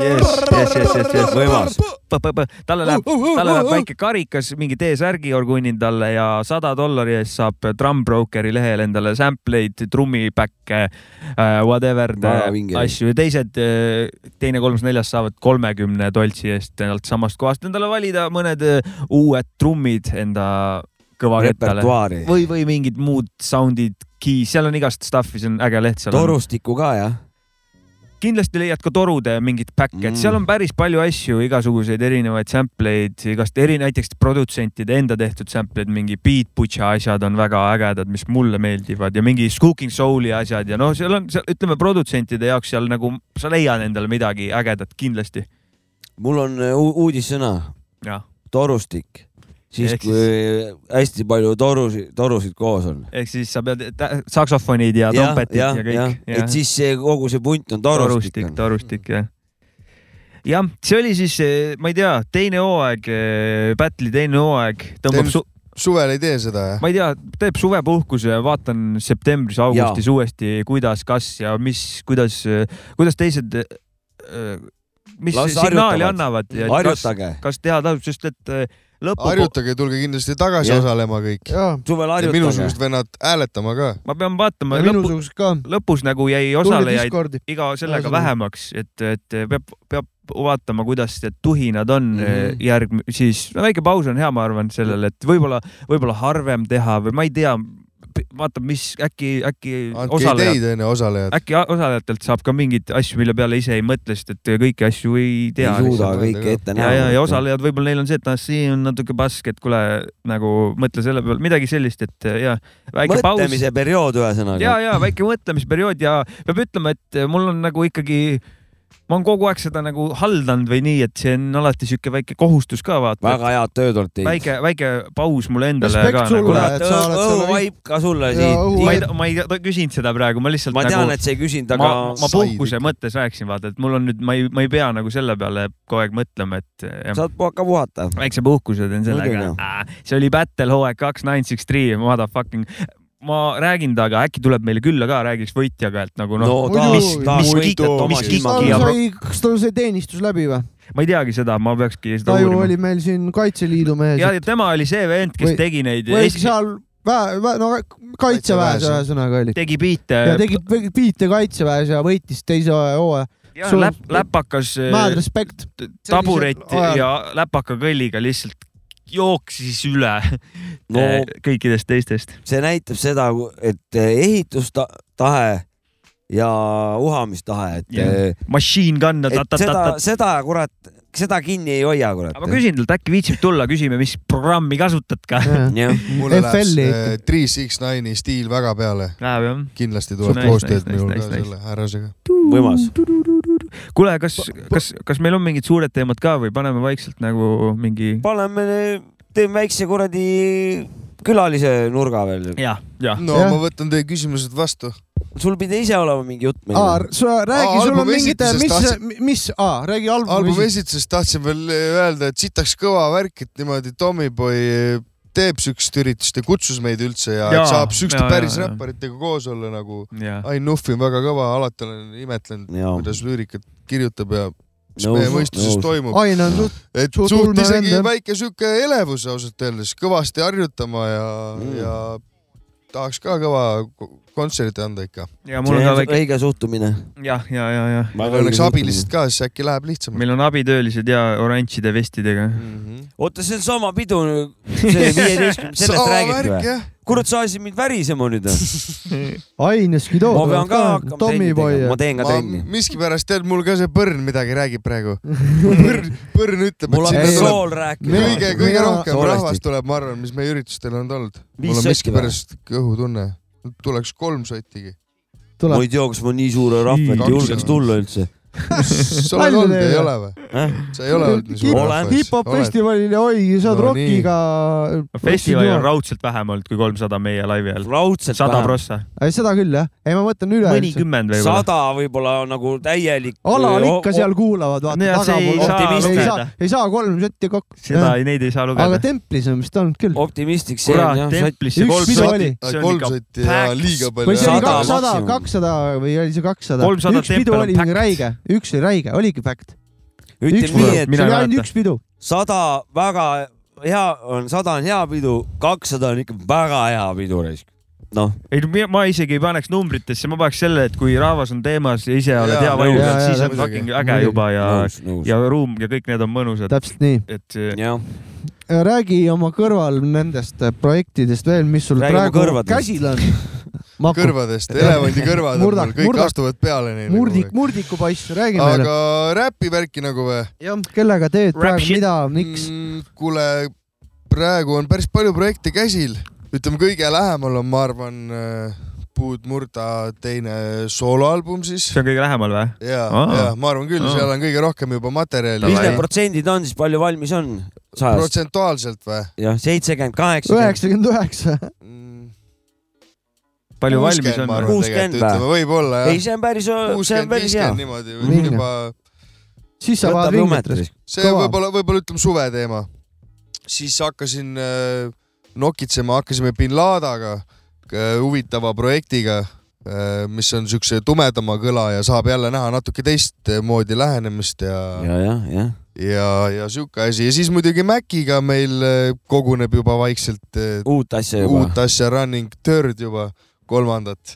jess , jess , jess , jess , jess , võimas . talle läheb , Oh, talle läheb väike karikas , mingi T-särgi orgunnin talle ja sada dollari eest saab Drumbrokeri lehel endale sample'id , trummipäkke , whatever Väga vinge. asju ja teised , teine , kolmas , neljas saavad kolmekümne toltsi eest sealt samast kohast endale valida mõned äh, uued trummid enda kõvakettale repertuaari . või , või mingid muud sound'id , keys , seal on igast stuff'i , see on äge leht , seal on torustiku ka jah ? kindlasti leiad ka torude mingeid päkke mm. , et seal on päris palju asju , igasuguseid erinevaid sample'id , igast eri , näiteks produtsentide enda tehtud sample'id , mingi Beat Butcha asjad on väga ägedad , mis mulle meeldivad ja mingi Cooking Soul'i asjad ja noh , seal on , ütleme produtsentide jaoks seal nagu sa leiad endale midagi ägedat kindlasti . mul on äh, u- uudissõna , jah , torustik . siis Ehk siis- kui hästi palju torusid , torusid koos on . ehk siis sa pead tä- saksofonid ja trompetid ja, ja kõik . et siis see kogu see punt on torustik . torustik , torustik jah . jah , see oli siis , ma ei tea , teine hooaeg , Battle'i teine hooaeg tõmbab Teeme- su- , suvel ei tee seda jah ? ma ei tea , teeb suvepuhkuse , vaatan septembris-augustis uuesti , kuidas , kas ja mis , kuidas , kuidas teised , mis Las signaali harjutavad. annavad ja kas , harjutage , kas teha tasub , sest et äh, lõpu , harjutage , tulge kindlasti tagasi Jah. osalema kõik . jaa , suvel ja harjutage . minusugused vennad hääletama ka . ma pean vaatama , lõpu , minusugused ka . lõpus nagu jäi tulge osalejaid Discordi . iga sellega Ühesõnaga- vähemaks , et , et peab , peab vaatama , kuidas need tuhinad on mm Mhm. -hmm. järg , siis no väike paus on hea , ma arvan sellele , et võib-olla , võib-olla harvem teha või ma ei tea , vaatame , mis äkki , äkki andke osalejad , ideid , onju , osalejad . äkki a- osalejatelt saab ka mingeid asju , mille peale ise ei mõtle , sest et kõiki asju ei ei tea . suuda lihtsalt kõike öelda ette ja , näha . ja , ja osalejad , võib-olla neil on see , et noh , siin on natuke pask , et kuule nagu mõtle selle peale , midagi sellist , et eh, ja väike paus mõtlemise periood ja ühesõnaga ., ja väike mõtlemisperiood ja peab ütlema , et mul on nagu ikkagi , ma olen kogu aeg seda nagu haldanud või nii , et see on alati sihuke väike kohustus ka vaata . väga head tööd olete teinud . väike , väike paus mulle endale Respekt ka nagu . sulle. ma et sa oled seal- õhuvaip ka sulle Jaa, siit õhuvaip. ei , ma ei ta- küsinud seda praegu , ma lihtsalt ma tean , nagu , et sa ei küsinud , ma aga , ma said puhkuse ikka. mõttes rääkisin , vaata , et mul on nüüd , ma ei , ma ei pea nagu selle peale kogu aeg mõtlema , et jah. saad hakka puhata . väikse puhkuse teen Muidugi, sellega noh. . see oli Battle hooaeg kaks , nine six three , motherfucking . ma räägin temaga , äkki tuleb meile külla ka , räägiks võitjaga , et nagu noh no. , mis , mis kikk , mis kikki ja pro... sai , kas tal sai teenistus läbi või ? ma ei teagi seda , ma peakski seda ta ju uurima . oli meil siin Kaitseliidu mees . ja , ja tema oli see vend , kes Või- tegi neid , või seal väe , väe , no kaitseväes Kaitseväes, jah. ühesõnaga oli . tegi biite ja , tegi biite kaitseväes ja võitis teise hooaja . sul- läp, läpakas äh, mäed respekt . taburet ja läpaka kõlliga lihtsalt jooksis üle no äh, [LAUGHS] kõikidest teistest . see näitab seda , et ehitustahe ja uhamistahe , et Jah. yeah. , Machine gun . et seda , seda kurat , seda kinni ei hoia , kurat . aga ma küsin talt , äkki viitsib tulla , küsime , mis programmi kasutad ka . jah , mulle läheb FL-i see Three Six Nine'i stiil väga peale . Läheb jah ? kindlasti tuleb Nice, koostööd nice, minul nice, ka nice, selle härrasega . võimas . kuule , kas , kas , kas meil on mingid suured teemad ka või paneme vaikselt nagu mingi ? paneme , teeme väikse kuradi külalise nurga veel . jah , jah . no Jah. ma võtan teie küsimused vastu . sul pidi ise olema mingi jutt meil . aa , sa räägi , Aa, sul on albumi mingid , esitusest mis tahtsin- , mis , aa , räägi albumi albumi . esituses tahtsin veel eh, öelda , et sitaks kõva värk , et niimoodi Tommyboy teeb siukest üritust ja kutsus meid üldse ja, ja Jaa, saab siukeste jaa, päris jaa, jaa. räpparitega koos olla nagu . jah , Ain Nuffi on väga kõva , alati olen imetlenud , jaa , kuidas lüürikat kirjutab ja mis meie mõistuses toimub . Ah, Ain on suht , et Suht suht, ulme suht isegi vend, jah. väike sihuke elevus ausalt öeldes , kõvasti harjutama ja Mm. mm. , ja tahaks ka kõva ko- kontserti anda ikka . ja mul mul on ka väike , õige suhtumine . jah , ja , ja , ja . meil oleks abilised ka , siis äkki läheb lihtsamalt . Mhm. meil on abitöölised ja oranžide vestidega . oota , see on sama pidu , [LAUGHS] see viieteistkümne , sellest räägiti või ?? kurat , sa ajasid mind värisema nüüd . Ain ja Skido . ma pean ka hakkama trenni Tommyboy tegema , ma . teen ka ma trenni . miskipärast tead , mul ka see põrn midagi räägib [LAUGHS] praegu . põrn , põrn ütleb , mul et sinna hakkas tuleb sool kõige , rääkima . kõige Mina- rohkem Soolestik. rahvast tuleb , ma arvan , mis meie üritustel on olnud . Viis mul on sotti või? miskipärast kõhutunne . tuleks kolm sottigi . ma tuleb , ei tea , kas ma nii suure rahva ette Kaks julgeks on. tulla üldse . [LAUGHS] sa oled olnud , ei ole või ? sa ei ole olnud nii suur Olen. hip-hop festivalil ja oi , sa oled No nii. rokiga . festivali on . raudselt vähem olnud kui kolmsada meie laivi ajal . raudselt sada prossa , seda küll jah , ei ma mõtlen üle . mõnikümmend võib-olla . sada võib-olla nagu täielik . alal ikka seal . kuulavad , vaata Nojah, see ei tagapool . saa ei lugeda. saa , ei saa kolm sotti kokku . seda , neid ei saa aga lugeda . templis on vist olnud küll . optimistlik see on kurat , jah , templisse üks kolm pidu oli. sotti , see on kolm ikka sotti ja packs. liiga või see oli Sada palju . kakssada , maksimum. kakssada või oli see kakssada ? 300 üks pidu tempel on oli mingi packed. räige , üks oli räige , oligi fakt . üks ütleme pidu , nii , see et mina ei oli ainult mäleta. üks pidu . sada väga hea on , sada on hea pidu , kakssada on ikka väga hea pidu raisk . noh , ei no mi- ma isegi ei paneks numbritesse , ma paneks selle , et kui rahvas on teemas ja ise oled Jaa, hea valmis jaa, , siis jaa, on muidugi. fucking äge Muidugi. juba ja , nõus , nõus . ja ruum ja kõik need on mõnusad , täpselt nii . et eh, jah , räägi oma kõrval nendest äh, projektidest veel , mis sul Räägi oma praegu kõrvadest. käsil [LAUGHS] on . Maku , kõrvadest , elevandi kõrvad on Murdak- mul , kõik murdak- astuvad peale neile . murdik , murdikupoiss , räägi meile . aga räpivärki nagu või ? kellega teed Rap praegu shit. mida , miks ? kuule , praegu on päris palju projekte käsil , ütleme kõige lähemal on , ma arvan , Puud murda teine sooloalbum siis see on kõige lähemal või ? ja , Aa. ja ma arvan küll , Aa. seal on kõige rohkem juba materjali mis . need protsendid on siis , palju valmis on sajast ? protsentuaalselt või ? jah , seitsekümmend , Mm. kaheksakümmend . üheksakümmend üheksa . [LAUGHS] palju valmis on ? arvan. Kuuskümmend või? ütleme võib-olla ei , jah . see on päris , see on kuuskümmend , päris hea viiskümmend . niimoodi või Mingi. juba , siis sa vaatad võtab ringi . jumetris . see Kõva. võib-olla , võib-olla ütleme suveteema . siis hakkasin äh, nokitsema , hakkasime bin Ladaga äh, huvitava projektiga äh, mis on siukse tumedama kõla ja saab jälle näha natuke teistmoodi lähenemist ja , ja , jah , jah . ja , ja sihuke asi ja siis muidugi Maciga meil äh, koguneb juba vaikselt äh, uut asja juba . uut asja Running Third juba , kolmandat .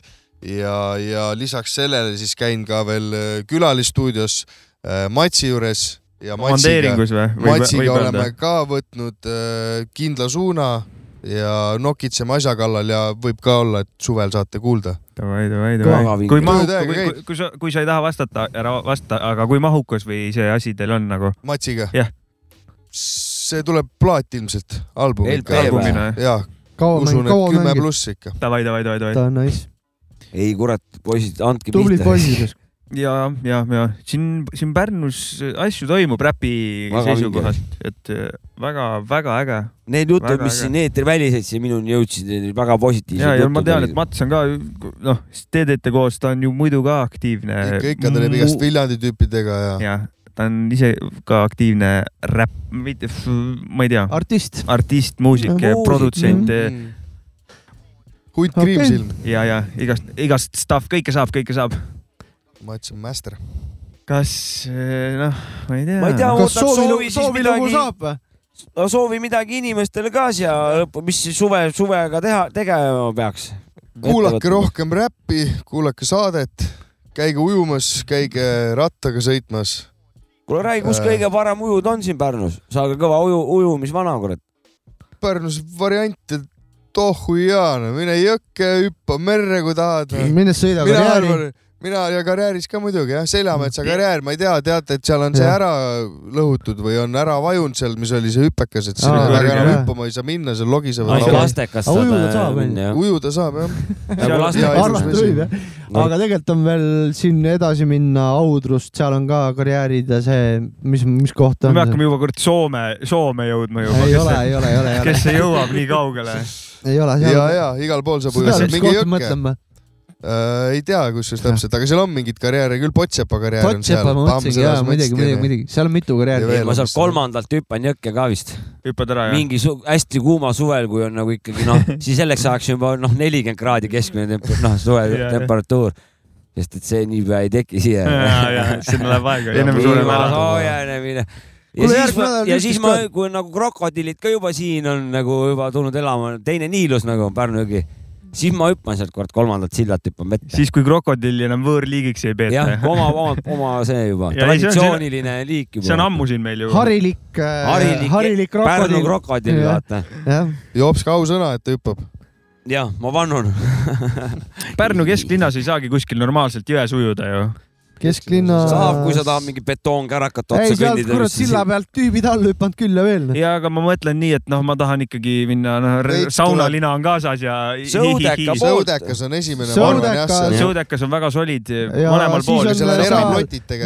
ja , ja lisaks sellele siis käin ka veel äh, külalistuudios äh, Matsi juures ja Matsiga, komandeeringus või ? Matsiga oleme ka võtnud äh, kindla suuna ja nokitseme asja kallal ja võib ka olla , et suvel saate kuulda . davai , davai , Kõva davai . vinge. kui mahukas Tööd , aega kui, käib. kui- kui sa , kui sa ei taha vastata , ära vasta , aga kui mahukas või see asi teil on nagu Matsiga Jah. see tuleb plaat ilmselt , album LP ikka. või? albumina ? jah , kaua usun , mängid , et kaua kümme mängid ? pluss ikka . davai , davai , davai , davai . Nice. ei kurat , poisid , andke tublid pihta . poisid . ja , ja , ja siin , siin Pärnus asju toimub räpi Väga seisukohast , et väga-väga äge . Need jutud , Väga mis äge. siin eetriväliseid siin minuni jõudsid , need olid väga positiivsed . ja , ja ma tean , et . Mats on ka , noh , te teete koos , ta on ju muidu ka aktiivne . ikka , ikka ta teeb igast Viljandi tüüpidega ja Äh, jah , ta on ise ka aktiivne räpp , mitte , ma ei tea , artist . artist , muusik eh, Muusik, , produtsent Mm. hunt Okei. kriimsilm , ja , ja igast , igast stuff , kõike saab , kõike saab . ma ütlesin master . kas , noh , ma ei tea . ma ei tea , kas ootaks soovilugu soovi , siis soovilugu midagi , saab või ? soovi midagi inimestele ka siia lõppu , mis siis suve , suvega teha , tegema peaks . kuulake . rohkem räppi , kuulake saadet , käige ujumas , käige rattaga sõitmas . kuule , räägi , kus Äh. kõige parem ujud on siin Pärnus ? saage kõva uju , ujumisvana , kurat . Pärnus variante tohu jaana , mine jõkke , hüppa merre , kui tahad . minnes sõida mina karjääri . arvan , mina ja karjääris ka muidugi jah , Seljametsa karjäär , ma ei tea , teate , et seal on see Jah. ära lõhutud või on ära vajunud seal , mis oli see hüpekas , et sinna Aa, väga enam jah. hüppama ei saa minna , seal Ai, logisevad see lauad . lastekas Aga ujuda saab, on ju. jah . ujuda saab jah . nagu ja arvata ilus vesi. võib jah . aga tegelikult on veel siin edasi minna Audrust , seal on ka karjäärid ja see , mis , mis koht on . me hakkame juba kord Soome , Soome jõudma juba . ei ole , ei ole , ei ole , ei ole , kes see jõuab nii kaugele ? ei ole . ja , ja igal pool saab seda ujuda , peaks minge kohta jõkke . mõtlema . äh, . ei tea , kusjuures täpselt , aga seal on mingeid karjääre küll , Potsepa karjäär on seal . Potsepa ma mõtlesin , jaa , muidugi , muidugi , muidugi , seal on mitu Ja karjääri veel. . ma sealt kolmandalt hüppan jõkke ka vist . hüppad ära jah ? mingi su hästi kuuma suvel , kui on nagu ikkagi [LAUGHS] noh , siis selleks ajaks juba noh , nelikümmend kraadi keskmine temp- , noh , suve Jaa, jah. temperatuur . sest et see niipea ei teki siia . [LAUGHS] sinna läheb aega , ennem sureb ilma ära . soojenemine . ja Kuule, siis järgmine ma , nädal ja siis Kristis ma ka. , kui nagu krokodillid ka juba siin on nagu juba tulnud elama , teine Niilus nagu on Pärnu jõgi , siis ma hüppan sealt kord kolmandat sillalt hüppan vette . siis , kui krokodilli enam võõrliigiks ei peeta jah , oma , oma , oma see juba , Ja ei, see on- traditsiooniline liik juba . see on ammu siin meil ju . harilik , harilik, harilik Pärnu krokodill . krokodill , Jah. vaata . jah , jops ka ausõna , et ta hüppab . jah , ma vannun . Pärnu kesklinnas ei saagi kuskil normaalselt jões ujuda ju . kesklinna . saab , kui sa tahad mingi betoonkärakaid ei otsa , sealt kõndida . kurat silla pealt tüübid alla hüpanud küll ja veel . noh. ja aga ma mõtlen nii , et noh , ma tahan ikkagi minna , noh Kõik , saunalina on kaasas ja . Sõudeka poolt. Sõudekas on esimene, ma arvan, jah, seal. Sõudekas- sõudekas on väga solid mõlemal pool .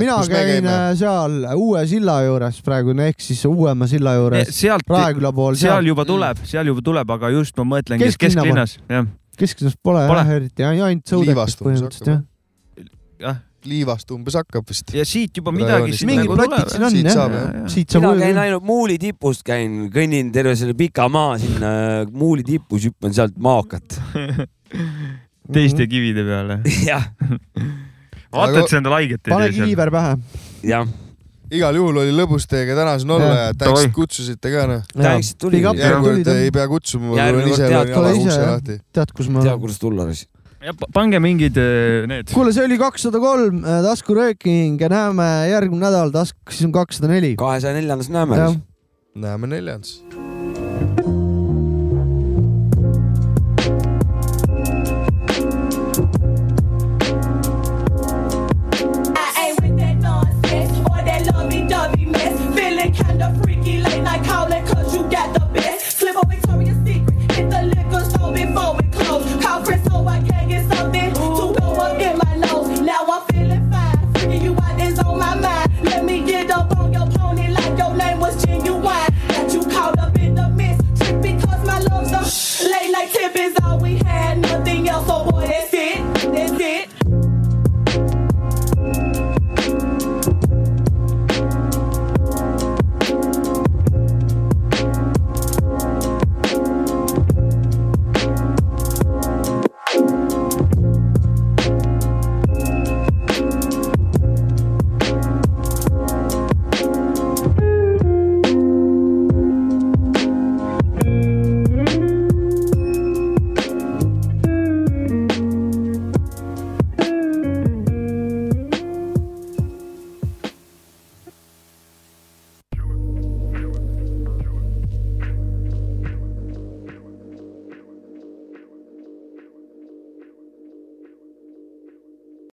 mina käin äh, seal uue silla juures praegu , ehk siis uuema silla juures . sealt , Raeküla pool . seal juba . tuleb , seal juba tuleb , aga just ma mõtlengi , et Kesklinna kesklinnas , jah , kesklinnas pole Pole. jah eriti , ainult sõudekast Liivastus põhimõtteliselt jah . jah . liivast umbes hakkab vist . Ah, ja siit juba midagi siin Mingid nagu plotid tuleb. siin on, jah. Siit saab mina ujuda. käin ainult Muuli tipust , käin , kõnnin terve selle pika maa sinna äh, Muuli tipus , hüppan sealt maokat . [LAUGHS] teiste kivide peale . jah . vaata , et see endale haiget ei Mhm. pane tee seal . kiiver pähe . jah . igal juhul oli lõbus teiega täna siin olla Jah. ja tänks , Davai. et kutsusite ka noh . tänks , et tulid . järgmine kord ei pea kutsuma , mul on Järgmine kord ise tead, veel tule jala ise, ukse jah. lahti . tead , kus ma tea , kuidas tulla siis . pange mingid eh, need . kuule , see oli kakssada kolm äh, taskurööking ja näeme järgmine nädal taskus on kakssada neli . kahesaja neljandas näeme jah siis .. näeme neljandas .